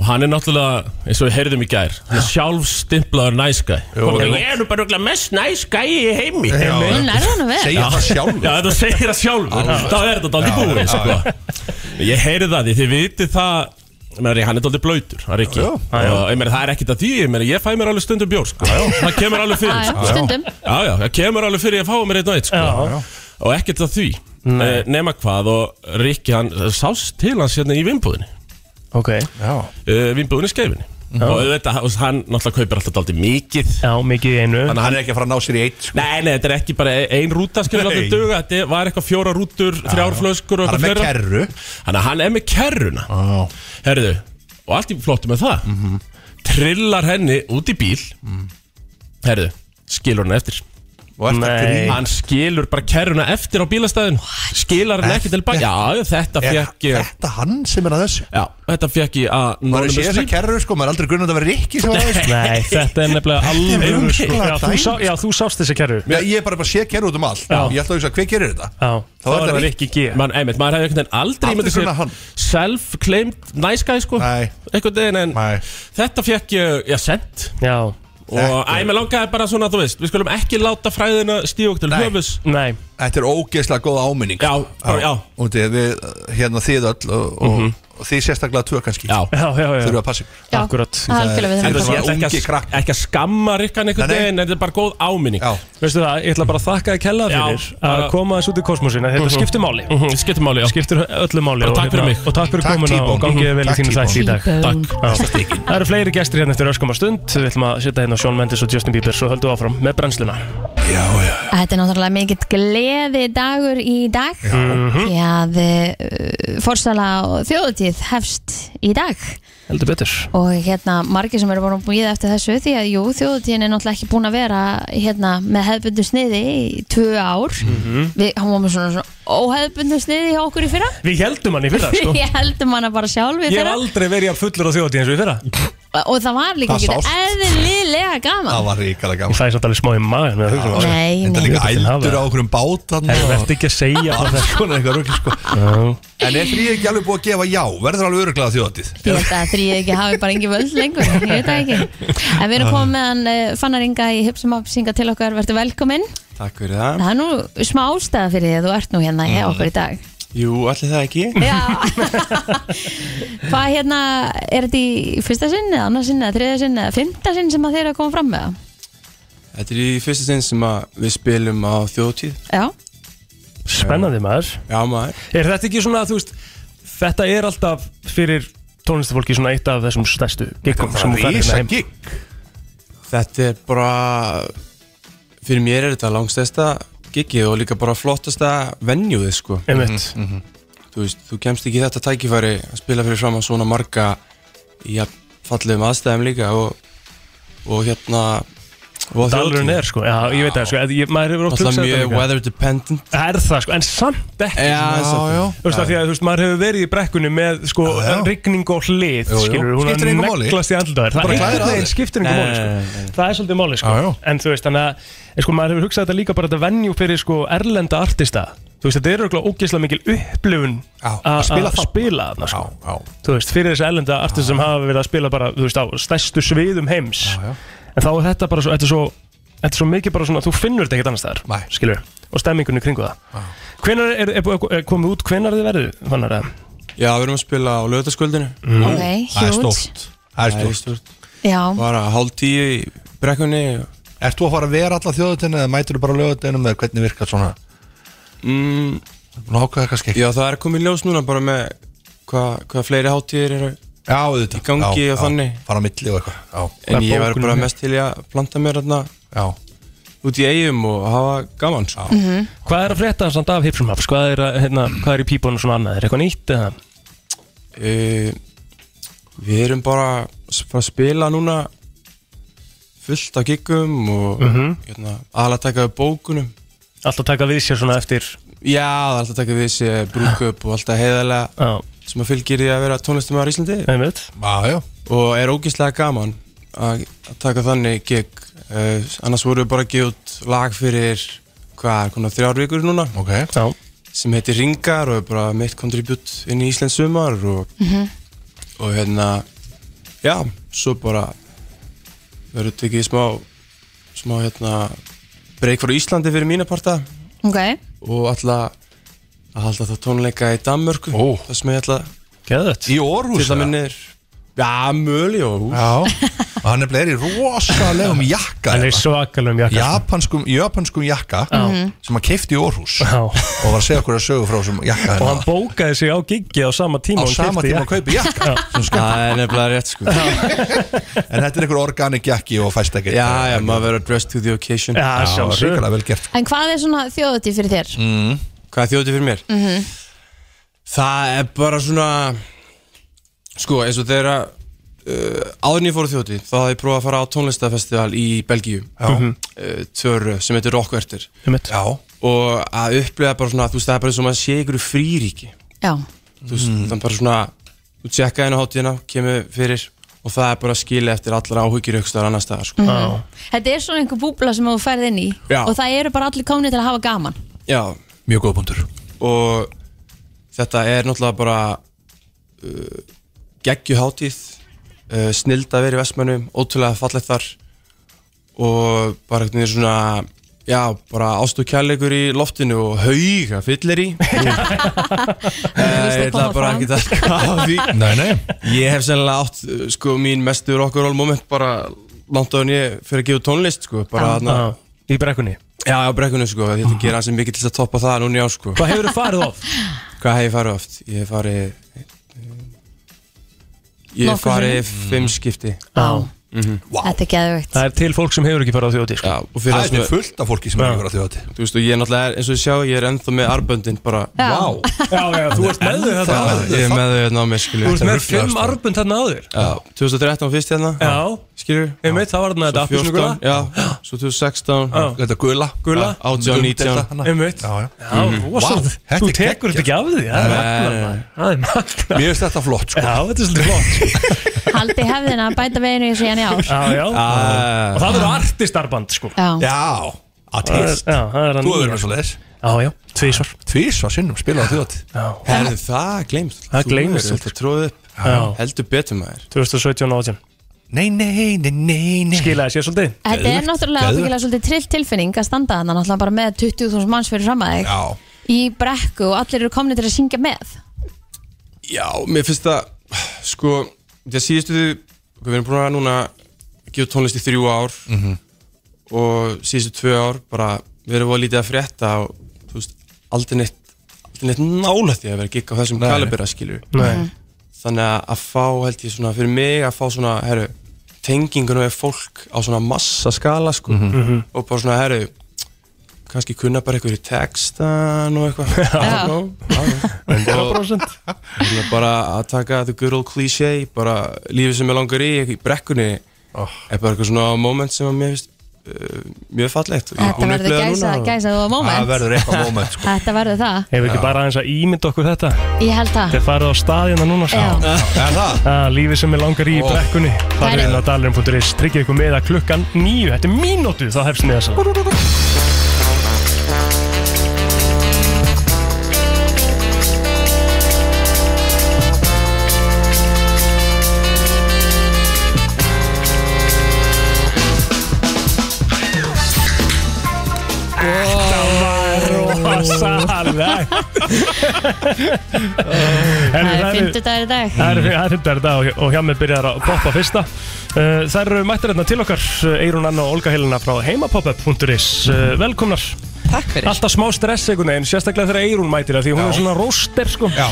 Speaker 4: og hann er náttúrulega, eins og við heyrðum í gær hann er Sjálfstimplaður næskæ
Speaker 12: Ég er nú bara örugglega mest næs gæi í heimi
Speaker 4: Já.
Speaker 3: Hún er hann að vera
Speaker 4: sjálfur Já, þú segir það sjálfur
Speaker 12: Alveg.
Speaker 4: Þá er þetta aldrei
Speaker 12: Já,
Speaker 4: búið
Speaker 12: já,
Speaker 4: sko. Ég heyri það því, þið vitið það Meni, hann er aldrei blöytur, hann er ekki og, ég meina, Það er ekkit að því, ég, meina, ég fæ mér alveg stundum bjór sko. Það kemur alveg fyrir
Speaker 3: Já, já,
Speaker 4: sko.
Speaker 3: stundum.
Speaker 4: Já, já, það kemur alveg fyrir ég fá mér einn og eitt sko. Og ekkit að því e, Nema hvað og Rikki, hann sást til hans hérna í vimbúðinni
Speaker 2: Ok
Speaker 6: Já
Speaker 4: uh, Vimbúðinni skeifinni
Speaker 2: Já.
Speaker 4: Og þetta, hann náttúrulega kaupir alltaf daldið mikið
Speaker 2: Já, mikið í einu
Speaker 4: Þannig að hann
Speaker 6: er ekki að fara að ná sér í eitt sko.
Speaker 4: Nei, nei, þetta er ekki bara ein rúta skilur
Speaker 6: Nei.
Speaker 4: alltaf duga Þetta var eitthvað fjóra rútur, þrjár flöskur og
Speaker 6: Hann er með
Speaker 4: eitthvað
Speaker 6: kerru.
Speaker 4: Þannig að hann er með kerruna oh. Herðu, og allt í flottu með það
Speaker 6: Mhm.
Speaker 4: Trillar henni út í bíl Herðu, skilur hann eftir
Speaker 6: Og
Speaker 2: ertu að grínast?
Speaker 4: Hann skilur bara kerruna eftir á bílastæðin Skilar hann ekki til baka Já, þetta
Speaker 6: Er
Speaker 4: fekk ég
Speaker 6: Þetta hann sem er að þessu
Speaker 4: Já, þetta fekk ég að
Speaker 6: Maður sé þessa kerru sko, maður er aldrei grunnað að vera Rikki sem var að þessu
Speaker 2: Nei, þetta er nefnilega
Speaker 6: Þetta er
Speaker 2: alveg sko.
Speaker 6: ruglaða
Speaker 2: já, þú
Speaker 6: dæmi,
Speaker 2: sá, já, þú sást þessi kerru
Speaker 6: Nei, Ég er bara bara að sé kerru út um allt
Speaker 2: Já.
Speaker 6: Ég ætla að hugsa, hver gerir þetta?
Speaker 2: Já,
Speaker 6: Þá er það Rikki
Speaker 2: G
Speaker 4: Man, einmitt, maður hefði einhvern veginn aldrei
Speaker 6: Aldrei
Speaker 4: myndið
Speaker 6: grunað hann.
Speaker 4: sér self-claimed nice guy sko Nei. einhvern veginn en þetta fekk ég, já, sent
Speaker 2: Já
Speaker 4: og æ, mér langaði bara svona, þú veist, við skulum ekki láta fræðina stíu okkur til höfus
Speaker 2: Nei
Speaker 6: Þetta er ógeðslega góð áminning sko. Já,
Speaker 4: bara- já.
Speaker 6: Og þið, við, hérna þið öll og, og, og þið sérstaklega tvö kannski Já,
Speaker 2: já, já, já.
Speaker 6: Þurfa að passi
Speaker 3: Já.
Speaker 2: Akkurat
Speaker 3: Algjörlega, við
Speaker 4: En
Speaker 3: þurfum
Speaker 4: þetta
Speaker 3: að
Speaker 4: er ekki,
Speaker 6: ungi
Speaker 4: að- ekki að skamma rikkan einhvern
Speaker 2: Nei, nei.
Speaker 4: veginn, en þetta er bara góð áminning já.
Speaker 2: Veistu það, ég ætla bara að þakka að kella
Speaker 4: Já,
Speaker 2: fyrir að
Speaker 4: bara-
Speaker 2: koma þessu út í kosmosin Þetta
Speaker 4: Mhm.
Speaker 2: skiptir máli
Speaker 4: Mhm, skiptir máli, já.
Speaker 2: Skiptir öllu máli
Speaker 4: Bara
Speaker 2: og
Speaker 4: takk fyrir
Speaker 2: hérna-
Speaker 4: mig.
Speaker 2: Og takk fyrir
Speaker 4: Takk,
Speaker 2: komuna
Speaker 4: T-Bone.
Speaker 2: og gangið
Speaker 4: Mhm.
Speaker 2: vel í
Speaker 4: Takk,
Speaker 2: þínu
Speaker 4: T-Bone.
Speaker 2: þætt í dag
Speaker 4: T-Bone.
Speaker 2: Já. Það eru fleiri gestir hérna eftir öskama stund Við ætlum að setja hérna Sjón Mendes og Justin Bieber Svo höldum við áfram með brennsluna
Speaker 3: Þetta er náttúrulega mikill gleði dagur í dag
Speaker 2: Já. Mhm.
Speaker 3: Því að uh, forsala og þjóðutíð hefst í dag
Speaker 2: Heldur betur
Speaker 3: og hérna margir sem eru búin að býða eftir þessu því að jú, þjóðutíðin er náttúrulega ekki búin að vera hérna með hefðbundu sniði í tvö ár
Speaker 4: Mhm.
Speaker 3: Við hann var með svona, svona óhefðbundu sniði hjá okkur í fyrra
Speaker 2: Við heldum hann í fyrra sko
Speaker 3: Ég heldum hana bara sjálf í
Speaker 2: Ég hef
Speaker 3: fyrra
Speaker 2: aldrei verið að fullur á þjóðatíð eins og í fyrra
Speaker 3: og það var líka
Speaker 2: Það
Speaker 3: ekki
Speaker 2: sást.
Speaker 3: eðlilega gaman
Speaker 6: var ríkala gaman
Speaker 2: Ég fæði samt alveg smá í maður með að hugsa um það.
Speaker 3: Nei, nei.
Speaker 6: Þetta er líka ældur á okkur um
Speaker 2: Herra, vertu ekki að segja það.
Speaker 6: Svona eitthvað rugl sko En er þrý ekki alveg búið að gefa já Verður alveg öruglega þjóðatíð
Speaker 3: Ég held að þrýið ekki hafi bara engin völd lengur Ég veit það ekki En við erum komið með hann uh, Fannar Inga í Hipsum Hapsinga til okkar Vertu velkominn
Speaker 17: Takk fyrir það
Speaker 3: Það er nú smá ástæða fyrir því að þú ert nú hérna hjá okkur í dag
Speaker 17: Jú, allir það ekki
Speaker 3: Hvað hérna, er þetta í fyrsta sinn eða annars sinn eða þriða sinn eða fymta sinn sem að þeir eru að koma fram með það?
Speaker 17: Þetta er í fyrsta sinn sem að við spilum á þjóðtíð
Speaker 3: Já
Speaker 2: Spennandi maður
Speaker 17: Já maður
Speaker 2: Er þetta ekki svona, þú veist Þetta er alltaf fyrir tónlistafólki svona eitt af þessum stærstu giggum sem hún færir hérna heim
Speaker 6: gig
Speaker 17: Þetta er bara Fyrir mér er þetta langstæðsta gigi og líka bara flottasta venjúið sko
Speaker 2: Einmitt.
Speaker 17: Mhm, mhm. Þú veist, þú kemst ekki í þetta tækifæri að spila fyrir fram að svona marga í að fallegum aðstæðum líka og, og hérna og á
Speaker 2: Dalurinn
Speaker 17: þjóðhátíð.
Speaker 2: er sko, já, ég veit það sko ég, maður hefur oft
Speaker 17: Náttúrulega
Speaker 2: hugsað
Speaker 17: mjög
Speaker 2: þetta líka.
Speaker 17: weather dependent
Speaker 2: Er það sko, en samt ekki sko.
Speaker 17: Já, en samt ekki.
Speaker 2: Þú veist
Speaker 17: Já,
Speaker 2: það því að þú veist, maður hefur verið í brekkunni með sko rigning og hlið,
Speaker 17: Jú, jú.
Speaker 2: skilur hún
Speaker 17: Skiptir
Speaker 2: að
Speaker 17: engu máli.
Speaker 2: neglast í andlutaðir
Speaker 17: Bara
Speaker 2: Það er
Speaker 17: klæðir
Speaker 2: einhvern
Speaker 17: að
Speaker 2: veginn
Speaker 17: þér.
Speaker 2: skiptir engu
Speaker 17: Nei,
Speaker 2: máli
Speaker 17: nei,
Speaker 2: sko Það er svolítið máli sko En þú veist, þannig að en, sko, maður hefur hugsað þetta líka bara þetta venju fyrir sko erlenda artista Þú veist, þetta er auðvitað ógeðslega mikil upplifun
Speaker 6: að spila
Speaker 2: að
Speaker 6: þarna.
Speaker 2: spila þarna sko Þú veist, fyrir þessi erlenda artist sem hafa verið að spila bara, þú veist, á stærstu sviðum heims En þá er þetta bara svo, þetta er svo, þetta er svo mikið bara svona, þú finnur þetta ekkert annars þar, skilur Og stemmingunni kringu það ah. Hvenar er, er, er, er komið út, hvenar þið verðu, þannig að
Speaker 17: Já, við erum að spila á lögutaskvöldinu
Speaker 2: Mm. Ok, Það er huge. stórt.
Speaker 6: Það er stórt.
Speaker 3: Já,
Speaker 17: Bara hálf tíu í brekkunni
Speaker 6: Ert þú að fara að vera alla þjóðutinu eða mætur þú bara lögutinum eða hvernig virkar svona
Speaker 17: mm,
Speaker 6: Nú ákveða kannski
Speaker 17: Já, það er komið í ljós núna bara með hvað hva fleiri hátíðir eru
Speaker 6: já, auðvitað,
Speaker 17: í gangi
Speaker 6: Já,
Speaker 17: og
Speaker 6: já,
Speaker 17: þannig
Speaker 6: Fara á milli og eitthvað já.
Speaker 17: En ég var bara
Speaker 6: Bókunin.
Speaker 17: mest til í að planta mér þarna
Speaker 6: Já
Speaker 17: Út í eigum og hafa gaman sko.
Speaker 2: Mhm. Hvað er að frétta samt af Hipsum Haps? Hvað er, að, hérna, hvað er í pípunum svona annað? Er eitthvað nýtt eða?
Speaker 17: uh, Við erum bara s- bara að spila núna fullt af giggum og
Speaker 2: Mhm.
Speaker 17: hérna, aðalega að taka við bókunum
Speaker 2: Alltaf taka við sér svona eftir
Speaker 17: Já, það er alltaf að taka við sér brúköp og alltaf heiðarlega sem að fylgir því að vera tónlistamæður í Íslandi
Speaker 2: Einmitt.
Speaker 6: Já, já
Speaker 17: Og er ógeðslega gaman að að taka þannig gig uh, annars voru við bara að gefa út lag fyrir hvað er konar þrjár vikur núna
Speaker 6: okay.
Speaker 17: sem heitir Ringar og er bara mitt kontribút inn í Íslands sumar og,
Speaker 3: Mhm.
Speaker 17: og hérna já, svo bara verður tekið smá smá hérna breyk frá Íslandi fyrir mína parta
Speaker 3: ok
Speaker 17: og alltaf að halda það tónleika í Danmörku Ó. það sem ég ætla
Speaker 2: Geðvægt.
Speaker 6: Í Orhus
Speaker 17: Til það minnir Já, möl í Orhus
Speaker 6: Já Og hann er bleið í rosalegum jakka
Speaker 2: Hann er svakalum jakka sko.
Speaker 6: Japanskum, japanskum jakka
Speaker 2: Já. Mhm.
Speaker 6: sem hann keifti í Orhus Já. og var að segja okkur að sögu frá sem jakka hérna.
Speaker 2: Og hann bókaði sig á giggi á sama tíma
Speaker 6: Á
Speaker 2: og hann
Speaker 6: sama
Speaker 2: keypti
Speaker 6: tíma og kaupi jakka.
Speaker 2: Já.
Speaker 17: það er nefnilega rétt sko
Speaker 6: en þetta er einhver organic jakki og fæst ekki
Speaker 17: já, já, maður verður dressed to the occasion
Speaker 6: Já, sjálfsögðu. ríkulega vel gert
Speaker 3: En hvað er svona þjóðutíð fyrir þér?
Speaker 17: mm. hvað er þjótið fyrir mér?
Speaker 3: Mm
Speaker 17: Það er bara svona Sko, eins og þegar að, uh, áðurinn ég fór á þjóti þá hafði ég prófað að fara á tónlistafestival í Belgíu
Speaker 2: Mhm.
Speaker 17: uh, Töru sem heitir Rockvertir
Speaker 2: Einmitt.
Speaker 6: Já
Speaker 17: Og að upplega bara svona, þú veist, það er bara eins og maður sé ykkur fríríki
Speaker 3: Já,
Speaker 17: Þú veist,
Speaker 2: Mhm.
Speaker 17: það er bara svona Þú tjekka inn á hátíðina, kemur fyrir Og það er bara að skilja eftir allar áhugir aukstar annar staðar sko.
Speaker 3: Mhm. Þetta er svona einhver búbla sem þú ferð inn í
Speaker 17: Já.
Speaker 3: og það eru bara allir komni til að hafa gaman
Speaker 17: Já
Speaker 6: Mjög góða punktur
Speaker 17: Og þetta er náttúrulega bara uh, geggjuhátíð uh, snild að vera í vestmönnum ótrúlega fallegt þar og bara einhvern veginn svona já, bara ástu kærleikur í loftinu og hauga fyllir í
Speaker 12: að
Speaker 17: Ég ætla
Speaker 12: koma
Speaker 17: bara
Speaker 12: fram.
Speaker 17: ekki að taka á því
Speaker 6: Nei, nei
Speaker 17: Ég hef sennilega átt uh, sko mín mestu rock'n'roll moment bara langt á en ég fyrir að gefa út tónlist sko bara
Speaker 2: Já.
Speaker 17: þarna
Speaker 2: Í brekkunni
Speaker 17: Já, á brekkunni sko, ég ætla að gera sem mikið til þess að toppa það núna í ár sko
Speaker 2: Hvað hefur þú farið of?
Speaker 17: Hvað hef ég farið oft? Ég hef farið Ég hef
Speaker 3: Nokkuð
Speaker 17: farið
Speaker 3: sinnum.
Speaker 17: fimm skipti
Speaker 3: Já.
Speaker 17: Mhm.
Speaker 3: Þetta er geðveikt
Speaker 2: Það er til fólk sem hefur ekki farið á þjóti sko.
Speaker 17: Og fyrir sem-
Speaker 2: Já.
Speaker 17: Þú veist og ég er náttúrulega, er- eins og ég sjá, ég er ennþá með arböndin bara
Speaker 3: Já. Vá.
Speaker 2: Já, já, þú ert með þau þetta
Speaker 17: Það- Ég er með þau hérna á mér skilju
Speaker 2: Þú ert með
Speaker 6: sko.
Speaker 2: fimm hérna arbund þarna áður
Speaker 17: Já, 2013 fyrst hérna
Speaker 2: Já
Speaker 17: Skilur
Speaker 2: Ég veit, það var þarna þetta appelsínugula.
Speaker 17: Já, svo 2016
Speaker 6: Þetta gula
Speaker 2: Gula.
Speaker 17: Já, 18, 19
Speaker 2: Ég veit Já, rosalega.
Speaker 17: Vá, þetta
Speaker 2: Þú
Speaker 17: er
Speaker 2: tekur þetta ekki af því Það er
Speaker 17: Nei,
Speaker 2: magna
Speaker 17: nei.
Speaker 2: Það er magna
Speaker 6: Mér finnst þetta flott
Speaker 2: sko Já, þetta er svolítið flott
Speaker 3: Haldi hefðina að bæta veginu í síðan í ár
Speaker 2: Já, já
Speaker 6: Ah.
Speaker 2: Og það verður artistarband sko
Speaker 3: Já.
Speaker 6: Já, að
Speaker 2: Það er-
Speaker 6: tilst
Speaker 2: já, það er hann
Speaker 6: Þú
Speaker 2: nýja.
Speaker 6: hefur með svo leiðis
Speaker 2: Já, já, tvísvar
Speaker 6: Tvísvar sinnum, spilaði þjótt
Speaker 17: Það er það gleymst
Speaker 2: Það gleymist.
Speaker 17: Þú er þetta tróð upp
Speaker 2: Já.
Speaker 17: Heldur betur maður
Speaker 2: 2017 og 18
Speaker 6: Nei, nei, nei, nei, nei
Speaker 2: Skilaði sér svolítið
Speaker 3: Þetta er náttúrulega ábyggilega svolítið trill tilfinning að standa þannig náttúrulega bara með 20.000 manns fyrir fram að þig
Speaker 6: Já
Speaker 3: í brekku og allir eru komni til að syngja með
Speaker 17: Já, mér finnst það Sko, það síðustu Við erum búin að núna gefa út tónlist í þrjú ár
Speaker 6: Mhm.
Speaker 17: og síðustu tvö ár bara við erum að lítið að frétta og þú veist, aldrei neitt aldrei neitt nála því að vera gig á þessum
Speaker 6: Nei. Mhm.
Speaker 17: kalibera skilju
Speaker 6: Nei.
Speaker 17: þannig að- að fá held ég svona fyrir mig að fá svona herru, tengingunum við fólk á svona massa skala sko
Speaker 6: Mhm. Mhm.
Speaker 17: og bara svona herru kannski kunna bara einhverju textan og eitthvað
Speaker 6: Já.
Speaker 17: og
Speaker 6: 100%.
Speaker 17: svona bara að taka the good old cliché bara lífið sem ég langar í, í brekkunni
Speaker 6: Oh.
Speaker 17: er bara eitthvað svona moment sem að mér finnst uh, mjög fallegt
Speaker 3: Þetta verður gæsa, gæsa og moment
Speaker 6: sko.
Speaker 3: Þetta verður það
Speaker 2: Hefur ekki bara aðeins að ímynda okkur þetta?
Speaker 3: Ég held það
Speaker 2: Þetta er farið á staðina núna sko.
Speaker 3: Já. Já.
Speaker 6: Er það?
Speaker 2: lífið sem er langar í
Speaker 6: Ó.
Speaker 2: brekkunni
Speaker 3: Það
Speaker 2: Farið
Speaker 3: er-
Speaker 2: inn á dalurinn.is Tryggja ykkur með að klukkan nýju Þetta er mínútu, þá hefst með þess Rosalegt
Speaker 3: Það er fymtudagur í dag
Speaker 2: Það eru er fyrndar þetta og, og hjá mig byrjar að poppa fyrsta uh, Það eru mættir hérna til okkar uh, Eirún Anna og Olga Helena frá heimapopup.is uh, Velkomnar Takk
Speaker 13: fyrir.
Speaker 2: Alltaf smá stress einhvern veginn, sérstaklega þegar Eirún mætir það Því hún er svona róster sko Já,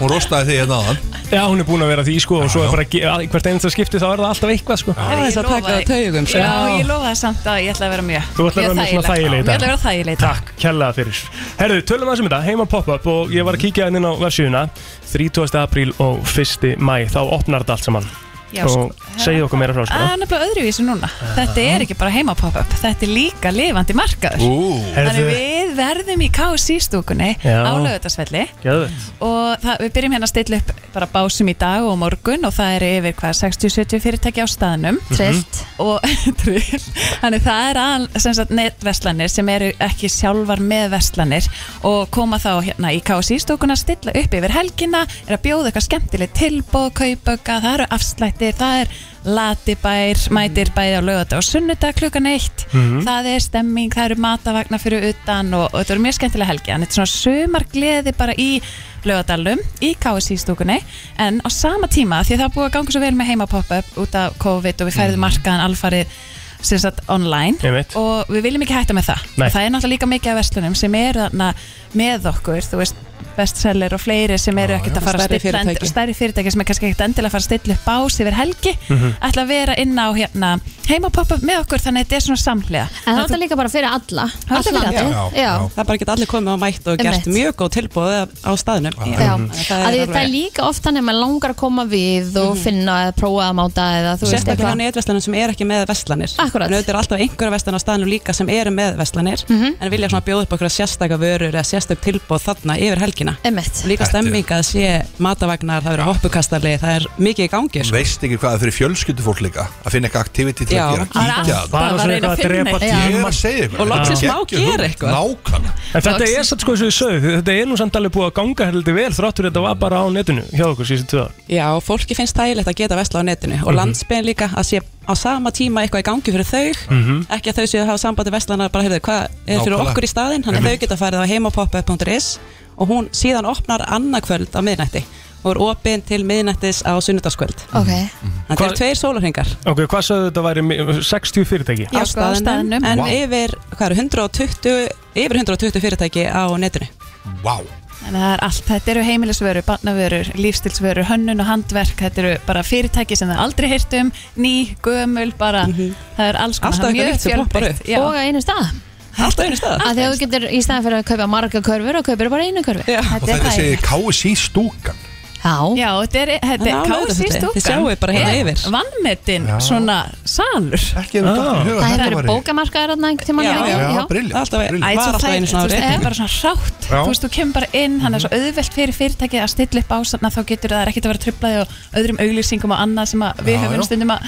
Speaker 6: hún rostaði því hérna áðan
Speaker 2: Já, hún er búin að vera því sko og svo er bara ge- að- hvert einasta skipti þá er það alltaf eitthvað sko
Speaker 7: Það er þess að taka það taugum
Speaker 2: sko.
Speaker 7: Já, ég lofaði samt að ég ætla að vera mjög
Speaker 2: Þú ætlar að vera með svona þægileg í
Speaker 7: Ég
Speaker 2: dag.
Speaker 7: ætla að vera þægileg í dag
Speaker 2: Takk kærlega fyrir Herðu, tölum aðeins um þetta, heima pop-up og ég var að kíkja hérna inn á vefsíðuna 30. apríl og 1. mæ þá opnar þetta allt saman
Speaker 7: Já, sko,
Speaker 2: og segja okkur meira frá sko
Speaker 7: Það er nefnilega öðruvísi núna Þetta er ekki bara heima pop-up Þetta er líka lifandi markaður
Speaker 2: Ú.
Speaker 7: Þannig
Speaker 2: Herðu.
Speaker 7: við verðum í KSC stúkunni
Speaker 2: Já.
Speaker 7: á lögutasvelli
Speaker 2: Geðvett
Speaker 7: og það, við byrjum hérna að stilla upp bara básum í dag og á morgun og það er yfir hvað 60-70 fyrirtæki á staðnum
Speaker 3: Trillt.
Speaker 7: og trill þannig það er aðal sem sagt netverslanir sem eru ekki sjálfar með verslanir og koma þá hérna í KSÍ stókuna stilla upp yfir helgina er að bjóða eitthvað skemmtileg tilbóð kaupöka, það eru afslættir, það er latibær, mætir bæði á lögata og sunnudag klukkan eitt
Speaker 3: Mhm.
Speaker 7: það er stemming, það eru matavagna fyrir utan og, og þetta eru mjög skemmtilega helgi en þetta er svona sumar gleði bara í lögadalum í KSI stúkunni en á sama tíma því að það er búið að ganga svo vel með heima pop-up út af COVID og við færðum markaðan alfarið sem sagt online
Speaker 2: Einmitt.
Speaker 7: og við viljum ekki hætta með það
Speaker 2: Nei.
Speaker 7: það er náttúrulega líka mikið af verslunum sem eru þarna með okkur, þú veist bestseller og fleiri sem eru ekkert að fara að
Speaker 18: Stærri
Speaker 7: stilla end-
Speaker 18: fyrirtæki.
Speaker 7: stærri fyrirtæki sem er kannski ekkert endilega að fara að stilla upp bás yfir helgi
Speaker 18: Mhm.
Speaker 7: ætla að vera inn á hérna, heima pop-up með okkur þannig að þetta er svona samhlega
Speaker 3: En það er líka bara fyrir alla Alla gata. Já.
Speaker 18: Það er bara ekki allir komið á mætt og gert
Speaker 3: Einmitt.
Speaker 18: mjög góð tilbúð á staðnum
Speaker 3: Já,
Speaker 18: Þannig að
Speaker 3: það er, það er líka oft þannig að maður langar að koma við og finna eða prófa að máta eða þú veist
Speaker 18: Mm. Sérstaklega hérna á
Speaker 3: eitthvað
Speaker 18: netverslanum sem er ekki með verslanir Akkurat En auðvitað er alltaf einhverja verslan á staðnum líka sem eru með verslanir
Speaker 3: Mhm.
Speaker 18: En vilja svona bjóða upp okkur sérstaka vörur eða sérstök tilbúð þarna yfir helgina
Speaker 3: Einmitt.
Speaker 18: Líka stemming að sé matavagnar, það eru hoppukastali, það er mikið í gangi sko.
Speaker 6: Þú veist ekki hvað það er fyrir fjölskyldu fólk líka að finna eitthvað aktiviti til
Speaker 18: Já.
Speaker 6: að
Speaker 18: Það
Speaker 6: gera
Speaker 18: er
Speaker 6: kíkja
Speaker 18: alltaf Bara að svona reyna að eitthvað að finna drepa eitthvað. tíma.
Speaker 6: Ég er að segja ykkur,
Speaker 18: Og loksins
Speaker 6: þetta er
Speaker 18: má
Speaker 6: geggjuð
Speaker 18: gera
Speaker 6: hugmynd.
Speaker 18: eitthvað.
Speaker 6: Nákvæmlega
Speaker 2: En þetta er satt sko eins og ég sögðu, þetta er nú samt alveg búið að ganga heldur vel þráttur þetta var bara á netinu hjá okkur síðan tvö ár.
Speaker 18: Já, og fólki finnst þægilegt að geta vesla á netinu og
Speaker 2: Mhm.
Speaker 18: landsbygðin líka að sé á sama tíma eitthvað í gangi fyrir þau
Speaker 2: Mhm.
Speaker 18: ekki að þau séu að hafa sambandi veslana bara hefðu hvað er fyrir
Speaker 2: Nákvæmlega.
Speaker 18: okkur í staðinn þannig að þau
Speaker 2: Einmitt.
Speaker 18: geta farið á heimapoppa.is og hún síðan opnar annarkvöld á miðnætti og er opinn til miðnættis á sunnudagskvöld
Speaker 3: Ok
Speaker 18: Þetta eru tveir sólarhengar
Speaker 2: Ok, hvað sagðu þetta væri mi- 60 fyrirtæki?
Speaker 18: sko, á staðnum en
Speaker 2: Vá.
Speaker 18: yfir, hvað er, 120, yfir 120 fyrirtæki á netinu
Speaker 6: Vá
Speaker 7: Þannig að það er allt, þetta eru heimilisvörur, barnavörur, lífstilsvörur, hönnun og handverk, þetta eru bara fyrirtæki sem það aldrei heyrt um, ný, gömul, bara, það er alls konar, það er
Speaker 18: Alltaf eitthvað
Speaker 7: mjög
Speaker 18: nýtt sem poppar
Speaker 7: fjölbreytt.
Speaker 18: upp.
Speaker 7: Já.
Speaker 3: Mhm. Og á einu stað
Speaker 18: Alltaf einu stað
Speaker 3: Að því að þú getur í staðan fyrir að kaupa marga körfur og kaupir bara einu körfu Já,
Speaker 6: Og þetta segir KSI stúkan
Speaker 3: Já,
Speaker 7: Já, þetta er, þetta
Speaker 18: En
Speaker 7: er
Speaker 18: ánægður
Speaker 7: kási
Speaker 18: þetta.
Speaker 7: stúkan.
Speaker 18: Þið sjáið bara hérna
Speaker 7: er
Speaker 18: yfir.
Speaker 7: Vannmetinn,
Speaker 18: Já.
Speaker 7: svona salur.
Speaker 6: Ekki
Speaker 18: hefur dottið í hug að
Speaker 3: Það
Speaker 18: þetta
Speaker 3: eru
Speaker 18: væri-
Speaker 3: bókamarkaðar þarna einhvern tímann
Speaker 18: Já,
Speaker 3: er það ekki?
Speaker 18: já, brilliant, Alltaf- brilliant. var alltaf einu svona ári.
Speaker 7: Það er bara svona rátt,
Speaker 18: Já.
Speaker 7: þú veist, þú kemur bara inn, hann er svo auðvelt fyrir fyrirtækið að stilla upp ásanna, þá getur það er ekkert að vera trublaði og öðrum auglýsingum og annað sem að við
Speaker 18: Já,
Speaker 7: höfum
Speaker 18: já.
Speaker 7: stundum að,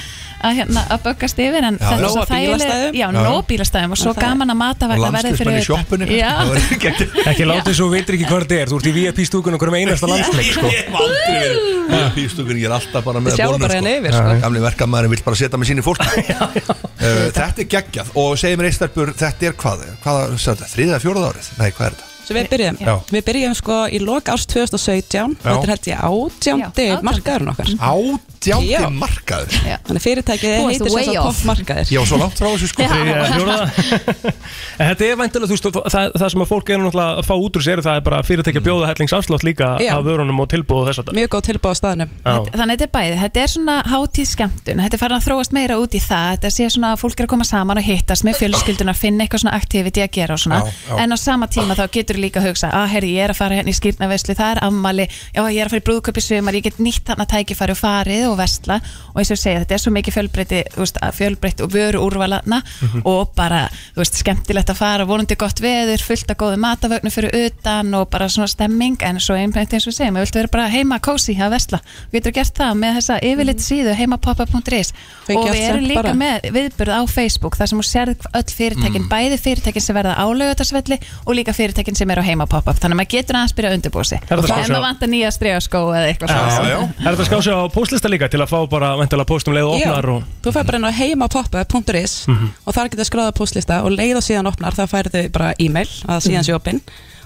Speaker 7: að, hérna, að böggast yfir, en
Speaker 18: Já,
Speaker 7: þetta
Speaker 18: já.
Speaker 7: er svo
Speaker 18: Nóg af bílastæðum.
Speaker 7: þægileg, já,
Speaker 2: Já.
Speaker 7: nó bílastæðum og svo
Speaker 18: Og það-
Speaker 7: gaman að mata vegna verði fyrir
Speaker 2: í sjoppunni
Speaker 7: utan. Já.
Speaker 2: Ekki láta svo veitir ekki hvað þetta er, þú ert í VIP stúkun og hverjum einasta landsleik sko.
Speaker 6: Ég hef aldrei verið Pýstúkur, ég er alltaf bara með
Speaker 2: Þið sjáum
Speaker 6: boluna,
Speaker 2: bara hérna yfir, sko.
Speaker 6: Já, já. Gamli verkamæðurinn vill bara setja mig sín í fólk Þetta er geggjað Og segjum reistarpur, þetta er hvað? hvað sagði þetta? Þriðið að fjórað árið? Nei, hvað er þetta?
Speaker 18: sem við byrjum
Speaker 6: Já.
Speaker 18: Við byrjum sko í lok árs 2017
Speaker 6: Já.
Speaker 18: Þetta er held ég átjándi
Speaker 6: Já, átjándi.
Speaker 18: markaðurinn okkar
Speaker 6: Átjándi
Speaker 18: Já.
Speaker 6: markaður
Speaker 18: Þannig fyrirtækið
Speaker 6: Þú varst
Speaker 18: heitir
Speaker 6: way
Speaker 18: sem svo
Speaker 6: off.
Speaker 18: toppmarkaðir
Speaker 6: Ég var svo langt frá þessu sko.
Speaker 2: Þriðja eða eh, fjórða. En þetta er væntanlega, þú veist, og það, það sem að fólk er náttúrulega að fá út úr sér Það er bara
Speaker 6: Mm.
Speaker 2: fyrirtækja bjóða hellingsafslátt líka
Speaker 7: Já.
Speaker 2: af vörunum og tilbúðu þess að
Speaker 18: Mjög góð tilbúð á staðnum
Speaker 2: Já,
Speaker 7: Þannig þetta er bæði, þetta er svona hátíðskemmtun, þetta er farin að þróast meira út í það, þetta sé svona að fólk er að koma saman og hittast með fjölskyldun að finna eitthvað svona aktiviti að gera og svona,
Speaker 18: Já, já.
Speaker 7: en á sama tíma þá getur líka að hugsa, að herri, ég er að fara hérna í skýrnaveislu, það er ammali, já, ég er að fara í brúðköp í sumar, ég get nýtt þarna tækifæri og farið og vesla og eins og ég segja, þetta er svo mikið fjölbreytti, þú veist, að fjölbreytt og vöru úrvalana
Speaker 19: Mhm.
Speaker 7: og bara, þú veist, skemmtilegt að fara, vonandi gott veður, fullt af góðu matavögnu fyrir utan og bara svona stemming en svo einbænt eins og við segjum, við viltu vera bara heima kósi að vesla, við getur gert það með þessa yfirleitt síðu heimapoppa.is
Speaker 18: Fengi
Speaker 7: og
Speaker 18: allt
Speaker 7: við erum
Speaker 18: sent
Speaker 7: líka
Speaker 18: bara.
Speaker 7: með viðburð á Facebook þar sem þú sérð öll fyrirtækin, bæði fyrirtækin sem verða álögutarsvelli og líka fyrirtækin sem eru á heimapoppa, þannig að maður getur aðeins byrja að undirbúa sig
Speaker 2: er
Speaker 7: og
Speaker 2: þetta að
Speaker 7: ef
Speaker 2: sjá.
Speaker 7: maður vantar nýja stregaskó eða eitthvað
Speaker 2: já,
Speaker 7: svona
Speaker 2: já. Er þetta að skrá sig á póstlista líka til að fá bara væntanlega póstum leið og
Speaker 18: Já,
Speaker 2: opnar og
Speaker 18: þú fær bara inn á heimapoppa.is
Speaker 2: Mhm.
Speaker 18: og þar getur skráða postlista og leið og síðan opnar þá færðu bara e-mail að síðan sé opinn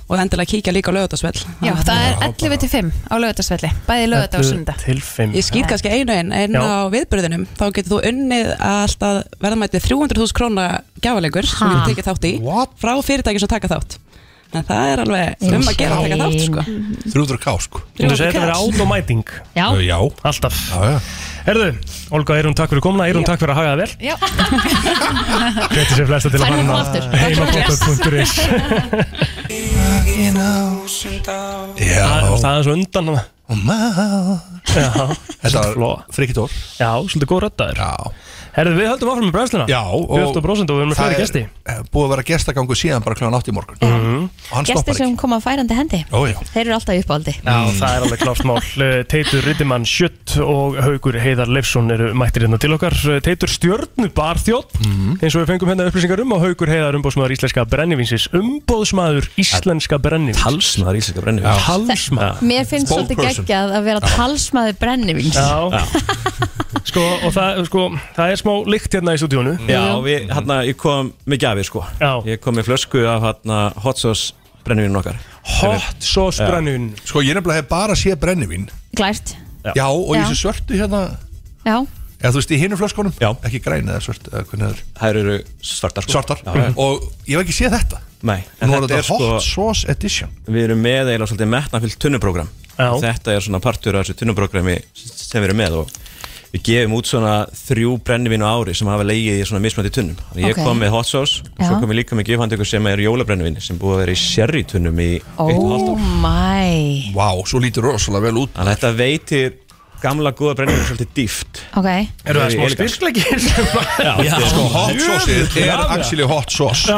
Speaker 18: og endilega kíkja líka á lögutarsvell
Speaker 7: Já, það er 11 til 5 á lögutarsvelli, bæði lögudag og sunda
Speaker 2: Mhm. til fimm
Speaker 18: Ég skýt kannski einu einn en
Speaker 7: Já.
Speaker 18: á viðbörðinum þá getur þú unnið alltaf verðmætti 300.000 króna gjafalegur sem
Speaker 7: Ha?
Speaker 18: þú tekið þátt í What? frá fyrirtæki sem taka þátt en það er alveg um að gera að taka þátt sko.
Speaker 6: 300k sko Eh,
Speaker 2: Þú segir þetta verið automæting
Speaker 18: Já.
Speaker 6: Já
Speaker 2: Alltaf Herðu, Olga Eirún, takk fyrir komna Eirún, takk fyrir að haga það vel
Speaker 7: Já
Speaker 2: Hvetur sér flesta til að
Speaker 12: Fær hún aftur.
Speaker 2: hanna heimapoppa.is
Speaker 6: Já
Speaker 2: Það er svo undan hana Já
Speaker 6: Þetta var frikið tór
Speaker 2: Já, svolítið góð röddaður
Speaker 6: Já
Speaker 2: Herðu, við höldum áfram með brennsluna
Speaker 6: Já
Speaker 2: og, og við erum með
Speaker 6: það
Speaker 2: fleiri
Speaker 6: er,
Speaker 2: gesti Mhm.
Speaker 6: eh, Búið að vera gestagangu síðan bara kláðan átt í morgun mm. Og hann
Speaker 3: Gestir
Speaker 6: stoppar ekki
Speaker 3: sem koma færandi hendi
Speaker 6: Ó, já.
Speaker 3: Þeir eru alltaf í uppáldi
Speaker 2: Já, það er alveg klárt mál. Eh, Teitur Riddimann Sjött og Haugur Heiðar Leifsson eru mættir hérna til okkar. Eh, Teitur stjörnu barþjótt, eins og við fengum hérna upplýsingar um og Haugur Heiðar umbóðsmaður íslenska brennivinsis. Umbóðsmaður íslenska brennivinsis. Talsmaður íslenska brennivinsis. Talsmaður.
Speaker 3: Mér finnst svolítið geggjað að vera talsmaður brennivins
Speaker 2: Já. sko, og það, sko, það er smá lykt hérna í stúdíónu.
Speaker 19: Já, við, hérna, ég kom með gafir sko Já. Ég kom með flösku af hérna, hot sauce brennvínun okkar
Speaker 2: Hot sauce
Speaker 19: Já.
Speaker 2: brennivin.
Speaker 6: Sko, ég nefnilega hef bara séð brennivín
Speaker 3: Glært
Speaker 6: Já, og
Speaker 3: Já.
Speaker 6: ég sé svörtu hérna
Speaker 3: Já,
Speaker 6: Já, þú veist, í hinu flöskunum Já Ekki græn eða svört eða hvernig það er
Speaker 19: Þær eru svartar sko
Speaker 6: Svartar
Speaker 19: Já, já.
Speaker 6: Og ég hef ekki séð þetta
Speaker 19: Nei, en
Speaker 6: Nú er
Speaker 19: þetta
Speaker 6: þetta
Speaker 19: er sko
Speaker 6: hot sauce edition
Speaker 19: Við erum með eiginlega svolítið metnafyllt tunnuprógram
Speaker 2: Já.
Speaker 19: Þetta er svona partur af þessu tunnuprógrami sem við erum með og við gefum út svona þrjú brennivínu ári sem hafa legið í svona mismöndi tunnum Þannig Ég
Speaker 10: Ok.
Speaker 19: kom með hot sauce og svo
Speaker 3: Já.
Speaker 19: kom ég líka með gifhandöku sem er jólabrennivínu sem búið að vera í sherry tunnum í eitt og halvt
Speaker 3: oh
Speaker 19: ár
Speaker 3: my
Speaker 6: Vá, svo lítur rosalega vel út
Speaker 19: Þannig að þetta veitir gamla góða brennivínu svolítið dýft
Speaker 3: Ok,
Speaker 2: Eru það
Speaker 19: Við
Speaker 2: smá
Speaker 19: erum elegant.
Speaker 2: styrkleikir sem að-
Speaker 19: Já,
Speaker 6: Sko, hot
Speaker 2: Jöfull,
Speaker 6: sauce
Speaker 2: já,
Speaker 6: er
Speaker 2: já.
Speaker 6: actually hot sauce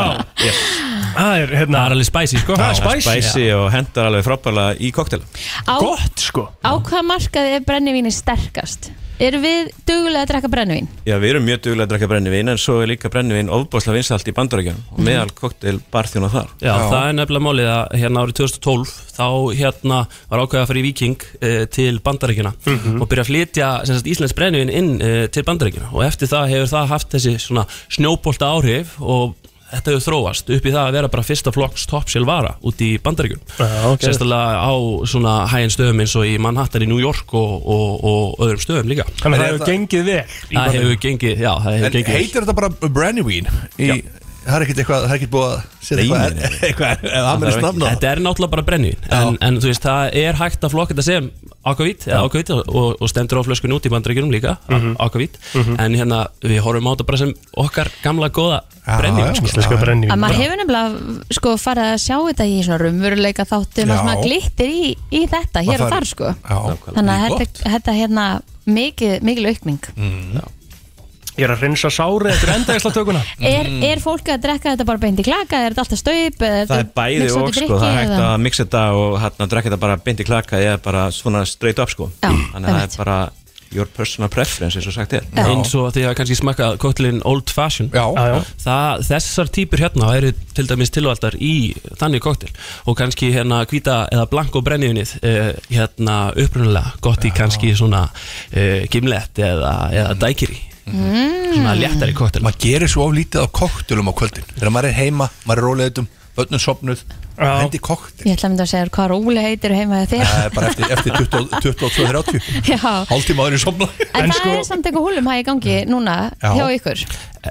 Speaker 2: Já, það er hérna
Speaker 19: Það er alveg spæsi sko
Speaker 2: Það er spicy.
Speaker 19: og hendar alveg frábæla í koktel
Speaker 3: á,
Speaker 2: sko
Speaker 3: á hvað markaði er brennivíni sterkast? Erum við dugulega að drekka brennivín?
Speaker 19: Já, við erum mjög duglega að drakka brennivín en svo er líka brennivín ofbásla vinsalt í bandarækjunum
Speaker 3: Mhm.
Speaker 19: og meðal koktel barþjóna þar
Speaker 10: Já, það er nefnilega málið að hérna árið 2012 þá hérna var ákveðið að fara í Viking uh, til bandaríkjuna og byrja að flytja sem sagt, Íslands brennivinn inn uh, til bandaríkjuna og eftir það hefur það haft þessi svona snjóbolta áhrif og þetta hefur þróast upp í það að vera bara fyrsta flokks toppsil vara út í bandaríkjunum
Speaker 2: Já, ok.
Speaker 10: sérstaklega á svona hæginn stöðum eins og í Manhattan í New York og, og, og öðrum stöðum líka
Speaker 2: Þannig að það hefur gengið vel í
Speaker 10: Það
Speaker 2: Bandaríkjunum.
Speaker 10: hefur gengið, já, það hefur
Speaker 6: En
Speaker 10: gengið vel.
Speaker 6: heitir þetta bara brennivín í Það er ekkert eitthvað, það er ekkert búið að setja eitthvað Eitthvað, eða
Speaker 10: Það
Speaker 6: amirist
Speaker 10: þarf ekki-
Speaker 6: nafna á það.
Speaker 10: Þetta er náttúrulega bara brennivín en, en þú veist, það er hægt að flokka þetta sem ákavít, eða ákavít og, og stendur á flöskun út í bandryggjunum líka
Speaker 2: Mhm.
Speaker 10: ákavít,
Speaker 2: Mhm.
Speaker 10: en hérna við horfum á þetta bara sem okkar gamla góða brennivín sko.
Speaker 2: Íslenska brennivín
Speaker 3: Að maður hefur nefnilega sko farið að sjá þetta í svona rumveruleika þáttum og
Speaker 10: Já.
Speaker 3: svona glittir í, í þetta hér og þar sko Þannig að þetta, þetta hérna mikið, mikil aukning
Speaker 2: Mm. Ég er að reynsa sárið eftir endaðisla tökuna
Speaker 3: er, er fólk að drekka þetta bara beint í klaka? Er þetta alltaf staup?
Speaker 19: Mm. Það er bæði og sko, það er hægt að mixa þetta og hérna að drakka þetta bara beint í klaka eða bara svona straight up sko
Speaker 3: Já,
Speaker 19: Þannig að það
Speaker 3: einmitt.
Speaker 19: er bara your personal preference eins og sagt er
Speaker 10: eins og því að kannski smakka koktelin Old Fashion
Speaker 6: já.
Speaker 2: Já,
Speaker 10: Það, þessar típur hérna eru til dæmis tilvaldar í þannig koktel og kannski hérna hvita eða blanko brennivinnið eh, hérna upprunalega gott í kannski svona eh, gimlet eða, eða dækiri svona léttari koktel
Speaker 6: maður gerir svo oflítið á koktelum á kvöldin þegar maður er heima, maður er róleðutum börnun sopnuð, hendi kokk
Speaker 3: Ég ætla að mynda að segja þér hvað Rúli heitir heima hjá þér
Speaker 6: Það er bara eftir, eftir 20 22.30
Speaker 3: Já,
Speaker 6: Hálftíma áður í somna
Speaker 3: en
Speaker 2: sko,
Speaker 3: það
Speaker 6: sko-
Speaker 3: er samt eitthvað húlum hæg í gangi núna
Speaker 10: Já.
Speaker 3: hjá ykkur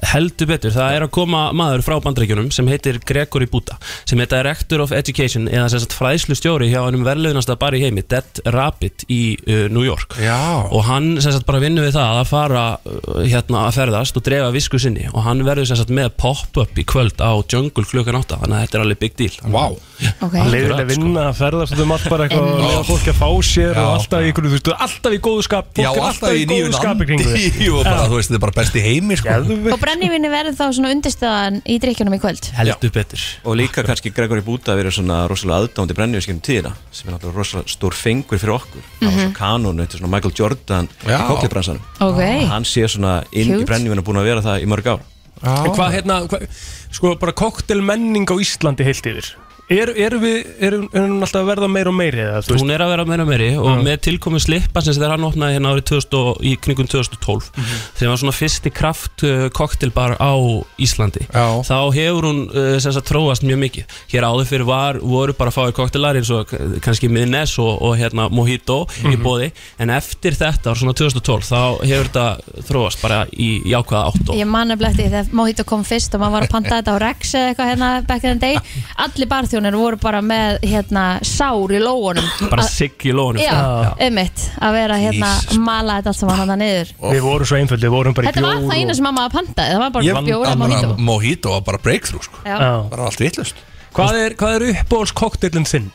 Speaker 10: Heldur betur, það er að koma maður frá bandaríkjunum sem heitir Gregory Buta sem er Director of Education eða sem sagt fræðslu stjóri hjá hannum verðlaunasta bar í heimi Dead Rabbit í uh, New York
Speaker 6: Já.
Speaker 10: og hann sem sagt bara vinnur við það að fara uh, hérna að ferðast og drefa visku sinni og hann verður sem sagt með pop-up í kvöld á Jungle klukkan 8 þannig að þetta er alveg big deal
Speaker 6: wow.
Speaker 3: okay.
Speaker 2: Leifin að vinna, að ferðast um allt bara eitthvað og
Speaker 10: Einmitt.
Speaker 2: leiða fólk að fá sér
Speaker 6: sko. Já.
Speaker 2: og alltaf í einhverju, þú veist, alltaf í góðu skap fólk
Speaker 6: Já,
Speaker 2: er
Speaker 6: alltaf í
Speaker 2: góðu
Speaker 6: nýjum
Speaker 2: skapi kring
Speaker 6: andi
Speaker 2: þig.
Speaker 6: og bara,
Speaker 2: Já.
Speaker 6: þú veist, þetta er bara besti heimi sko.
Speaker 3: Og brennivinni verður þá svona undirstöðan í drikkjunum í kvöld
Speaker 10: heldur betur
Speaker 19: og líka kannski Gregory Búta verið svona rosalega aðdándi brennivískjum tíðina sem er náttúrulega rosalega stór fengur fyrir okkur það var
Speaker 3: Mhm.
Speaker 19: svona kanonu, þetta er svona Michael Jordan í kokklebransanum
Speaker 3: Ok.
Speaker 19: hann sé svona inn í
Speaker 2: Cute.
Speaker 19: brennivínu búin að vera það í mörg ár
Speaker 2: En hvað hérna, hvað, sko bara koktelmenning á Íslandi heilt yfir Er, er, við, er, er hún alltaf að verða meir og meiri eða, þú veist?
Speaker 10: Hún er að vera meira og meiri og með tilkomin slippa sem þegar hann opnaði hérna árið 2000 og, í kringum 2012 þegar var svona fyrsti kraft uh, koktelbar á Íslandi
Speaker 6: Já.
Speaker 10: þá hefur hún uh, sem sagt tróast mjög mikið hér áður fyrir var, voru bara fáið koktelar eins og k- kannski Midnes og, og hérna Mojito í bóði en eftir þetta ár svona 2012 þá hefur þetta þróast bara í, í ákvaða átt og
Speaker 3: Ég man að bletti þegar Mojito kom fyrst og maður var að panta þetta á Rex eða eitthvað hérna back in the day Allir barþjónir voru bara með hérna sár í lóunum
Speaker 10: bara
Speaker 3: Að-
Speaker 10: sigg í sko. lónum
Speaker 3: Já, ummitt, að vera hérna
Speaker 2: Jesus.
Speaker 3: mala þetta allt saman hann niður
Speaker 2: Við vorum svo einföld, við vorum bara í
Speaker 3: Þetta var
Speaker 2: bjór
Speaker 3: það eina sem mamma pantaði, það var bara bjóra
Speaker 6: Mojito
Speaker 3: mojito
Speaker 6: Mojito var bara breakthrough sko.
Speaker 3: Já.
Speaker 6: Bara allt vittlust
Speaker 2: Hvað er, hvað er uppbóls koktelin þinn?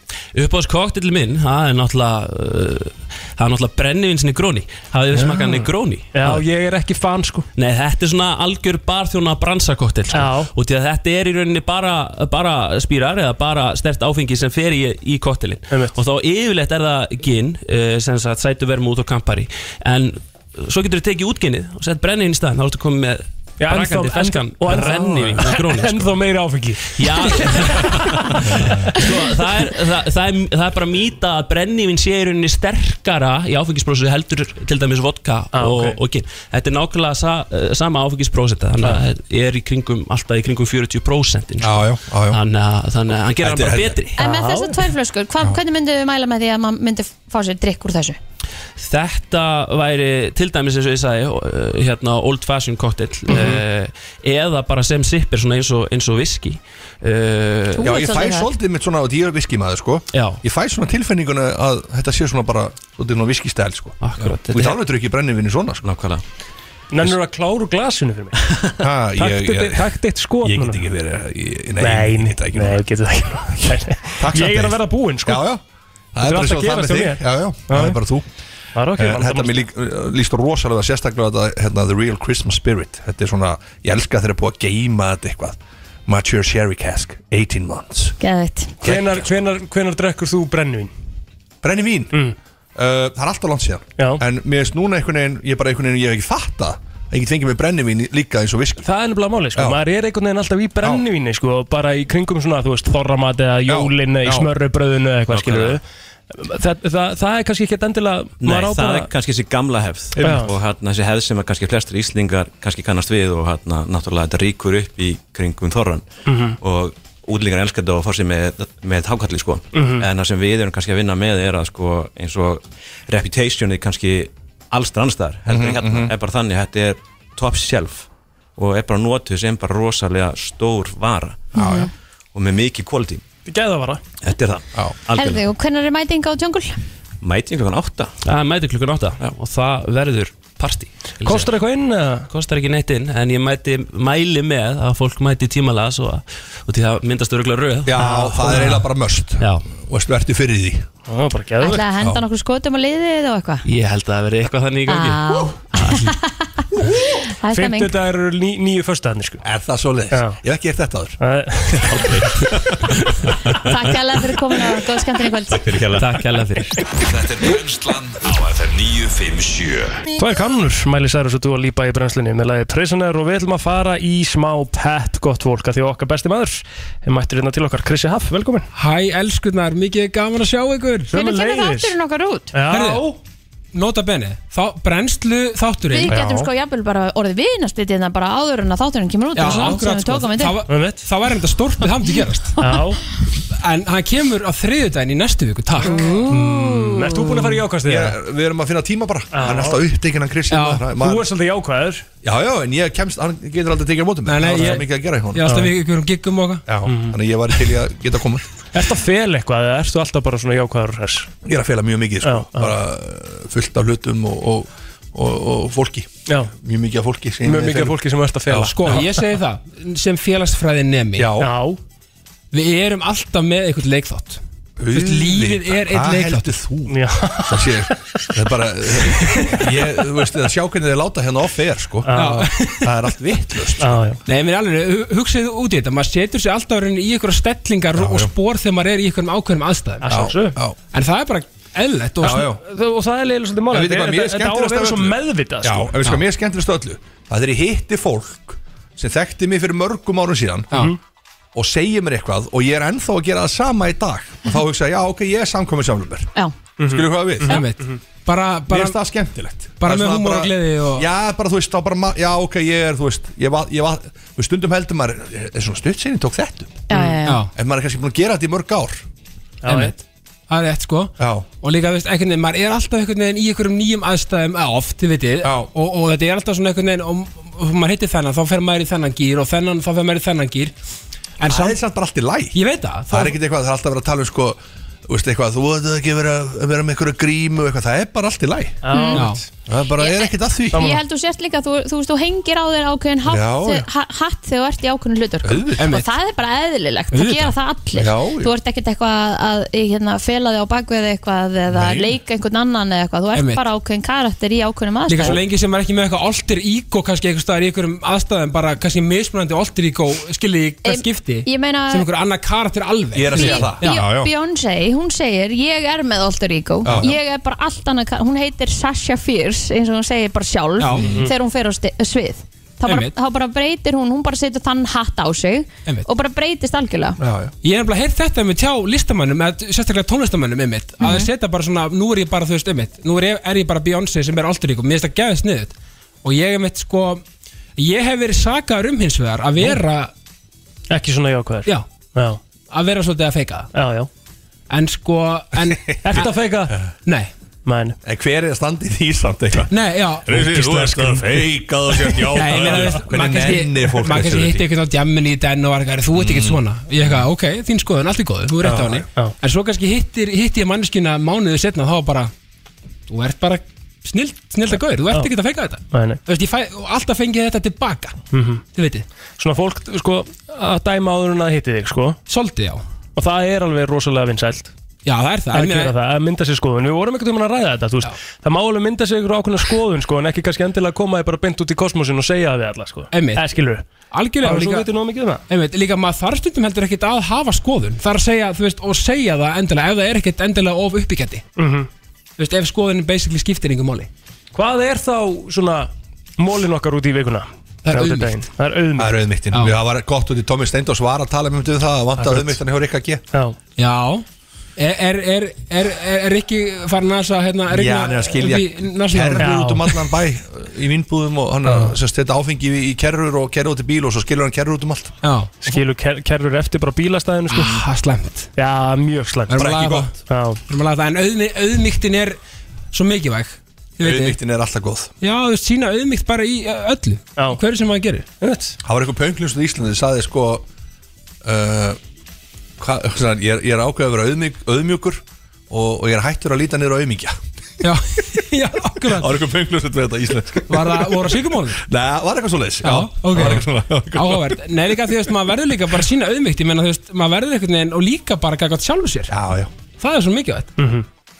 Speaker 10: Uppáðs koktelin minn, það er náttúrulega uh, það er náttúrulega brennivins Negroni hafið þið smakað Negroni
Speaker 2: Já, ég er ekki fan sko
Speaker 10: Nei, þetta er svona algjör barþjóna bransakoktel sko. og því að þetta er í rauninni bara, bara spýrar eða bara stert áfengi sem fer í, í koktelin og þá yfirleitt er það gin uh, sem sagt sætu vermút og kampari en uh, svo getur þú tekið útginnið og sett brennivinn í staðinn, þá ertu komið með
Speaker 2: Já, ennþá-
Speaker 10: brakandi feskan
Speaker 2: og ennþá-
Speaker 10: brennivinn Negroni sko.
Speaker 2: Ennþá meiri áfengi
Speaker 10: Já Sko, það, er, það, það, er, það er bara mýta að brennivinn sé í rauninni sterkara í áfengisprósentu heldur til dæmis vodka
Speaker 6: Ah,
Speaker 10: og,
Speaker 2: ok.
Speaker 10: og gin Þetta er nákvæmlega sa, eh, sama áfengisprósenta þannig að það er í kringum, alltaf í kringum 40% já,
Speaker 6: já, já, já.
Speaker 10: Þannig, að, þannig að hann gerir hann
Speaker 6: Þetta
Speaker 10: bara
Speaker 6: er-
Speaker 10: betri
Speaker 3: En með þessar tvær flöskur, hva, hvernig myndu við mæla með því að maður myndi fá sér drikk úr þessu?
Speaker 10: Þetta væri til dæmis eins og ég sagði eh, hérna, old fashion cocktail
Speaker 6: Mhm.
Speaker 10: mm eða bara sem sippir svona eins og, eins og viski uh,
Speaker 6: Já, ég fæ svolítið mitt svona, því ég er viskimæður sko
Speaker 10: Já.
Speaker 6: Ég fæ svona tilfinninguna að þetta sé svona bara Svolítið svona viskistæl sko
Speaker 10: Akkurat,
Speaker 6: Þú veit alveg drukkið brennivinni svona sko
Speaker 19: Nákvæmlega
Speaker 2: Nennur að klára úr glasinu fyrir mig
Speaker 6: Ha, ég,
Speaker 2: Taktu-
Speaker 6: ég,
Speaker 2: Taktu eitt skot
Speaker 6: ég get
Speaker 2: núna.
Speaker 6: ekki verið ég-
Speaker 2: Nei,
Speaker 6: Nei, ég get ekki
Speaker 2: nei,
Speaker 6: núna.
Speaker 2: ég getur það ekki
Speaker 6: Takk samt,
Speaker 2: Ég er
Speaker 6: Dave.
Speaker 2: að verða búinn sko
Speaker 6: Já, já Það
Speaker 2: Þetta
Speaker 6: er bara
Speaker 2: allt
Speaker 6: svo
Speaker 2: að
Speaker 6: það
Speaker 2: gerast
Speaker 6: með
Speaker 2: hjá
Speaker 6: þig
Speaker 2: mér.
Speaker 6: Já, já, það er bara þú
Speaker 2: Það er ok,
Speaker 6: Eh,
Speaker 2: bara
Speaker 6: Þetta
Speaker 2: saman-
Speaker 6: mér lík- líst rosalega sérstaklega að þetta, hérna, The Real Christmas Spirit Þetta er svona, ég elska þegar er búið að geima þetta eitthvað Mature Sherry Cask, 18 months
Speaker 3: Geðvitt
Speaker 2: Hvenar, hvenar, hvenar drekkur þú brennivín?
Speaker 6: Brennivín? Mm. Uh, það er alltaf langt síðan já. En mér veist núna einhvern veginn, ég er bara einhvern veginn, ég hef ekki fatta að ég get fengið mér brennivín í- líka eins og viski
Speaker 2: Það er nefnilega máli, sko, maður er einhvern veginn alltaf í brennivíni, sko, bara í kringum svona, þú veist, þorramat eða jólin eða í
Speaker 19: já.
Speaker 2: smörrubröðinu eða eitthvað, skilur
Speaker 19: Nákvæmlega.
Speaker 2: það, það, það er kannski ekki endilega,
Speaker 19: Nei,
Speaker 2: maður á
Speaker 19: það
Speaker 2: bara
Speaker 19: er kannski þessi gamla hefð
Speaker 2: Já.
Speaker 19: og hérna þessi hefð sem að kannski flestir íslingar kannski kannast við og hérna náttúrulega þetta ríkur upp í kringum þorran
Speaker 2: Mhm.
Speaker 19: og útlingar elskar þetta og fór sér með, með hákalli sko
Speaker 2: Mhm.
Speaker 19: en það sem við erum kannski að vinna með er að sko eins og reputationið kannski allstar allstar heldur
Speaker 6: Mhm,
Speaker 19: en hérna
Speaker 6: mhm.
Speaker 19: er bara þannig þetta er top shelf og er bara notuð sem bara rosalega stór vara
Speaker 3: Já, já.
Speaker 19: og með mikið quality
Speaker 2: Gæðavara
Speaker 19: Þetta er það, algjörlega
Speaker 3: Herðu, og hvernig er mæting á jungle?
Speaker 19: Mæting klukkan 8
Speaker 10: Það mæti klukkan 8 og það verður partí
Speaker 2: Kostar eitthvað inn?
Speaker 10: Kostar ekki neitt inn en ég mæti, mæli með að fólk mæti tímalega svo að, og því það myndast öruglega röð
Speaker 6: Já, það er eiginlega bara möst
Speaker 10: Já
Speaker 6: Og ertu ertu fyrir því
Speaker 10: Það er bara
Speaker 3: Ætlaði að henda nokkur skotum á liðið og eitthvað?
Speaker 10: Ég held að það verði eitthvað þannig í gangi
Speaker 3: Það er stemming
Speaker 2: Fymtudag eru ný, nýju förstaðarnir, sko
Speaker 6: Er það svo leiðis? Ég hef ekki gert þetta aður
Speaker 3: Takk hérlega fyrir komin og góð skemmtinn í kvöld
Speaker 19: fyrir
Speaker 10: kjalla Takk kjalla fyrir
Speaker 1: Þetta er Brenslan á FM 957
Speaker 2: Það er kannur, Mæli Særus og þú að lípa í brennslunni með lagið Prisoner og við ætlum að fara í smá pep gott fólk að því okkar besti maður er mættur hérna til okkar, Krissi Haff, velkomin
Speaker 20: Hæ elskunar, mikið gaman að sjá ykkur
Speaker 2: Hvenær kemur Sömuleiðis. þátturinn
Speaker 3: okkar út?
Speaker 2: Já.
Speaker 20: Herðu, nota bene þá, brennslu þátturinn
Speaker 3: Við getum sko jafnvel bara orðið vinarspitið en bara áður en að þátturinn kemur út
Speaker 20: Já,
Speaker 3: og svo langt sem
Speaker 20: akkurat
Speaker 3: við
Speaker 20: sko,
Speaker 3: tókum við til.
Speaker 20: það var, það var enda stórt með hamdi gerast En hann kemur á þriðudaginn í næstu viku, takk mm.
Speaker 6: Ert þú búin að fara í jákvæðstig, eða?
Speaker 20: Við erum að finna tíma bara
Speaker 6: Hann er alltaf upptekinn hann Kristján maður- maður-
Speaker 20: svolítið jákvæður
Speaker 6: Já, já, en ég kemst, hann getur aldrei tekið á mótum
Speaker 20: nei,
Speaker 6: Það er
Speaker 20: ég-
Speaker 6: svo mikið að gera í hún
Speaker 20: Ég er alltaf í ykkurum um giggum og
Speaker 6: Já, þannig að ég var til í að geta komið
Speaker 2: Ertu að fela eitthvað eða ertu alltaf bara svona jákvæður og hress?
Speaker 6: Ég er að fela mjög mikið, sko Bara uh, fullt af hlutum og, og, og, og fólki
Speaker 2: já.
Speaker 6: Mjög mikið af fólki sem
Speaker 2: Mjög
Speaker 6: ég
Speaker 2: mikið af
Speaker 6: fel.
Speaker 2: fólki sem ert að fela
Speaker 20: Sko, ég segi það, sem félagsfræði nemi
Speaker 6: Já.
Speaker 20: Við erum alltaf með eitthvað leikþátt Þú veist, Lífið er eitt
Speaker 6: Hvað
Speaker 20: leikþátt
Speaker 6: heldur þú? Það sé, það er bara ég, Þú veist, að sjá hvernig þið láta hérna off air, sko
Speaker 20: Já.
Speaker 6: Það er allt sko. vittlust
Speaker 20: Nei, mér er alveg, hugsaðu út í þetta maður setur sér alltaf rauninni í ykkur stellingar og spór þegar maður er í ykkur ákveðnum aðstæðum
Speaker 2: Að sjálfsögðu.
Speaker 20: En það er bara eðlætt og
Speaker 6: Já, já.
Speaker 2: Og það er leiðilega svolítið mál
Speaker 6: En veitir hvað, mér er
Speaker 2: Þetta á að
Speaker 6: skemmtilegast
Speaker 2: vera
Speaker 6: af
Speaker 2: svo
Speaker 6: öllu.
Speaker 2: meðvitað
Speaker 6: Já,
Speaker 2: sko.
Speaker 6: en veitir hvað, mér er skemmtilegast af öllu Það er ég hitti fólk sem þekkti mig fyrir mörgum árum síðan
Speaker 20: Mhm.
Speaker 6: og segir mér eitthvað og ég er ennþá að gera það sama í dag og þá hugsa ég, já, ok, ég er samkomið samlumber
Speaker 3: Já.
Speaker 6: Skilur hvað við?
Speaker 20: Mhm. Einmitt.
Speaker 17: Mhm.
Speaker 20: Bara,
Speaker 6: Mér
Speaker 20: bara
Speaker 6: finnst það skemmtilegt
Speaker 20: bara
Speaker 6: Það er
Speaker 20: með
Speaker 6: svona
Speaker 20: húmor og
Speaker 6: bara-
Speaker 20: gleði og-
Speaker 6: Já, bara þú veist, þá bara, ma- já, ok, ég er, þú veist Ég var, ég var, við stundum heldur maður Er svona stutt sinni, tók þetta
Speaker 3: Já, já, já.
Speaker 6: En maður er kannski búin að gera þetta í mörg ár
Speaker 20: Einmitt. Það er rétt sko
Speaker 6: Já.
Speaker 20: Og líka, þú veist, einhvern veginn, maður er alltaf einhvern veginn í einhverjum nýjum aðstæðum eh, oft, þið veitir og, og þetta er alltaf svona einhvern veginn og, og maður hittir þennan, þá fer maður í þennan gýr og þennan, þá fer maður í þennan gýr En
Speaker 6: Það er samt bara allt í læg
Speaker 20: Ég veit það
Speaker 6: Það er ekkert eitthvað, það er alltaf að vera að tala um sko Þú veist eitthvað, þú veit ekki að vera, að vera með einhverju grímu og eitthvað, það er bara allt í læg
Speaker 2: Já. Já.
Speaker 6: Það er bara, er ekkert að því
Speaker 3: Ég held þú sért líka, þú, þú veist, þú hengir á þér ákveðin hatt,
Speaker 6: Já, já.
Speaker 3: ha- hatt þegar þú ert í ákveðin hlutur
Speaker 6: Auðvitað.
Speaker 3: og það er bara eðlilegt, það
Speaker 6: Auðvitað.
Speaker 3: gera það allir
Speaker 6: Já, já.
Speaker 3: þú ert ekkert eitthvað að, að hérna, fela þig á bakveð eitthvað eða
Speaker 20: Nei.
Speaker 3: leika einhvern annan eða eitthvað, þú ert
Speaker 20: Einmitt.
Speaker 3: bara ákveðin karakter í ákveðin
Speaker 20: Líka svo
Speaker 3: maður
Speaker 20: lengi sem maður er ekki með eitthvað alter ego kannski eitthvað staðar í einhverjum aðstæðum bara kannski mismunandi alter ego skilji í hvert
Speaker 3: Em,
Speaker 20: skipti
Speaker 3: ég meina-
Speaker 20: sem einhver annar karakter alveg
Speaker 6: Ég er að segja það.
Speaker 20: Já,
Speaker 6: Já, já.
Speaker 3: Beyoncé, hún segir, ég er með alter ego,
Speaker 6: Já, já.
Speaker 3: ég er bara allt annað kar- hún heitir Sasha Fierce eins og hún segir bara sjálf
Speaker 6: Já. Mhm.
Speaker 3: þegar hún fer á sti- svið þá bara,
Speaker 20: Einmitt.
Speaker 3: þá bara breytir hún, hún bara setur þann hatt á sig
Speaker 20: Einmitt.
Speaker 3: og bara breytist algjörlega
Speaker 6: já.
Speaker 20: Ég er nefnilega heyrt þetta með tjá listamannum eða sérstaklega tónlistamannum einmitt að
Speaker 6: Mhm.
Speaker 20: þeir setja bara svona, nú er ég bara þú veist einmitt nú er ég, er ég bara Beyoncé sem er alter ego mér finnst það gæðið sniðut og ég einmitt sko ég hef verið sakaður um hins vegar að vera
Speaker 2: Ekki svona jákvæður
Speaker 20: Já,
Speaker 2: já.
Speaker 20: að vera svolítið að feika
Speaker 2: það Já, já
Speaker 20: En sko en,
Speaker 2: Ertu að feika?
Speaker 20: Nei
Speaker 2: Mæn
Speaker 6: En hver er að standa í því samt eitthvað?
Speaker 20: Nei, já Nei, ég meina, þú veist, maður kannski- Maður kannski hitti eitthvað á djammin í den og var eitthvað, þú ert ekkert svona Ég eitthvað, ok, þín skoðun, allt er góð, þú er rétt á
Speaker 2: Mm. Já,
Speaker 20: henni
Speaker 2: já.
Speaker 20: En svo kannski hittir, hitti ég manneskina mánuðu setna þá bara, þú ert bara snild, snild að gaur, þú ert ekkert að feika þetta
Speaker 2: Mæn
Speaker 20: Þú veist, ég fæ, og alltaf fengið þetta tilbaka Þið veitir
Speaker 2: Mhm. Svona fólk sko að dæma áður en að hitti þig sko
Speaker 20: Soltið já
Speaker 2: Og það er alveg rosalega vinsælt
Speaker 20: Já það er það
Speaker 2: Að
Speaker 20: en ég meina-
Speaker 2: gera það, að mynda sér skoðun Við vorum ekkert um að ræða þetta þú veist Það má alveg mynda sér ykkur ákveðna skoðun sko En ekki kannski endilega koma þig bara beint út í kosmosin og segja það við alla sko
Speaker 20: Einmitt.
Speaker 2: Það skilur
Speaker 20: Algjörlega
Speaker 2: Bara
Speaker 20: og
Speaker 2: svo
Speaker 20: líka-
Speaker 2: veitir nóg mikið um það
Speaker 20: Einmitt, líka maður þarf stundum heldur ekkert að hafa skoðun Það er að segja, þú veist, og segja það endilega Ef það er ekkert endilega of uppbyggjandi
Speaker 2: Mhm.
Speaker 20: Þú veist, ef skoðunin basically skiptir yngur máli
Speaker 2: Hvað er þá svona mólin okkar út í vikuna?
Speaker 20: Það er
Speaker 2: Þrjá til
Speaker 20: auðmýkt.
Speaker 2: daginn. Það er auðmýkt
Speaker 6: Það er auðmýttin,
Speaker 2: Já.
Speaker 6: það var gott út í Tommi Steindós var að tala mjög um það, það vantar
Speaker 2: Akkurat.
Speaker 6: auðmýttan hjá Rikka G
Speaker 2: Já,
Speaker 20: Já Er, er, er, er, er, er ekki farin að það hérna
Speaker 6: Já, hann er að skilja kerrur út um allan bæ í vinnbúðum og hann er sem stetta áfengi í- í kerrur og kerrur út í bíl og svo skilur hann kerrur út um allt
Speaker 20: Já.
Speaker 2: Skilur ker kerfur eftir bara bílastæðinu sko.
Speaker 20: ah, Slemt
Speaker 2: Já, mjög slemt
Speaker 20: Erum að laga það.
Speaker 2: Já.
Speaker 20: Erum að laga það, En auðmi, auðmygtin er svo mikilvæg Þið vitið.
Speaker 6: Auðmýttin er alltaf góð
Speaker 20: Já, þú veist, sína auðmygt bara í ö, öllu Já. Hverju sem maður gerir
Speaker 6: Það var eitthvað pöngljónsnur í Íslandi, það sagði sko uh, hva, sann, ég, er, ég er ákveð að vera auðmjúk, auðmjúkur og, og ég er hættur að líta niður á auðmíkja
Speaker 20: Já, já, akkurat Það
Speaker 6: var eitthvað pöngljónsnur við þetta í Íslandi
Speaker 20: Var það, voru síkumónum?
Speaker 6: Nei, það var eitthvað svo leiðis
Speaker 20: Já, ok.
Speaker 6: ok
Speaker 20: Áhugavert, nei líka því að maður verður líka bara að sína auðmygt Ég menna þú veist, maður verður einhvern veginn og líka bara gægat sjálfu sér
Speaker 6: Já, já
Speaker 20: Það er svo mikilvægt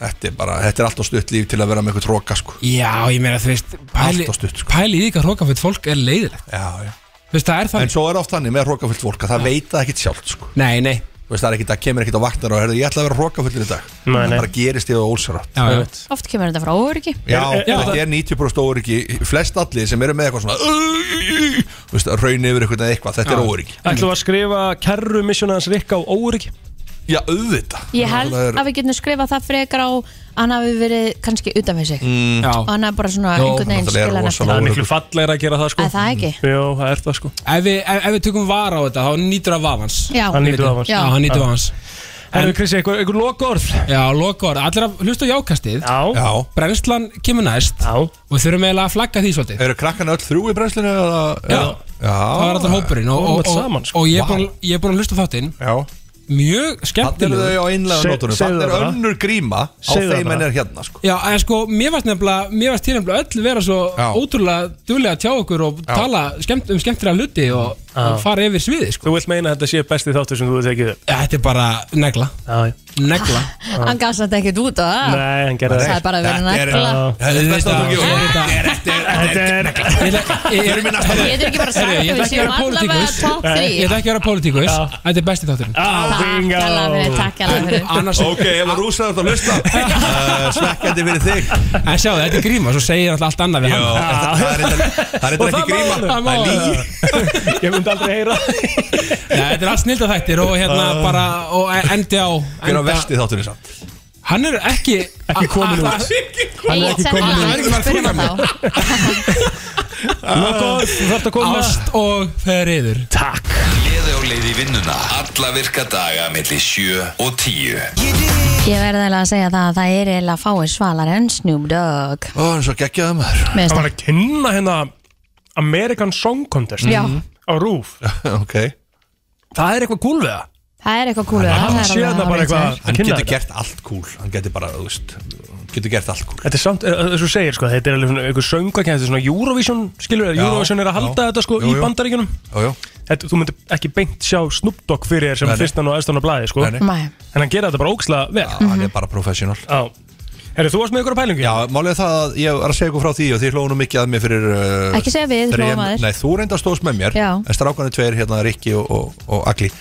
Speaker 6: Þetta er bara, þetta er alltaf stutt líf til að vera með eitthvað tróka sko
Speaker 20: Já, ég meina þú veist Pæli,
Speaker 6: Alltaf stutt, sko.
Speaker 20: pæli í því hvað hrókafullt fólk er leiðilegt
Speaker 6: Já, já
Speaker 20: Þú veist, það er
Speaker 6: En svo er oft þannig með hrókafullt fólk að það veit það ekkit sjálft sko.
Speaker 20: Nei, nei
Speaker 6: Þú veist, það er ekkit, það kemur ekkit á vaknar og herðu, ég ætla að vera hrókafullur í dag
Speaker 2: Nei, nei.
Speaker 6: Það bara gerist þið á ólsarátt
Speaker 20: Já,
Speaker 6: já,
Speaker 3: oft kemur þetta frá óryggi
Speaker 6: þetta er 90% óryggi Flest allir sem eru með eitthvað svona "Ugh", Þú veist, raun yfir eitthvað eitthvað Þetta er óryggi
Speaker 2: Ætlum við að skrifa kerru missionans Rikka á órygg
Speaker 6: Já, auðvita
Speaker 3: Ég held að við getum skrifað það frekar á að hann hafi verið kannski utan við sig
Speaker 6: Mm.
Speaker 3: og hann hafi bara svona einhvern veginn skilja hann eftir
Speaker 2: Það er miklu fallegra að gera það sko
Speaker 3: Að það ekki?
Speaker 2: Jó, það er það sko
Speaker 20: Ef við, ef, ef við tökum vara á þetta, þá nýtur það vafans
Speaker 3: Já.
Speaker 2: Hann nýtur vafans.
Speaker 20: Já, hann nýtur
Speaker 2: Já.
Speaker 20: vafans
Speaker 2: Herðu, Krissi, einhver, einhver lokaorð?
Speaker 20: Já, lokaorð, allir að hlusta á jákastið
Speaker 2: Já,
Speaker 6: Já.
Speaker 20: Brennslan kemur næst
Speaker 2: Já
Speaker 20: Og við þurfum eiginlega að flagga því svolítið
Speaker 6: Eru krakkan öll þrjú í brennslinu eða?
Speaker 20: Já,
Speaker 6: Já
Speaker 20: það er alltaf hópurinn Og, og,
Speaker 2: sko.
Speaker 20: og, og, og ég er búinn- ég er búin að hlusta á þáttinn
Speaker 6: Já
Speaker 20: Mjög
Speaker 6: Þannig
Speaker 20: skemmtilegur
Speaker 6: eru þau á einlega nótunum Þannig er önnur gríma á
Speaker 20: Segðu það
Speaker 6: þeim en
Speaker 20: bara.
Speaker 6: er hérna sko
Speaker 20: Já, en sko, mér varst nefnilega, mér varst til nefnilega öll vera svo ótrúlega duðlega að tjá okkur og tala skemmt, um skemmtilega hluti og, og fara yfir sviði sko.
Speaker 2: Þú vilt meina að þetta sé besti þáttur sem þú hefur tekið upp?
Speaker 20: Ja, þetta er bara negla Negla
Speaker 3: Hann gaf samt ekkert út á það
Speaker 2: Nei, hann gerði
Speaker 3: Ah. Það er bara verið nægla
Speaker 6: Þetta er best að þú
Speaker 3: Ég veit ekki bara sagt
Speaker 20: Herri,
Speaker 3: að
Speaker 20: ég
Speaker 3: við
Speaker 20: ætla ekki að
Speaker 3: séum
Speaker 20: vera
Speaker 3: allavega
Speaker 20: pólitíkus
Speaker 3: top 3
Speaker 20: Ég ætla ekki að vera pólitíkus Þetta er besti þátturinn
Speaker 3: Takk alveg fyrir, takk alveg fyrir
Speaker 20: Annars-
Speaker 6: Ok, ef að rúsa þetta að hlusta eh, Svekkjandi fyrir þig
Speaker 20: En sjáðu, þetta er gríma, svo segir hann allt annað við
Speaker 6: Já,
Speaker 20: hann
Speaker 6: þetta- það er reyndar- það er reyndar ekki gríma Það er lígi
Speaker 2: Ég myndi aldrei heyra
Speaker 20: Nei, Þetta er allt snilda þættir og hérna
Speaker 6: Ah.
Speaker 20: bara og endi á
Speaker 6: Hver á
Speaker 20: enda-
Speaker 6: vesti þátturinn samt?
Speaker 20: Hann er ekki Ah, Ekki
Speaker 6: kominn út.
Speaker 20: Hann er
Speaker 6: Ég
Speaker 20: ekki
Speaker 6: sem
Speaker 20: komin
Speaker 6: var-
Speaker 20: út
Speaker 6: Hann er ekki bara
Speaker 20: að
Speaker 6: þunga
Speaker 20: mig
Speaker 2: Lokaorð, þú þarft að koma.
Speaker 20: ah, Ást og ferriður
Speaker 2: Takk
Speaker 1: Gleði á leið í vinnuna Alla virka daga melli 7 og 10
Speaker 3: Ég verði eiginlega að segja það að það er eiginlega fáir svalar en Snoop Dogg
Speaker 6: Ó, hann er svo geggjaði maður
Speaker 3: Mér finnst
Speaker 2: Það var að kynna hérna American Song Contest
Speaker 3: Já.
Speaker 20: Mhm.
Speaker 2: Á RÚF
Speaker 6: Ok
Speaker 2: Það er eitthvað gúl við það
Speaker 3: Það er eitthvað kúlu
Speaker 6: Hann
Speaker 2: Kynna
Speaker 6: getur
Speaker 2: þetta.
Speaker 6: gert allt cool Hann getur bara, þú veist hann Getur gert allt cool
Speaker 2: Þetta er samt, eh, eins og þú segir sko, þetta er alveg svona einhver söngakennst, svona Eurovision, skilur þér,
Speaker 6: Já,
Speaker 2: Eurovision er að halda
Speaker 6: já.
Speaker 2: þetta sko
Speaker 6: Jú,
Speaker 2: í
Speaker 6: jú.
Speaker 2: bandaríkjunum.
Speaker 6: Jú, jú.
Speaker 2: Þetta, þú myndir ekki beint sjá Snoop Dogg fyrir þér sem
Speaker 6: Nei, nei.
Speaker 2: fyrstan og efstan á blaði sko.
Speaker 6: Nei, nei. Nei.
Speaker 2: En hann gera þetta bara ókslega vel.
Speaker 6: Já, hann er bara professional
Speaker 2: Mhm. Já Herru, þú varst með ykkur á pælingu?
Speaker 6: Já, málið er það að ég var að segja ykkur frá því og þið hlóðum mikið að mér fyrir uh,
Speaker 3: Ekki segja við,
Speaker 6: þrem-
Speaker 3: hlógum að þér.
Speaker 6: Nei, þú reyndar stóðst með mér
Speaker 3: Já.
Speaker 6: En strákanir tveir, hérna, Rikki og, og, og Agli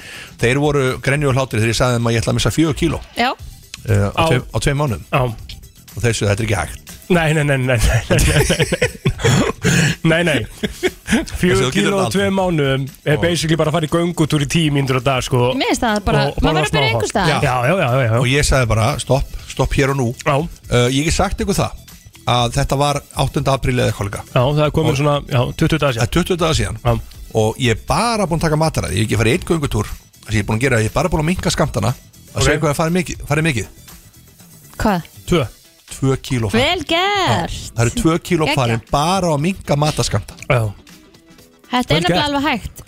Speaker 6: Þeir voru grenju og hlátir þegar ég sagði þeim að ég ætla að missa fjögur kíló
Speaker 3: Já,
Speaker 6: uh, á,
Speaker 2: Á-
Speaker 6: tveim- á tveim mánum
Speaker 2: Já.
Speaker 6: Og þeir sögðu þetta er ekki hægt
Speaker 2: Nei, nei, nei, nei, nei, nei, nei, nei, nei.
Speaker 6: Þessi, þú
Speaker 2: Fjögur
Speaker 6: getur
Speaker 2: kíló
Speaker 6: þetta
Speaker 2: og tvei mánuðum er basically bara að fara í göngutúr í tíu mínútur á dag sko.
Speaker 3: mér finnst það bara,
Speaker 2: Og- og
Speaker 3: maður verður
Speaker 2: borða
Speaker 3: að byrja
Speaker 2: smáholt.
Speaker 3: einhver stað
Speaker 6: Já.
Speaker 2: Já, já, já, já, já.
Speaker 6: Og ég sagði bara, stopp, stopp hér og nú
Speaker 2: Já.
Speaker 6: uh, Ég hef sagt ykkur það að þetta var 8. apríl eða eitthvað líka.
Speaker 2: Já, það er komin svona, já, 20 dagar síðan
Speaker 6: 20 dagar síðan
Speaker 2: Já.
Speaker 6: Og ég er bara búin að taka mataræði Ég hef ekki farið einn göngutúr Það ég er búin að gera, ég er bara búin að minka skamtana Að
Speaker 2: Ok.
Speaker 6: segja hvað það farið mikið, farið mikið.
Speaker 3: Hvað?
Speaker 2: Tvö.
Speaker 6: Tvö kíló farið.
Speaker 3: Vel gert
Speaker 6: Það eru 2 kíló
Speaker 3: Geggjað.
Speaker 6: farin bara á að minga mataskamta
Speaker 2: Já
Speaker 3: Þetta
Speaker 6: Vel
Speaker 3: er nefnilega
Speaker 6: gert.
Speaker 3: alveg hægt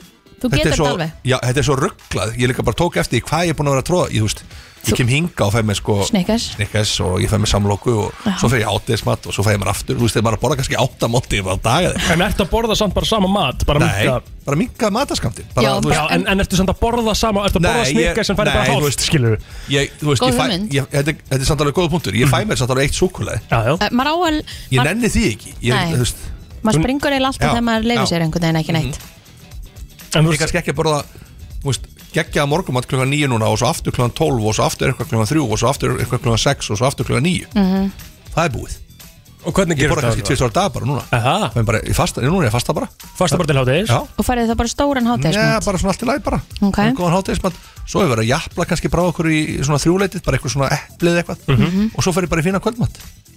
Speaker 3: Þú getur
Speaker 6: er svo,
Speaker 3: þetta alveg
Speaker 6: já, þetta er svo rugglað Ég líka bara tók eftir því hvað ég er búin að vera að tróða Ég, þú veist, ég kem hinga og fæ mér sko
Speaker 3: Snickers.
Speaker 6: Snickers og ég fæ mér samloku og
Speaker 3: Já.
Speaker 6: svo fer ég átiðismat og svo fæ ég mér aftur Þú veist, þeir bara borða kannski áttamátti yfir á daga þeir
Speaker 2: En ertu að borða samt bara sama mat? Bara
Speaker 6: Nei,
Speaker 2: minnka-
Speaker 6: bara minga mataskamti
Speaker 2: Já, bara- en, en ertu samt að borða sama Ertu að borða snikka sem færi bara hálft skilur
Speaker 6: ég, þú veist,
Speaker 3: Góð
Speaker 6: ég fæ,
Speaker 3: hugmynd.
Speaker 6: ég, þetta, er- þetta er samt alveg góða punktur Ég fæ mér samt alveg eitt súkulega
Speaker 2: Já,
Speaker 3: Eh, Maður á að
Speaker 6: Ég
Speaker 3: maður-
Speaker 6: nenni því ekki Ég,
Speaker 3: Nei.
Speaker 6: þú veist,
Speaker 3: Maður springur eiginlega alltaf
Speaker 6: Já,
Speaker 3: þegar maður
Speaker 6: já.
Speaker 3: leifir sér einhvern veginn ekki neitt
Speaker 2: En þú
Speaker 6: ég kannski ekki að borða þú veist, geggjaða morgumat klukkan 9 núna og svo aftur klukkan 12 og svo aftur eitthvað klukkan 3 og svo aftur eitthvað klukkan 6 og svo aftur klukkan 9
Speaker 3: Mhm.
Speaker 6: það er búið
Speaker 2: Og hvernig
Speaker 6: ég
Speaker 2: gerir
Speaker 6: borða
Speaker 2: þetta?
Speaker 6: kannski 20 ára dag bara núna
Speaker 2: Aha.
Speaker 6: Men bara, ég fasta, ég, núna er ég að fasta bara
Speaker 2: Fasta bara til hátegis
Speaker 6: já,
Speaker 3: Og farið það bara stóran
Speaker 6: Nei,
Speaker 3: hátegismat
Speaker 6: bara svona allt í læg bara
Speaker 3: Ok.
Speaker 6: okay. góðan hátegismat svo er verið að jafla kannski brá okkur í svona þrjúleitið bara eitthvað svona eplið eitthvað og svo fer ég bara í fína kvöldmat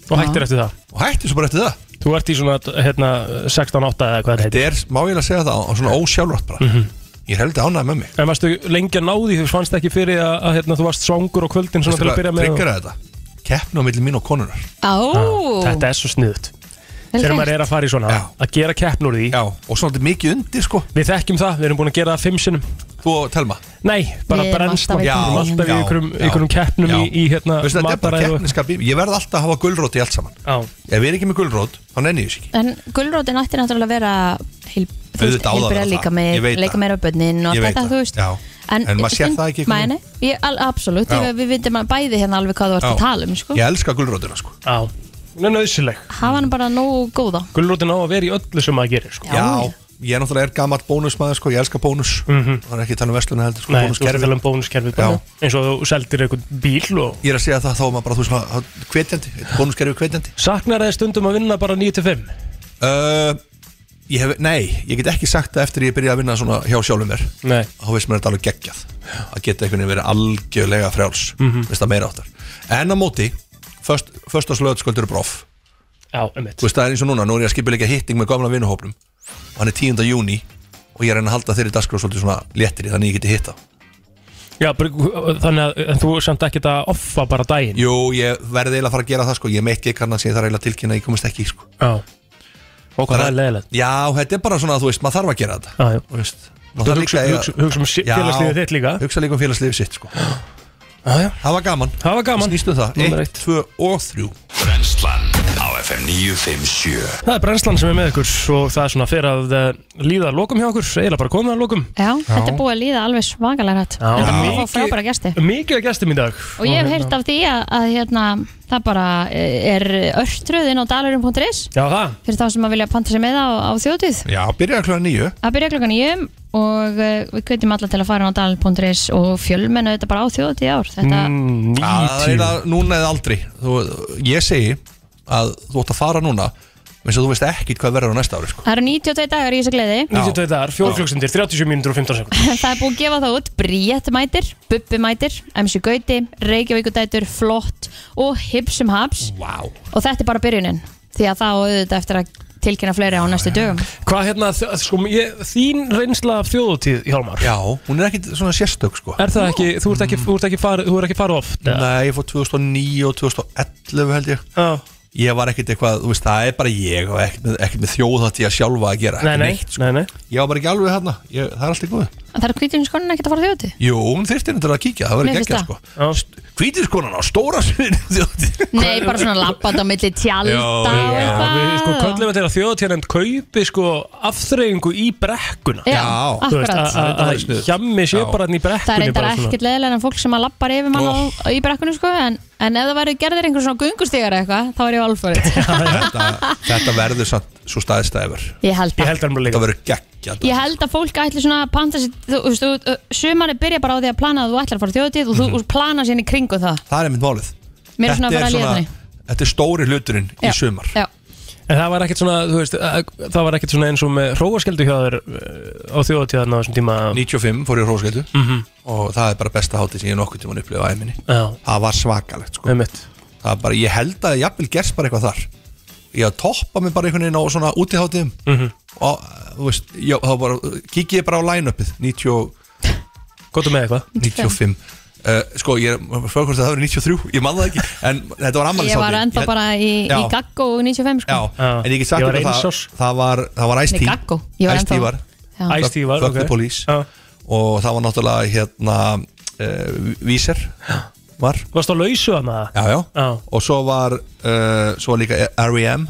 Speaker 2: Mhm. Og hættir eftir það
Speaker 6: og hættir svo bara eftir það
Speaker 2: Þú ert í svona, hérna, 16-8 eða hvað þetta Mhm.
Speaker 6: þetta er, má ég að segja það, á- svona ósjálfrátt bara ég er heldur ánægð með mig
Speaker 2: En varstu lengi að ná því, þú fannst ekki fyrir að, að hérna, þú varst songur og kvöldin svona
Speaker 6: Veistu
Speaker 2: til að
Speaker 6: hvað
Speaker 2: byrja með
Speaker 6: triggeraði þetta? keppna á milli mín og konunar
Speaker 3: Á,
Speaker 2: Ah, Þetta er svo sniðut
Speaker 3: Vel
Speaker 2: Þegar
Speaker 3: gert.
Speaker 2: maður er að fara í svona, að gera keppn úr því
Speaker 6: Já, og svona mikið undir sko
Speaker 2: Við þekkjum það, við erum búin að gera það fimm sinnum
Speaker 6: Þú og Telma
Speaker 2: Nei, bara
Speaker 6: Við erum
Speaker 2: brennslan Við
Speaker 6: alltaf í
Speaker 2: erum
Speaker 6: keppnum.
Speaker 2: alltaf í
Speaker 6: Já,
Speaker 2: einhverjum-
Speaker 6: já.
Speaker 2: einhverjum keppnum í, í hérna
Speaker 6: Veistu, þetta er bara
Speaker 2: mataræði og-
Speaker 6: keppniskap í- Ég verð alltaf að hafa gulrót í allt saman
Speaker 2: Já.
Speaker 6: Ef ég er ekki með gulrót, þá nenni ég þess ekki
Speaker 3: En gulrótin ætti náttúrulega að vera heil- þú veist,
Speaker 6: Auðvitað á það að vera
Speaker 3: heilbrigða
Speaker 6: það.
Speaker 3: líka
Speaker 6: Ég
Speaker 3: með
Speaker 6: veit
Speaker 3: leika
Speaker 6: það.
Speaker 3: meira á börnin og allt
Speaker 6: Ég veit
Speaker 3: þetta,
Speaker 6: það.
Speaker 3: þú veist
Speaker 6: Já. En maður sér það ekki einhvern
Speaker 3: Mæni, ég, al, absolutt,
Speaker 6: Já.
Speaker 3: ég, við vitum að bæði hérna alveg hvað þú ert að
Speaker 6: Já.
Speaker 3: tala um sko.
Speaker 6: Ég elska gulrótina sko
Speaker 2: Já, hún er nöðsileg
Speaker 3: Hafa hann bara nógu góða
Speaker 2: Gullrótin á að vera í öllu sem maður gerir sko.
Speaker 6: Já, ég er náttúrulega er gammal bónusmaður sko Ég elska bónus Það er ekki að tala um vestluna heldur sko,
Speaker 2: Mhm. Nei, þú ert að
Speaker 6: bónuskerfi.
Speaker 2: tala um bónuskerfi bara. eins og þú seldir einhvern bíl og...
Speaker 6: Ég er að segja það þá er maður bara þú veist svona hvetjandi Bónuskerfi hvetjandi
Speaker 2: Saknar þið stundum að vinna bara 9-5?
Speaker 6: uh, ég hef, Nei, ég get ekki sagt það eftir ég byrja að vinna svona hjá sjálfum mér
Speaker 2: Nei
Speaker 6: Þá veist mér þetta alveg geggjað að geta einhvern veginn verið algjörlega frjáls mm
Speaker 2: Mhm.
Speaker 6: -hmm. það meira áttar en á móti, först, först að slöðu sköldur brof
Speaker 2: Já, einmitt.
Speaker 6: Þú veist, það er eins og núna, nú er ég að skipa líka hitting með gamla vinnuhópnum og hann er 10. júni og ég er að reyna að halda þeirri dagskráð svolítið svona léttir þannig ég geti hitta
Speaker 2: Já, bara- þannig að en þú samt ekki að offa bara daginn
Speaker 6: Jú, ég verði eiginlega að fara að gera það sko, ég meitt ekki kannast ég þarf eiginlega að tilkynna að ég komist ekki í, sko.
Speaker 2: Já, og hvað það er leðilegt
Speaker 6: Já, þetta er bara svona að þú veist, maður þarf að gera þetta
Speaker 2: Já, já.
Speaker 6: Þú veist,
Speaker 2: Þú hugsa- hugsa- hugsa um sí- félagslífið
Speaker 6: þitt líka Hugsa líka um félagslífið sitt sko.
Speaker 2: já, já.
Speaker 6: Það var gaman
Speaker 2: Það var gaman
Speaker 6: Snýstu það,
Speaker 2: Númer
Speaker 6: 1, 2 og 3
Speaker 1: Brennslan á FM 957
Speaker 2: Það er brennslan sem er með ykkur og það er svona fyrir að eh, líða að lokum hjá okkur, eiginlega bara komið að lokum
Speaker 3: Já, þetta er búið að líða alveg svakalega rætt
Speaker 2: Já.
Speaker 3: Þetta
Speaker 2: Já.
Speaker 3: er búið að fá frábæra gesti
Speaker 2: Mikið að gestum í dag
Speaker 3: Og ég hef heyrt af því að, að hérna, það bara eh, er örtröð inn á dalarum.is
Speaker 2: Já, það
Speaker 3: fyrir þá sem að vilja panta sér með á, á þjótið
Speaker 6: Já, byrja klokkan 9
Speaker 3: Það byrja klokkan 9 og uh, við kveitum alla til að fara inn á dalarum.is og fjölmennu þetta bara á þjótið í ár Þetta,
Speaker 2: Mm,
Speaker 6: Já, Það er eiginlega núna eða aldrei þú, Ég segi að þú ætti að fara núna eins og þú veist ekkit hvað verður á næsta ári sko.
Speaker 3: Það eru 92 dagar í þessu gleði
Speaker 2: 92 dagar, 4 klukkstundir, 37 mínútur og 15 sekund
Speaker 3: Það er búið að gefa það út Bríett mætir, Bubbi mætir, MC Gauti, Reykjavíkudætur, Flott og Hipsum Haps
Speaker 6: wow.
Speaker 3: Og þetta er bara byrjunin Því að það á auðvitað eftir að tilkynna fleiri á næstu dögum
Speaker 2: Hvað hérna, þ- sko, ég, þín reynsla af þjóðutíð, Hjálmar
Speaker 6: Já, hún er ekkit svona sérstök sko.
Speaker 2: Er það ekki, þú ert ekki, þú ert ekki farið, þú ert ekki farið oft
Speaker 6: Nei, ég fór 2009 og 2011 held ég
Speaker 2: Já.
Speaker 6: Ég var ekkit eitthvað, þú veist, það er bara ég og ekkit með, ekkit með þjóðatíð að sjálfa að gera
Speaker 2: Nei, nei,
Speaker 6: ekki neitt, sko.
Speaker 2: nei, nei
Speaker 6: Ég var bara ekki alveg þarna, ég, það er allt í góðu
Speaker 3: En Það eru kvítinskonin ekkert að fara á þjóti
Speaker 6: Jú, hún þyrfti hendur að kíkja, það verður
Speaker 3: Mér
Speaker 6: geggja
Speaker 3: finnst
Speaker 6: sko Hvítiskonan á stóra sviðinu þjóðatíð.
Speaker 3: Nei, bara svona labband á milli tjálta
Speaker 2: Já,
Speaker 3: og
Speaker 2: já,
Speaker 3: eitthvað.
Speaker 2: við sko köllum þetta að þjóðatíðanend kaupi sko afþreyingu í brekkuna
Speaker 3: Já, Já.
Speaker 2: Þú veist, að-
Speaker 3: akkurat.
Speaker 2: að-
Speaker 6: Það er
Speaker 2: að
Speaker 6: sniðugt.
Speaker 2: hjammi sé
Speaker 6: Já.
Speaker 2: bara hann í brekkunni
Speaker 3: Það er reyndar
Speaker 2: bara svona.
Speaker 3: ekkert leðilega en fólk sem að labbar yfir mann oh. í brekkunum sko en, en ef það væri gerðir einhver svona gungustígar eða eitthvað þá er ég alfarið
Speaker 6: þetta, þetta verður samt svo staðistæður
Speaker 3: Ég held það. Ég held
Speaker 6: það Það verður geggja
Speaker 3: Ég held að fólk ætli svona að panta sér þú þú veist, þú- þú- sumarið byrja bara á því að plana að þú ætlar að fara þjóðtíð og þú mm. plana sér í kringu það
Speaker 6: Það er mitt málið
Speaker 3: Mér er svona að
Speaker 6: Þetta
Speaker 3: fara að líða
Speaker 6: svona-
Speaker 3: þannig
Speaker 6: Þetta er stóri hluturinn
Speaker 3: Já.
Speaker 6: í sumar
Speaker 3: Já,
Speaker 2: En það var ekkert svona, þú veist, að- það var ekkert svona eins og með hróaskeldu hjá þér eh, á þjóðatíðan á þessum tíma
Speaker 6: 95 fór ég hróskildu
Speaker 2: Mhm.
Speaker 6: og það er bara besta hátíð sem ég nokkuð tíma upplifa æminni
Speaker 2: Já.
Speaker 6: Það var svakalegt sko. Það er bara, ég held að jafnvel gerst bara eitthvað þar Ég toppa mig bara einhvern veginn á svona útihátíðum
Speaker 2: Mhm.
Speaker 6: og þú veist, ég, þá bara kíkja ég bara á line-upið 90 og-
Speaker 2: Góttu með eitthvað
Speaker 6: 95 uh, Sko, ég fyrir hvort að það verið 93 Ég man það ekki, en þetta var ammælishátíð
Speaker 3: Ég var enda bara í, í
Speaker 6: Já.
Speaker 3: Gaggo 95 sko
Speaker 6: Já, en ég get sagt
Speaker 2: Ah. Ég var
Speaker 6: ykkur
Speaker 2: eins
Speaker 6: það,
Speaker 2: árs.
Speaker 6: það var, það var
Speaker 3: Nei,
Speaker 6: Ice-T
Speaker 3: Gaggo. Ég var
Speaker 6: Ice-T
Speaker 3: ennþá-
Speaker 6: var
Speaker 3: Já.
Speaker 2: Ice-T var,
Speaker 6: Fuck the
Speaker 2: ok. Ah.
Speaker 6: Police og það var náttúrulega hérna uh, Víser var
Speaker 2: Varst á lausu Ah. að maður?
Speaker 6: Já, já, og svo var uh, svo var líka R.E.M.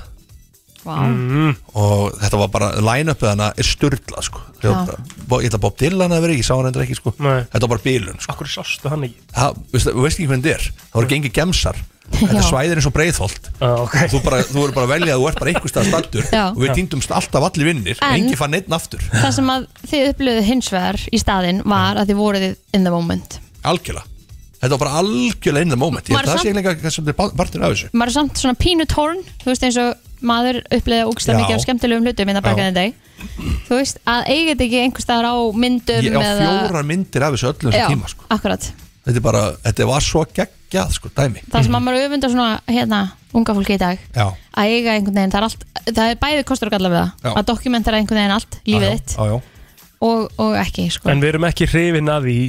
Speaker 3: Vá.
Speaker 2: Mm.
Speaker 6: Mhm. og þetta var bara line-upið hana er styrla sko
Speaker 2: Já.
Speaker 6: Ég var- ég ætla að Bob Dylan að vera ekki, ég sá hann endur ekki sko
Speaker 2: Nei.
Speaker 6: þetta var bara bílun sko
Speaker 2: Akkur sástu hann ekki
Speaker 6: það, veist, veist ekki hvernig þetta er, það voru gengið gemsar þetta
Speaker 3: Já.
Speaker 6: svæðir eins og breiðholt
Speaker 2: ah, okay.
Speaker 6: þú, bara, þú verður bara að velja að þú ert bara einhver stað stattur
Speaker 3: Já.
Speaker 6: og við týndumst alltaf allir vinnir en
Speaker 3: En-
Speaker 6: engi fann einn aftur
Speaker 3: Það sem að þið upplöðu hins vegar í staðinn var að þið voruð in the moment
Speaker 6: algjörlega þetta var bara algjörlega in the moment ég,
Speaker 3: Maður
Speaker 6: held að það
Speaker 3: samt-
Speaker 6: sé eiginlega hvað sem er partur af þessu
Speaker 3: maður er samt svona pínu torn þú veist eins og maður upplýða úkslega
Speaker 6: Já.
Speaker 3: mikið af skemmtilegum hlutum hérna innan bakaðin dag þú veist að eiga þetta ekki einhver staðar á myndum
Speaker 6: ég á
Speaker 3: eða-
Speaker 6: fjórar myndir af þessu öllum
Speaker 3: Já,
Speaker 6: þessu tíma sko.
Speaker 3: akkurat
Speaker 6: þetta, er bara, þetta var svo geggjað sko, dæmi
Speaker 3: það sem að maður öfunda svona hérna unga fólki í dag
Speaker 6: já,
Speaker 3: að eiga einhvern veginn það er, allt, það er bæði kostur og galla við það
Speaker 2: Já.
Speaker 3: að dokumentara einhvern veginn allt lífið þitt
Speaker 6: já, já.
Speaker 3: og, og ekki sko.
Speaker 2: En við erum ekki hrifin að því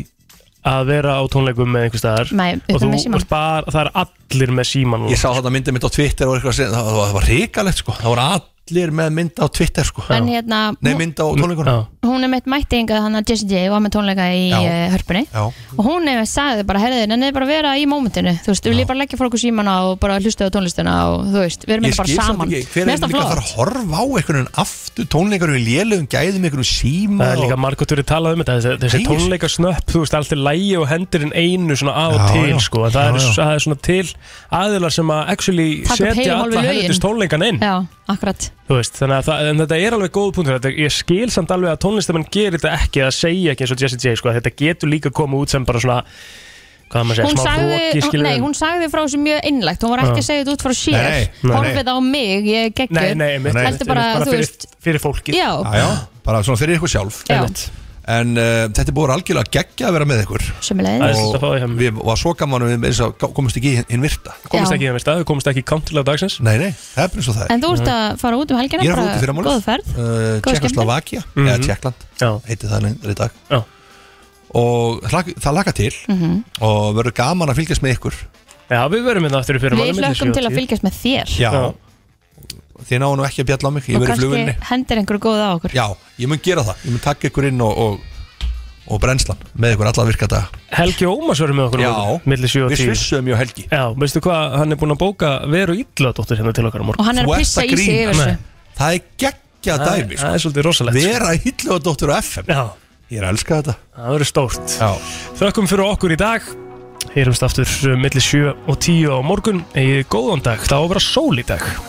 Speaker 2: að vera á tónleikum með einhver staðar
Speaker 3: Nei, við
Speaker 2: Og
Speaker 3: erum
Speaker 2: þú
Speaker 3: með símann.
Speaker 2: ert bara, það er allir með síman
Speaker 6: ég sá þetta myndið mitt á Twitter og eitthvað, sem- það, það var hrikalegt sko. það voru allir með mynd á Twitter sko.
Speaker 3: En hérna-
Speaker 6: nei mynd á tónleikunum
Speaker 3: hún er meitt mættinga þannig að Jessie J var með tónleika í
Speaker 6: Já.
Speaker 3: eh, hörpunni
Speaker 6: Já.
Speaker 3: og hún hefur sagði bara, herðið, nennið bara að vera í mómentinu þú veist, við viljum bara leggja fólk úr símana og bara hlusta á tónlistuna og þú veist, við erum
Speaker 6: Ég
Speaker 3: þetta bara
Speaker 6: skil samt
Speaker 3: saman
Speaker 6: ekki, hver er
Speaker 3: Mér finnst það
Speaker 6: líka að fara
Speaker 3: flott.
Speaker 6: að horfa á einhvern veginn aftur tónleikar við lélögum gæðum einhvern veginn síma
Speaker 2: Það er líka margótt verið talað um þetta Þessi, þessi
Speaker 6: Nei, ég-
Speaker 2: tónleika snöpp, þú veist, allt er lægi og hendurinn einu svona að og
Speaker 6: Já,
Speaker 2: til
Speaker 6: já.
Speaker 2: sko. En það,
Speaker 6: Já,
Speaker 2: er,
Speaker 6: já.
Speaker 2: það er svona til aðilar sem að actually
Speaker 3: Taka upp heila
Speaker 2: setja
Speaker 3: hálfu
Speaker 2: alla
Speaker 3: lögin.
Speaker 2: helvitist tónleikan inn
Speaker 3: Já, akkurat
Speaker 2: Þú veist, þannig að það, en þetta er alveg góð punktur þetta, ég skil samt alveg að tónlistamenn gerir þetta ekki að segja ekki eins og Jessie J sko, að þetta getur líka komið út sem bara svona hvað maður segja,
Speaker 3: hún
Speaker 2: smá
Speaker 3: sagði,
Speaker 2: hróki
Speaker 3: hún, nei, hún sagði frá þessu mjög innlegt hún var
Speaker 2: Já.
Speaker 3: ekki að segja þetta út frá sér
Speaker 2: Nei, nei,
Speaker 3: horfið á mig, ég geggjur
Speaker 2: nei, nei, einmitt,
Speaker 3: heldur bara,
Speaker 2: einmitt,
Speaker 3: þú
Speaker 2: fyrir,
Speaker 3: veist
Speaker 2: fyrir fólki
Speaker 3: Já. Já, já,
Speaker 6: bara svona fyrir ykkur sjálf
Speaker 3: Já.
Speaker 6: Einmitt. En uh, þetta er búið að vera algjörlega geggja að vera með ykkur
Speaker 3: Sömuleiðis. Það er svolítið að
Speaker 2: fá hérna.
Speaker 6: Og við var svo gaman að við eins og komist ekki í hinn virta
Speaker 3: Komumst Já. ekki
Speaker 2: í hinn virta, við komist ekki í kantilega dagsins Mhm.
Speaker 6: Nei, nei, það er bara eins og það er
Speaker 3: En þú ert að fara út um helgina
Speaker 6: Ég er að fara út í fyrramálið.
Speaker 3: Góð ferð
Speaker 6: uh,
Speaker 3: Góða
Speaker 6: Tjekkoslovakia
Speaker 3: skemmtun.
Speaker 6: eða
Speaker 3: Mhm.
Speaker 6: Tjekkland heiti það neyndar í dag Já. og hlak, það laka til
Speaker 3: Mhm.
Speaker 6: og verður gaman að fylgjast með ykkur
Speaker 2: Já, við verðum hérna aftur í
Speaker 3: Við hlökkum til að fylgjast með þér
Speaker 6: Já, þið náðu nú ekki að bjalla á mig ég
Speaker 3: Og
Speaker 6: verður í flugvinni
Speaker 3: kannski hendir einhverju góða á okkur
Speaker 6: Já, ég mun gera það, ég mun taka ykkur inn og, og, og brennslan með ykkur alla virka dag
Speaker 2: Helgi Ómars verður með okkur
Speaker 6: Já,
Speaker 2: millir 7 og
Speaker 6: við
Speaker 2: 10
Speaker 6: svissum jú Helgi
Speaker 2: Já, veistu hvað, hann er búinn að bóka Veru Ílladóttir hérna til okkar á morgun
Speaker 3: Og hann er að
Speaker 2: Þú ert
Speaker 3: pissa í sig
Speaker 2: grínast.
Speaker 3: yfir þessu.
Speaker 2: Nei.
Speaker 6: Það er geggjað
Speaker 2: Það-
Speaker 6: dæmi
Speaker 2: það er svolítið rosalegt, sko.
Speaker 6: Vera hillu og dóttur á FM
Speaker 2: Já.
Speaker 6: Ég er að elska þetta
Speaker 2: Það verður stórt
Speaker 6: Já.
Speaker 2: Þökkum fyrir okkur í dag eh, Heyrumst aftur millir 7 og 10 á morgun Egið góðan dag, það á að vera sól í dag